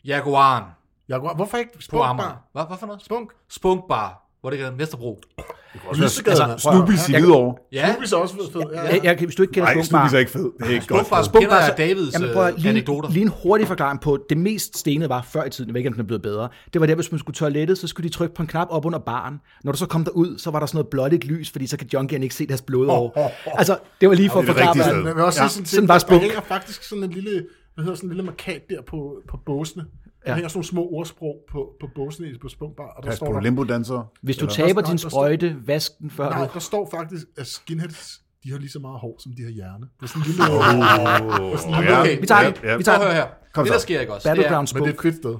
Jaguaren Jaguar, hvorfor ikke på Spunk Amager. Bar? Hvad, hvad for noget? Spunk. Spunk Bar. Hvor det hedder Vesterbro. Lysegade, Altså, Snoopy's i Hvidovre. Ja, Rubis er også fed. fed. Ja, Jeg, ja. jeg, hvis du ikke kender Nej, Spunkbar, Snoopy's er ikke fed. Det er ikke godt. Spunk Bar Spunk kender Bar, jeg så- Davids Jamen, jamen, prøv at lige, lige, anekdoter. Lige en hurtig forklaring på, det mest stenede var før i tiden, jeg ved ikke, om den er blevet bedre. Det var der, hvis man skulle toilettet, så skulle de trykke på en knap op under baren. Når du så kom derud, så var der sådan noget blåligt lys, fordi så kan junkierne ikke se deres blod over. Altså, det var lige for at det er det forklare, rigtige hvordan- sted. Men jeg vil også Ja, ja, sådan, sådan sådan bare bare Spunk. Der hænger faktisk sådan en lille, hvad hedder sådan en lille markat der på, på båsene. Der Ja. hænger sådan nogle små ordsprog på, på båsene i- på Spunk Bar, og der Pas står på der, limbo-dansere. hvis du Eller- taber Nå, din der står- sprøjte, vask den før nej, du... der står faktisk, at skinheads, de har lige så meget hår, som de har hjerne. Det er sådan en lille... Ja, Okay, Vi tager den. Vi ja. Prøv tager at høre den. her. Kom det, så. der sker ikke også, det er, Battleground Men det er Spunk. et fedt sted.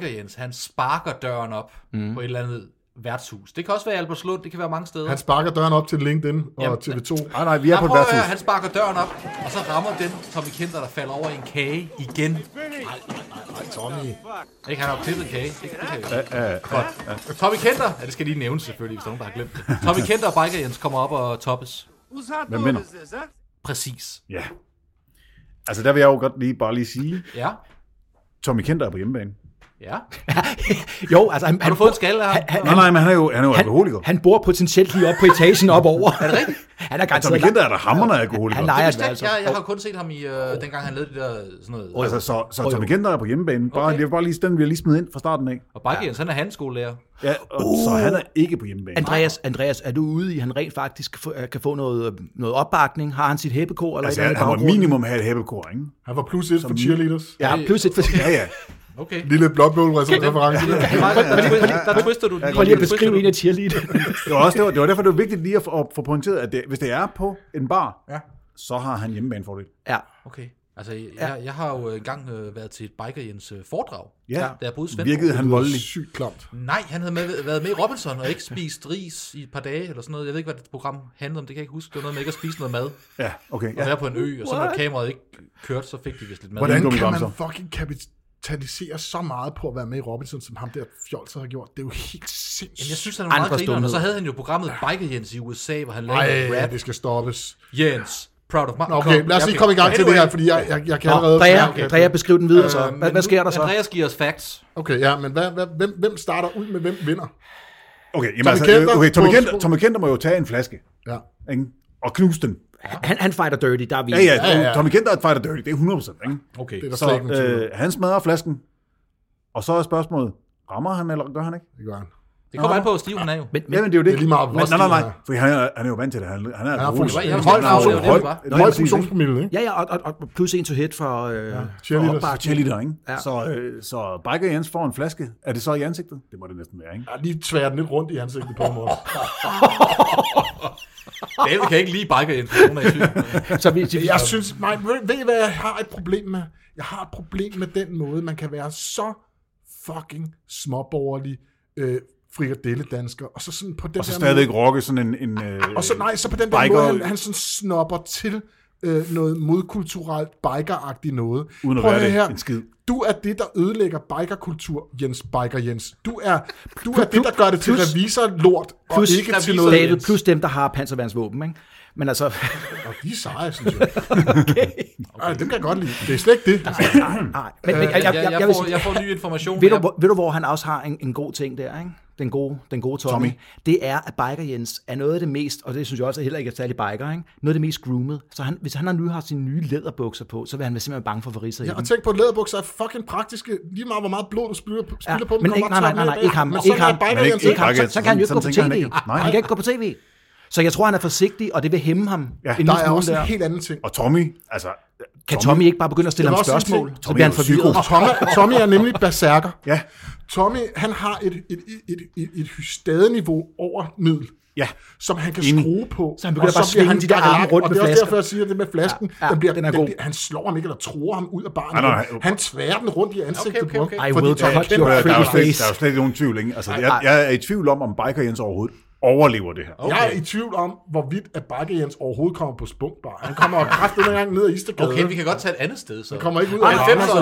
Biker Jens, han sparker døren op Mhm. mm. på et eller andet værtshus. Det kan også være i Albertslund, det kan være mange steder. Han sparker døren op til LinkedIn og Jamen, TV2. Nej, nej, vi er Han, på prøver et at høre, værtshus. han sparker døren op, og så rammer den Tommy Kenter, der falder over i en kage igen. Tommy. Ikke, han har jo klippet en kage. Ikke, det kan jeg. Ja, ja. Godt. Tommy Kenter, ja, det skal lige nævnes selvfølgelig, hvis der er nogen, der har glemt det. Tommy Kenter og Biker Jens kommer op og toppes. Hvem vinder? Præcis. Ja. Altså, der vil jeg jo godt lige bare lige sige, Ja, Tommy Kenter er på hjemmebane. ja. Jo, altså, han, Har han, du fået en skalle af ham? han, Nej, nej, men han er jo, han er jo alkoholiker. han, han bor potentielt lige op på etagen op over. Er det rigtigt? altså, Han er Tommy garanteret... Kenter er der hammerne alkoholiker. Han leger Hvis det, altså. jeg, jeg, jeg har kun set ham i, øh, dengang han lavede det der sådan noget. Altså, så, så Åh, jo. Tommy Kenter er på hjemmebane. Bare, Okay. Det er bare lige den, vi har lige smidt ind fra starten af. Og Biker Jens, han er handskolelærer. Ja, og, Så han er ikke på hjemmebane. Andreas, Andreas, er du ude i, at han rent faktisk kan få, øh, kan få noget, noget opbakning? Har han sit hæppekor? Eller Altså, et eller andet han, i han må baggrunden? minimum have et hæppekor, ikke? Han var plus et for cheerleaders. Ja, plus et for... Ja, ja. Okay. Lille blåbål-reference. Der twister du den Prøv lige at Der twister beskrive du en af cheerleader. Det var, også, det, var, det var derfor, det var vigtigt lige at få, at få pointeret, at det, hvis det er på en bar, ja. så har han hjemmebanefordel. ja. Okay. Altså, jeg, jeg har jo engang øh, været til et Biker Jens øh, foredrag, Ja. da jeg boede i Svendborg. Virkede han voldelig. Sygt klamt. Nej, han havde med, været med i Robinson og ikke spist ris i et par dage eller sådan noget. Jeg ved ikke, hvad det program handlede om, det kan jeg ikke huske. Det var noget med ikke at spise noget mad og Ja, okay. Ja. være på en ø, og så når kameraet ikke kørte, så fik de vist lidt mad. Hvordan kan gummibamser. man fucking kapitalisere så meget på at være med i Robinson, som ham der fjolser har gjort? Det er jo helt Jamen, jeg sindssygt. synes, han var meget Andre grineren, og så stumheder. havde han jo programmet Biker Jens i USA, hvor han lavede Nej, rap. det skal stoppes. Jens, proud of my... Nå, okay, lad os lige komme i gang til det her, fordi jeg, jeg, jeg kan Nå, allerede... Ja, Drea, okay. Drea, beskriv den videre så. Øh, Hvad, men nu- hvad sker der så? Andreas giver os facts. Okay, ja, men hvad, hvad, hvem, hvem starter ud med, hvem vinder? Okay, jamen, altså, Kenter øh, okay, Tommy, på- Kenter, Tommy Kenter må jo tage en flaske Ja. ikke? og knuse den. Han, han fighter dirty, der er vi. Ja, ja, Ja, ja. Tommy Kenter er et fighter dirty, det er 100%. Ikke? Okay. Det er der Så slet ikke øh, øh, han smadrer flasken, og så er spørgsmålet, rammer han eller gør han ikke? Det gør han. Det kommer an på, hvor stiv han er jo. Men, men, Jamen, det er jo det. Det er lige meget, hvor Men, nej, nej, nej, stiv han for han er, han er jo vant til det. Han, han er, Han har alkoholiker. funktion, jeg en var høj slet ikke klar over, funktion, det var høj, det, det var. høj Nej, præcis, funktionspromille, ikke? ja, ja, og, og, og plus en to hit for, øh, ja, for cheerleaders. Bare opbakning. cheerleader, ikke? Ja. Ja. Så, øh, så Biker Jens får en flaske. Er det så i ansigtet? Det må det næsten være, ikke? Jeg har lige tværet den lidt rundt i ansigtet på ham også. David kan ikke lide biker Jens, hvis nogen er i tvivl. Så vi, så vi, Jeg synes, nej, ved, ved I, hvad jeg har et problem med? Jeg har et problem med den måde, man kan være så fucking småborgerlig øh, frikadelledansker, og så sådan på den Og så der stadigvæk måde, rocke sådan en... en øh, og så, nej, så på den der biker- biker. måde, han, han sådan snopper til øh, noget modkulturelt bikeragtigt noget. Uden at Prøv være høre det her. en skid. Du er det, der ødelægger bikerkultur, Jens Biker Jens. Du er, du er det, der gør det til Plus- revisorlort, og plus, ikke til noget. David, plus dem, der har panserværnsvåben, ikke? Men altså, Og de er seje, synes jeg. okay. Ej, dem kan jeg godt lide. Det er slet ikke det. nej. Men, men, jeg, Jeg, jeg, jeg, jeg, Øh, jeg, vil får, sige- jeg får ny information. Ved du, jeg- hvor- ved du, hvor han også har en, en god ting der, ikke? Den gode, den gode Tommy, Tommy. Tommy, det er, at Biker Jens er noget af det mest, og det synes jeg også heller ikke er særlig biker, ikke? noget af det mest groomet. Så han, hvis han har nu har sine nye læderbukser på, så vil han være simpelthen bange for varisser Ja, i dem. og tænk på, at læderbukser er fucking praktiske. Lige meget, hvor meget blod du spiller, spiller ja, på dem. men kommer ikke, nej, nej, toppen af nej, nej, bag. ikke ham, Men ikke ham, sådan er biker, Men Jens. ikke ham, Biker så, Jens, så kan han jo ikke gå sådan- på sådan tænker tv. han ikke. Nej. Han kan ikke gå på tv. Så jeg tror, han er forsigtig, og det vil hæmme ham. Ja, en Der lille er smule også en helt anden ting. Og Tommy, altså... Kan Tommy ikke bare begynde at stille Jeg vil ham også sige til- spørgsmål? Så Tommy bliver han er jo forvirret. psyko. Tommy, Tommy er nemlig berserker. Ja, Tommy, han har et, et, et, et, et hystadeniveau over middel. ja. som han kan Enig. Enig. skrue på. Så han begynder og bare at bliver svinge de der gagalak, arme rundt og med det er også flasken. derfor, jeg siger det med flasken. Ja, Ja, ja, ja, den bliver, den den er god. han slår ham ikke, eller tror ham ud af baren. Nej, nej, nej. han tværer den rundt i ansigtet Okay, okay, okay. på I ham. will Tommy touch kender your Prøv at høre, Der er, jo pretty slet, face. der er jo slet ikke nogen tvivl, ikke? Altså, nej. jeg, jeg er i tvivl om, om Biker Jens overhovedet overlever det her. Okay. Jeg er i tvivl om, hvorvidt at Bakke Jens overhovedet kommer på spunkbar. Han kommer kraftigt den gang ned ad Istergade. Okay, vi kan godt tage et andet sted, så. Han kommer ikke ud Ej, af 90'erne,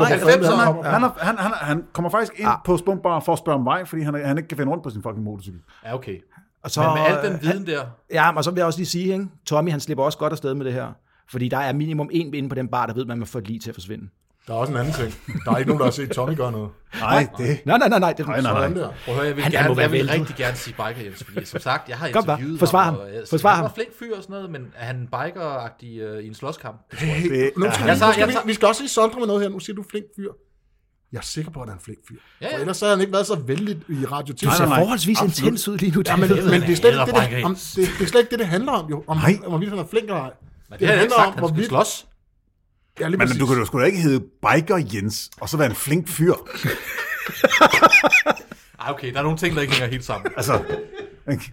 Nej, nej, nej. 90'erne. Han Han, er, han, han, han kommer faktisk ind Ah. ja. på Spunkbar for at spørge om vej, fordi han, han ikke kan finde rundt på sin fucking motorcykel. Ja, okay. Og så, øh, Men med al den viden der, Ja, og så vil jeg også lige sige, ikke? Tommy han slipper også godt afsted med det her. Fordi der er minimum en inde på den bar, der ved, at man får et lige til at forsvinde. Der er også en anden ting. Der er ikke nogen, der har set Tommy gøre noget. Nej, det... Nej, nej, nej, nej. Det, Nej, nej, nej. Sådan der. Prøv at høre, jeg vil, Han- han gerne, må være jeg vil væltet. rigtig gerne sige biker Jens, fordi som sagt, jeg har Kom bare. interviewet Forsvar ham. ham. og, øh, så Forsvar han var ham. flink fyr og sådan noget, men er han biker-agtig øh, i en slåskamp? Hey, Det nu er- skal, Jeg vi, tager- nu skal jeg vi, tager- vi skal også sige Sondre med noget her. Nu siger du flink fyr. Jeg er sikker på, at han er en flink fyr. Ja, ja. For ellers havde han ikke været så vældig i radio til. ser Nej, nej, nej. forholdsvis Absolut. intens ud lige nu. Ja, men, David. men det, er slet ikke det, Æderbrække. det, om, det, det, er slet ikke det, det handler om, jo. Om, Nej. hvorvidt han er flink eller ej. Men det har jeg ikke sagt, han skal slås. Ja, lige Men præcis. du kan jo sgu da ikke hedde Biker Jens, og så være en flink fyr. Ej, Ah, okay, der er nogle ting, der ikke hænger helt sammen. Altså, ikke?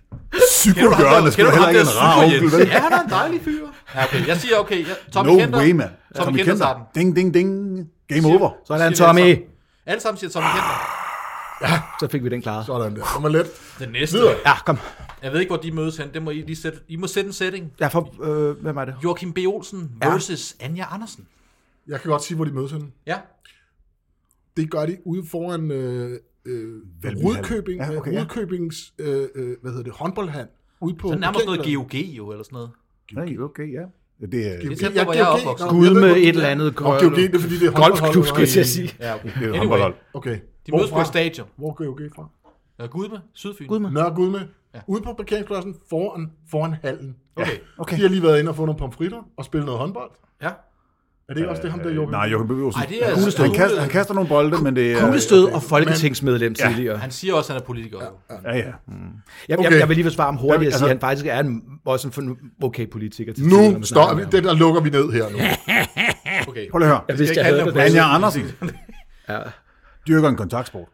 psykogørende skulle heller ikke en rar onkel, vel? Ja, han er en dejlig fyr. Ja, okay, jeg siger, okay, jeg, Tommy No Kenter. way, man. Tommy, Tommy Kenter starten. Ding, ding, ding. Game over. Sådan, Siger vi Tommy. alle sammen. Alle sammen siger Tommy Kenter. Så fik vi den klaret. Sådan der. Kom let. Den næste. Ja, kom. Jeg ved ikke, hvor de mødes hen. Det må I lige sætte. I må sætte en setting. Ja, for, øh, hvem er det? Joachim B. Olsen versus Anja Andersen. Jeg kan godt sige, hvor de mødes henne. Ja. Det gør de ude foran øh, øh, Valby Rudkøbing, Hall. ja, Ja, okay, okay, ja. Rudkøbings, øh, øh, hvad hedder det, håndboldhand. Ude på Så er Uh, det nærmest noget parkeringspladsen. GOG jo, eller sådan noget. Nej, okay, ja. Det er, er tæt på, hvor jeg er opvokset. Nå, Gud jeg ved med godt, et det- eller andet Nå, GOG, det er fordi, det er Golfklub, håndboldhold, skulle jeg til at øh, sige. Ja, okay. Oh, det er Anyway, håndboldhold. Okay. de mødes på Hvorfra? et stadion. Hvor går GOG fra? Ja, Gudme, Sydfyn. Gudme. Nørre Gudme. Ja. Ja. Ude på parkeringspladsen foran, foran hallen. Okay. Okay. De har lige været inde og fået nogle pomfritter og spillet noget håndbold. Ja. Er det ikke også det, ham der Joachim? Nej, Joachim B. Olsen. Ej, det er- han, han, kaster, han kaster nogle bolde, men det er... Kuglestød og folketingsmedlem tidligere. Han siger også, at han er politiker. jo. Ja, ja. Jeg, jeg, Okay. jeg vil lige forsvare ham Jamen, hurtigt og sige, altså- at han faktisk er en, også en fornu- okay politiker. Til tider, når Nu man står snakker vi. med ham. Det der lukker vi ned her nu. Okay, Prøv lige at høre. Jeg vidste, Det jeg kan havde jeg det. godt. Anja Andersen Ja. dyrker en kontaktsport.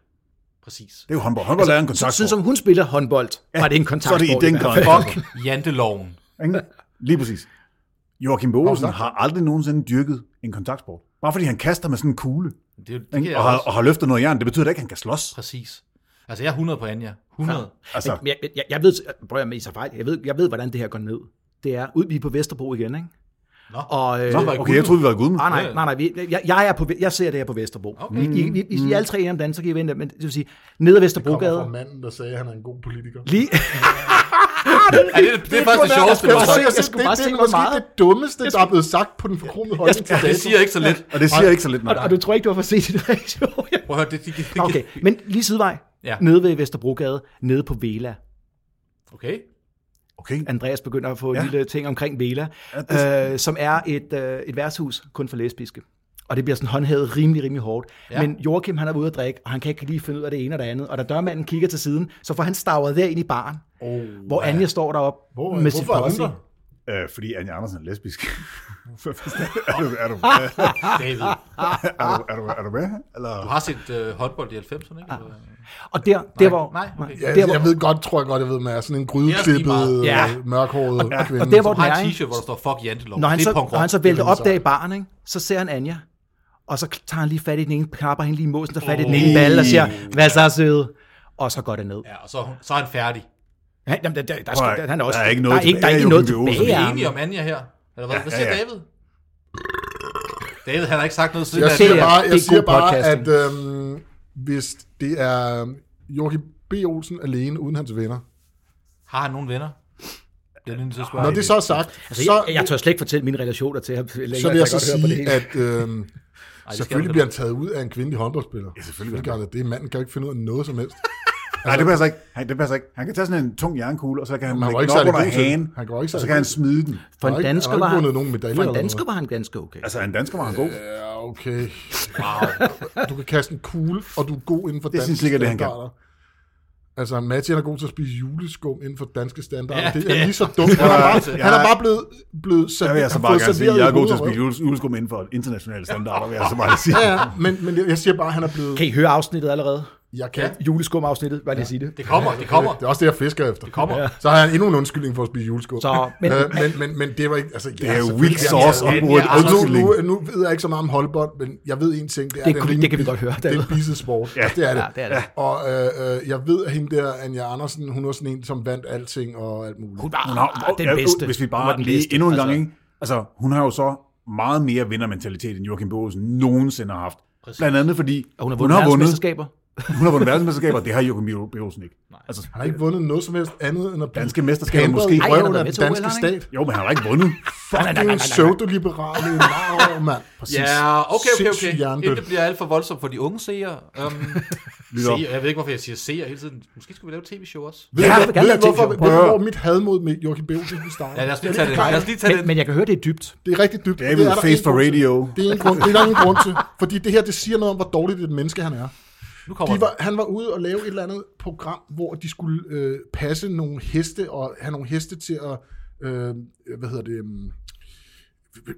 præcis. Det er jo håndbold. Håndbold er en Så, Altså, sådan kontaktsport. som hun spiller håndbold, ja, var det en kontakt. Så er det i den Fuck. kontrakt. Janteloven. Ikke? Lige præcis. Joachim B. Olsen har aldrig nogensinde dyrket en kontaktsport. Bare fordi han kaster med sådan en kugle, Det, er jo- det kan ikke? jeg Og, har, også. og har løftet noget jern, det betyder da ikke, at han kan slås. Præcis. Altså, jeg er 100 på Anja. 100. Altså, Men Jeg, jeg, jeg ved, prøv at med, I tager fejl. Jeg ved, jeg ved, hvordan det her går ned. Det er, ud vi er på Vesterbro igen, ikke? Nå. Og, øh, Nå, var i okay, jeg Gudme. troede, vi var i Gudme. Ah, Ah, Nej, Ja. nej, nej, nej. Vi, jeg, jeg, er på, jeg ser det her på Vesterbro. Okay. Okay. I, I, I, I er alle tre enige om den, så kan I vente. Men det vil sige, ned ad Kommer fra Vesterbrogade. manden, der sagde, at han er en god politiker. Lige, Ja, det, det, det er faktisk det sjoveste, Jeg skulle du har var bare sagt. se- Jeg skulle bare det, se, det er hvor måske meget- det dummeste, der er blevet sagt på den forkromede holdning til Det dato. siger ikke så lidt. Og det siger ikke så lidt, nej. og, og, du tror ikke, du har fået set det reaktion. Prøv at høre, det, det, det, det okay, men lige sidevej. Ja. Ja. Nede ved Vesterbrogade, nede på Vela. Okay. Okay, Andreas begynder at få ja. Ja. en lille ting omkring Vela, ja, øh, som er et, øh, et værtshus kun for lesbiske. Og det bliver sådan håndhævet rimelig, rimelig hårdt. Ja. Ja. Men Joachim, han er ude at drikke, og han kan ikke lige finde ud af det ene og det andet. Og da dørmanden kigger til siden, så får han stavet der ind i baren, Oh, hvor Anja står deroppe hvor, med sit hvorfor er posse. hun der? øh, fordi Anja Andersen er lesbisk. er, du, er, du, David, er, du, er, du, er du med? Eller? du har set øh, håndbold i 90'erne, ikke? øh, Eller- Og der, der hvor... nej, okay. Ja, der, hvor, jeg ved godt, tror jeg godt, jeg ved, med sådan en grydeklippet, Det er også lige meget. ja. mørkhåret ja. kvinde. og der, hvor Du den har er, en ikke? t-shirt, hvor der står fuck Janteloven. når han, det er så, punk når han så Det vælter er rimelig op der i baren, ikke? så ser han Anja, og så tager han lige fat i den ene, knapper hende lige i måsen, der fat i den ene balle og siger, hvad så søde? Og så går det ned. Ja, og så, er hun- så er han færdig. Han, jamen, der, der, der, Prøv der, at- der, han er der også, er ikke noget der er ikke, der er tilbage, ikke noget Joachim B. Olsen. tilbage. Vi er Arne. enige om Anja her. Eller hvad, hvad siger ja, ja. David? David, han har ikke sagt noget siden. Jeg at- siger er- bare, det jeg er siger god bare at podcasting. øhm, hvis det er øhm, Joachim B. Olsen alene, uden hans venner. Har han nogen venner? Det er nødt til at spørge. Når det så er sagt, Altså, så, jeg, jeg tør slet ikke fortælle mine relationer til ham. længere, så vil jeg kan så godt høre på det sige, hele. at øhm, selvfølgelig bliver han taget ud af en kvindelig håndboldspiller. Ja, selvfølgelig gør det. Det manden kan jo ikke finde ud af noget som helst. Nej, det passer ikke. Han, det passer ikke. Han kan tage sådan en tung jernkugle, og så kan han Men han var lægge ikke den op særlig under god til det. hagen, Han var ikke og så særlig kan han god. smide den. For der er en ikke- dansker der er var ikke han, vundet nogen medaljer for en eller dansker noget. var han ganske okay. Altså, en dansker var han god. Ja, okay. Wow. Du kan kaste en kugle, og du er god inden for Det danske synes jeg sikkert, det, han kan. standarder. Altså, Matti han er god til at spise juleskum inden for danske standarder. Ja, Ja, det det er er- lige så dumt. Han er bare, Jeg- han er bare blevet, blevet sat, Der vil jeg så han har bare fået gerne sige, serveret at jeg er i god til at hovedet. spille jules- juleskum inden for internationale standarder, vil jeg så bare sige. Ja, ja, men, men jeg- jeg siger bare, at han er blevet... Kan I høre afsnittet allerede? Jeg kan. Juleskum-afsnittet, hvad det sige det? Det kommer, det kommer. Det er også det, jeg fisker efter. Det kommer. Så har han endnu en undskyldning for at spise juleskum. Så- men, men- øh, men, men, men, det var ikke... Altså, Det er jo weak sauce Ja, on ja, board. ja, Og Altså, nu, Undskyldning. nu, nu ved jeg ikke så meget om håndbold, men jeg ved en ting. Det, er, Det den kunne- rimelig- det kan vi godt høre, Det er David. en bisesport. Ja, det er det. Ja, det er det. Og øh, øh, jeg ved, at hende der, Anja Andersen, hun var sådan en, som vandt alting og alt muligt. Hun var Hun har, ah, den bedste. Hvis vi Hun var bare den lige bedste, endnu en gang, altså. altså. ikke? Altså, hun har jo så meget mere vindermentalitet, end Joachim B. Olsen nogensinde har haft. Præcis. Blandt andet fordi Og hun har vundet, hun har vundet. Hun har vundet verdensmesterskaber, det har Joachim B. Olsen ikke. Nej. Altså, Han har ikke vundet noget som helst andet end at blive Danske mesterskaber pamperet måske. i Ej, han har røven været af med den til OL, danske har han stat. ikke? jo, men han har ikke vundet. Fucking pseudo-liberale narver, mand. Ja, yeah, okay, okay, Sindssyg okay. hjernedødt. Inden det bliver alt for voldsomt for de unge seere. Um, Lytter. seere. Jeg ved ikke, hvorfor jeg siger seere hele tiden. Måske skulle vi lave et tv-show også. Ved Ja, du, jeg ved vil gerne du, lave hvorfor, ting, ved du, Prøv at hvor høre. mit hadmål med Joachim B. Olsen starter? Ja, lad os lige tage den. Lad os lige tage Men, den. men jeg kan høre, det er dybt. Det er rigtig dybt. og David det er der Face ingen for grund til. radio. Det er, en grund, det er der ingen grund til. Fordi det her, det siger noget om, hvor dårligt et menneske han er. Nu kommer De den. var, han var ude og lave et eller andet program, hvor de skulle øh, passe nogle heste, og have nogle heste til at, øh, hvad hedder det, um,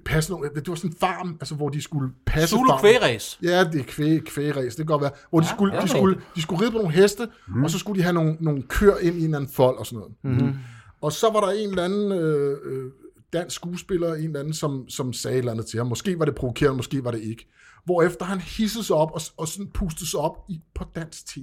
passe nogle, det var sådan en farm, altså hvor de skulle passe Zulu farmen. Kvægeræs. Ja, det er kvæ, kvægeræs, det kan godt være. Hvor de, skulle, ja, de, okay. skulle, de skulle ride på nogle heste, Mhm. mm. og så skulle de have nogle, nogle køer ind i en eller anden fold og sådan noget. Mm-hmm. Og så var der en eller anden øh, øh, dansk skuespiller, en eller anden, som, som sagde et eller andet til ham. Måske var det provokerende, måske var det ikke. Hvorefter han hissede sig op og, og sådan pustede sig op i, på dansk tv.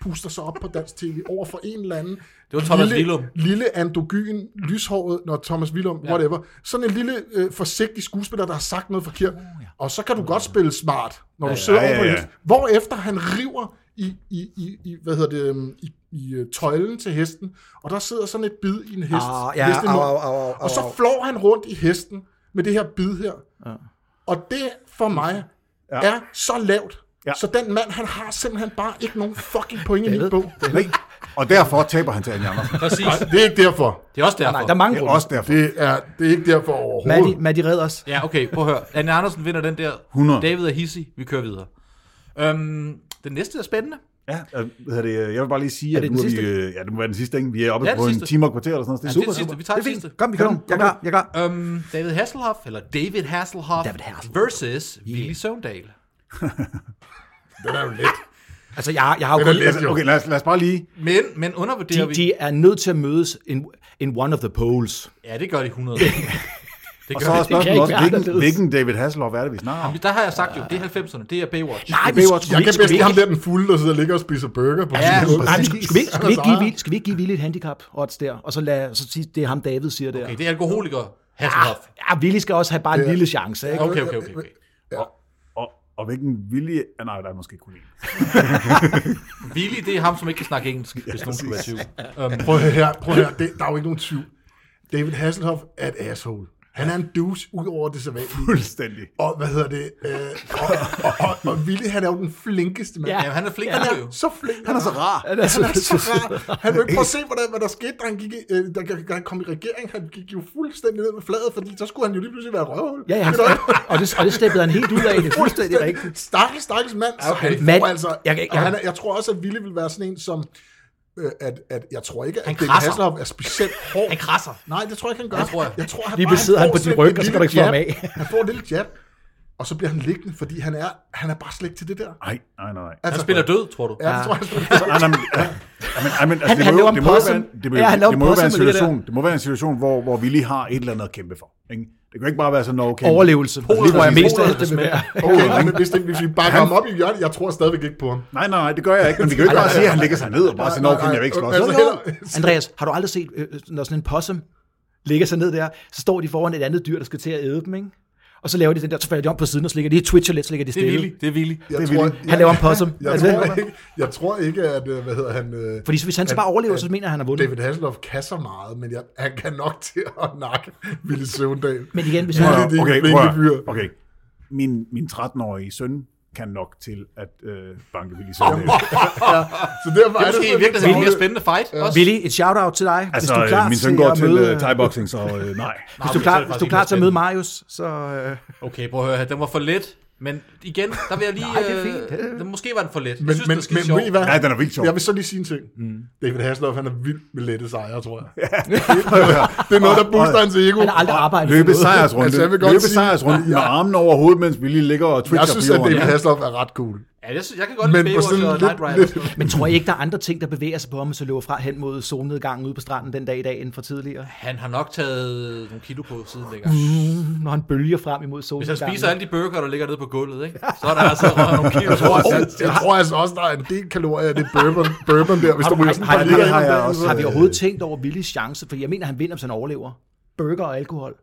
Puster sig op på dansk tv over for en eller anden Det var Thomas Villum. lille andogyn, lyshåret, når Thomas Willum, ja. whatever. Sådan en lille øh, forsigtig skuespiller, der har sagt noget forkert. Og så kan du godt spille smart, når du sidder ja, over på ja, ja, ja. ja. Hvor efter han river i, i, i, i hvad hedder det, øhm, i, i øh, tøjlen til hesten, og der sidder sådan et bid i en hest. Ah, ja, hestemund. au, au, au, au, og så au. flår han rundt i hesten med det her bid her. Ja. Og det for mig ja. er så lavt. Ja. Ja. Så den mand, han har simpelthen bare ikke nogen fucking point i mit David. bog. Nej. Og derfor taber han til Anja Andersen. Præcis. Nej, det er ikke derfor. Det er også Nej, der er derfor. mange Det er grunde. også derfor. Det er, det er ikke derfor overhovedet. Maddy, Maddy red os. Ja, okay, prøv at høre. Anne Andersen vinder den der. 100. David er hissig. Vi kører videre. Øhm, den næste er spændende. Ja, øh, hvad hedder det, øh, jeg vil bare lige sige, Er at det nu den er vi, sidste? øh, ja, det må være den sidste, ikke? Vi er oppe Ja, den på en sidste. time og kvarter eller sådan noget. Det er Ja, det super, er sidste. super. Vi tager Det det er sidste. fint. Kom, vi kører. Jeg er klar, jeg er klar. Øhm, David Hasselhoff, eller David Hasselhoff, David Hasselhoff. versus yeah. Willy Søvndal. Den er jo let. Altså, jeg, jeg har jo Den er kun... let, Altså, jo. okay, lad os, lad os bare lige... Men, men undervurderer De, vi... de er nødt til at mødes in, in one of the poles. Ja, det gør de 100. Det Og gør så er de. kan spørgsmålet ikke også, være hvilken, anderledes. hvilken David Hasselhoff er det, vi snakker om? Der har jeg sagt jo, det er 90'erne, det er Baywatch. Nej, vi- Baywatch, Jeg vi- kan bedst vi lide ham ikke- der den fulde, der sidder og ligger og spiser burger på Ja, sin måde. Ej, men skal, skal, vi, skal, vi ikke Han give, er Ville- skal vi ikke give Ville et handicap odds der, og så, lad, så sige, det er ham David siger der. Okay, det er alkoholiker Hasselhoff. Ja, Ville skal også have bare en lille chance, ikke? Okay, okay, okay. okay. Og, og hvilken vilje... Ah, nej, der er måske kun én. Willy, det er ham, som ikke kan snakke engelsk, hvis nogen skulle være tvivl. Um, Prøv at høre, prøv at høre. Det, der er jo ikke nogen tvivl. David Hasselhoff er et asshole. Han er en douche, ud over det sædvanlige. Fuldstændig. Og hvad hedder det? Øh, og, og, og, og Willy, han er jo den flinkeste mand. Ja. ja, han er flink, Ja. han er jo. er så flink. Han er så rar. Ja, det er Han er så så- rar. Han vil ikke prøve at se, hvordan, hvad der skete, da han, gik, i- øh, da, da han kom i regering. Han gik jo fuldstændig ned med fladet, fordi så skulle han jo lige pludselig være røvhul. Ja, ja, han, og, det, og det steppede han helt ud af, det er fuldstændig rigtigt. Stakkels, stakkels mand. Så Okay. han Mand, får altså, jeg kan ikke- og jeg- han, er- jeg tror også, at Ville vil være sådan en, som... Øh, at, at jeg tror ikke, at Han David krasser. Hasselhoff er specielt hård. Han krasser. Nej, det tror jeg ikke, han gør. Det tror jeg. jeg tror, han Lige bare, pludselig sidder han får på din sådan ryg, et og så lille kan du ikke få ham jab. Han får en lille jab, og så bliver han liggende, fordi han er, han er bare slet ikke til det der. Altså, Nej, nej, nej. nej. Han spiller død, tror du. Ja, det tror jeg, han spiller. Ah, nej, men, ja. men, ej, men, altså, Han- det han må jo- laver en det må jo possum. være- det må jo- Ja, han laver det en må jo være en possum med det der. situation, det må være en situation, hvor, hvor vi lige har et eller andet at kæmpe for. Ikke? Det kan jo ikke bare være sådan noget, okay. Overlevelse, det tror jeg præcis. mest af alt, Polen, det vil der være. Okay, nej, men hvis, det, hvis vi bakker ham op i hjørnet, jeg tror stadigvæk ikke på ham. Nej, nej, nej, det gør jeg ikke. Men vi kan jo ikke bare sige, at han ligger sig ned og bare Nej, siger, okay, nej, jeg vil ikke nej, slås. altså, heller- Andreas, har du aldrig set, øh, når sådan en possum ligger sig ned der, så står de foran et andet dyr, der skal til at æde dem, ikke? Og så laver de den der, så falder de om på siden, og så ligger de i Twitch, og lidt, så ligger de Det er stille. Willy, det er Willy. Jeg Det vil tror, jeg- Han laver en possum. jeg, Altså, tror ikke, jeg tror ikke, at, øh, hvad hedder han... øh, fordi så hvis han så bare overlever, så mener jeg, han har vundet. David Hasselhoff kan så meget, men jeg, han kan nok til at nakke Ville Søvndal. Men igen, hvis Ja. han, Prøv at Det er høre, Okay, en prøv at flink høre. fyr. okay. Min, min 13-årige søn kan nok til at øh, banke Willy Søvndal. Så derfor Det er er måske sådan i virkeligheden en lidt mere spændende fight. Også. Willy, et shout-out til dig. hvis Altså, du er klar øh, min søn til går at til møde, øh, thai-boxing, så øh, nej. Hvis du er klar, hvis du er klar til at møde Marius, så... Øh, Okay, prøv at høre her. Den var for let. Men igen, der vil jeg lige... Nej, det er fint. øh, den, måske var den for let. Men, jeg synes, men, det er men skide sjovt. ved I hvad? Nej, den er vildt sjov. Jeg vil så lige sige en ting. Mm. David Hasselhoff, han er vild med lette sejre, tror jeg. Ja. det er noget, der booster hans ego. han har aldrig arbejdet med Løbe noget. sejrsrunde. Altså, jeg vil godt løbe sige- sejrsrunde med armen over hovedet, mens vi lige ligger og twitcher Jeg synes, at på jorden. David Hasselhoff er ret cool. Ja, jeg, synes, jeg kan godt Men lide på Baywatch sådan og lidt- Knight Rider. og sådan noget. Men tror I ikke, der er andre ting, der bevæger sig på ham, så løber fra hen mod solnedgangen ude på stranden den dag i dag, end fra tidligere? Han har nok taget nogle kilo på siden dengang. Mm. Mm, Når han bølger frem imod Hvis solnedgangen. han spiser alle de burger, der ligger nede på gulvet, ikke? så er der altså røget nogle kilo. Jeg tror, altså, jeg tror altså også, der er en del kalorier af det bourbon, bourbon der, hvis har, du du, ryger har, sådan har, par det har, liter har ind om jeg dagen, også. så- har vi overhovedet tænkt over Willys chance? For jeg mener, han vinder, hvis han overlever. Burger og alkohol.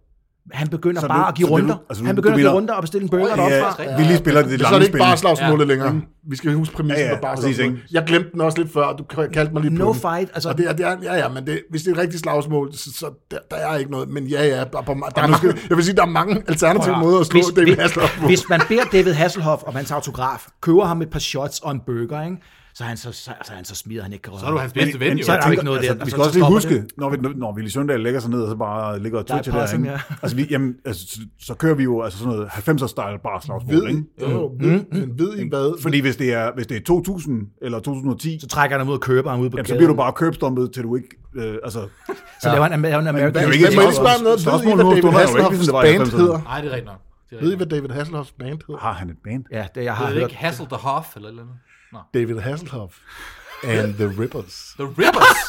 Han begynder Så så nu- bare at give så det er runder. nu- altså nu- han du begynder at give mener- runder og bestille en burger Ja, deroppe ja. fra. fra. vi lige spiller det Så er lange det ikke spil. bare nu. slagsmålet ja. længere. Mm. Vi skal huske præmissen Ja, ja, ja, ja, bare præcis, slagsmålet. Jeg glemte den også lidt før, du kaldte mig lige på No den. fight, altså- Og det er, det er, ja, ja, men det, hvis det er et rigtigt slagsmål, så, så der, der er ikke noget. Men ja, ja, der, der, der er mange, jeg vil sige, der er mange alternative måder altså at slå Hvis, hvis, David hvis, Hasselhoff på. hvis man beder David Hasselhoff om hans autograf, køber ham et par shots og en burger, ikke? Så, han så, så, så, han så smider han ikke kan Så er du røre. hans bedste ven, jo. så er der jo ikke noget altså, der. Vi skal Så- også så lige stopper huske, når, vi, når Ville Søndag lægger sig ned, og så bare ligger og Der er twitcher der, passing, ikke? ja. altså, vi, jamen, altså, så, så kører vi jo altså sådan noget 90'er-style bare slagsmål, Ved I, ikke? jo, ved, men ved I hvad? Fordi hvis det, er, hvis det er 2000 eller 2010, Så trækker han ham ud og køber ham ud på jamen, gaden. så bliver du bare købstompet, til du ikke... Øh, altså, Så laver han laver en American det er jo Men ikke må jeg lige et spørge om noget? Ved I, spørgsmål hvad nu, du David har jo ikke, Hasselhoffs ligesom det var i band 90'erne. hedder? Nej, det er rigtigt nok. Det er Ved I, rigtigt hvad nok. David Hasselhoffs band hedder? har han et band? Ja, det, jeg har Hedder det hørt. ikke Hassel the Hoff, eller et eller andet? Nå. David Hasselhoff and the Rippers. The Rippers!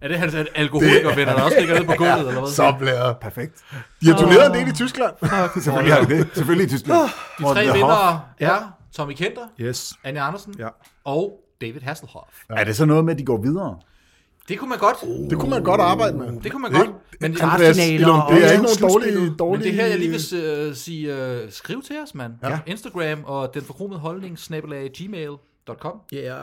er det hans alkoholikervenner, der også ligger nede på gulvet, eller hvad? Så bliver Perfekt. De har turneret en del i Tyskland. Selvfølgelig har de det. Selvfølgelig i Tyskland. De Og tre The Hoff. vindere er Tommy Kenter, Yes. Anja Andersen Ja. og David Hasselhoff. Er det så noget med, at de går videre? Det kunne man godt. Det kunne man godt arbejde med. Det kunne man Oh, Det er godt. ikke- Men, Andreas- Andreas Kvartfinaler Ilum, og- det er og ikke nogen dårlige... slutspil. men dårlige... det her, jeg lige vil øh, sige, øh, skriv til os, mand. Ja. Instagram og den forkromede holdning, snabelag gmail.com. Yeah.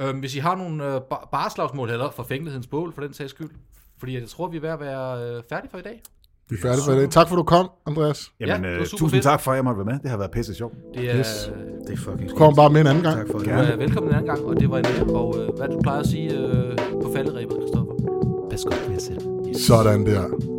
Øhm, hvis I har nogle øh, bar- barslagsmål, eller forfængelighedens bål, for den sags skyld. Fordi jeg tror, vi er ved at være øh, færdige for i dag. Vi er færdige for i dag. Tak for, du kom, Andreas. Jamen, det ja, var øh, super tusind fedt. tak for, at jeg måtte være med. Det har været pisse sjovt. Det er, Yes. øh, Det er fucking Du kommer bare med en anden gang. Tak for det. du er velkommen en anden gang, og det var en ære. Og øh, hvad du plejer at sige øh, på falderæbet, Kristoffer. Pas godt på jer selv. Sådan der.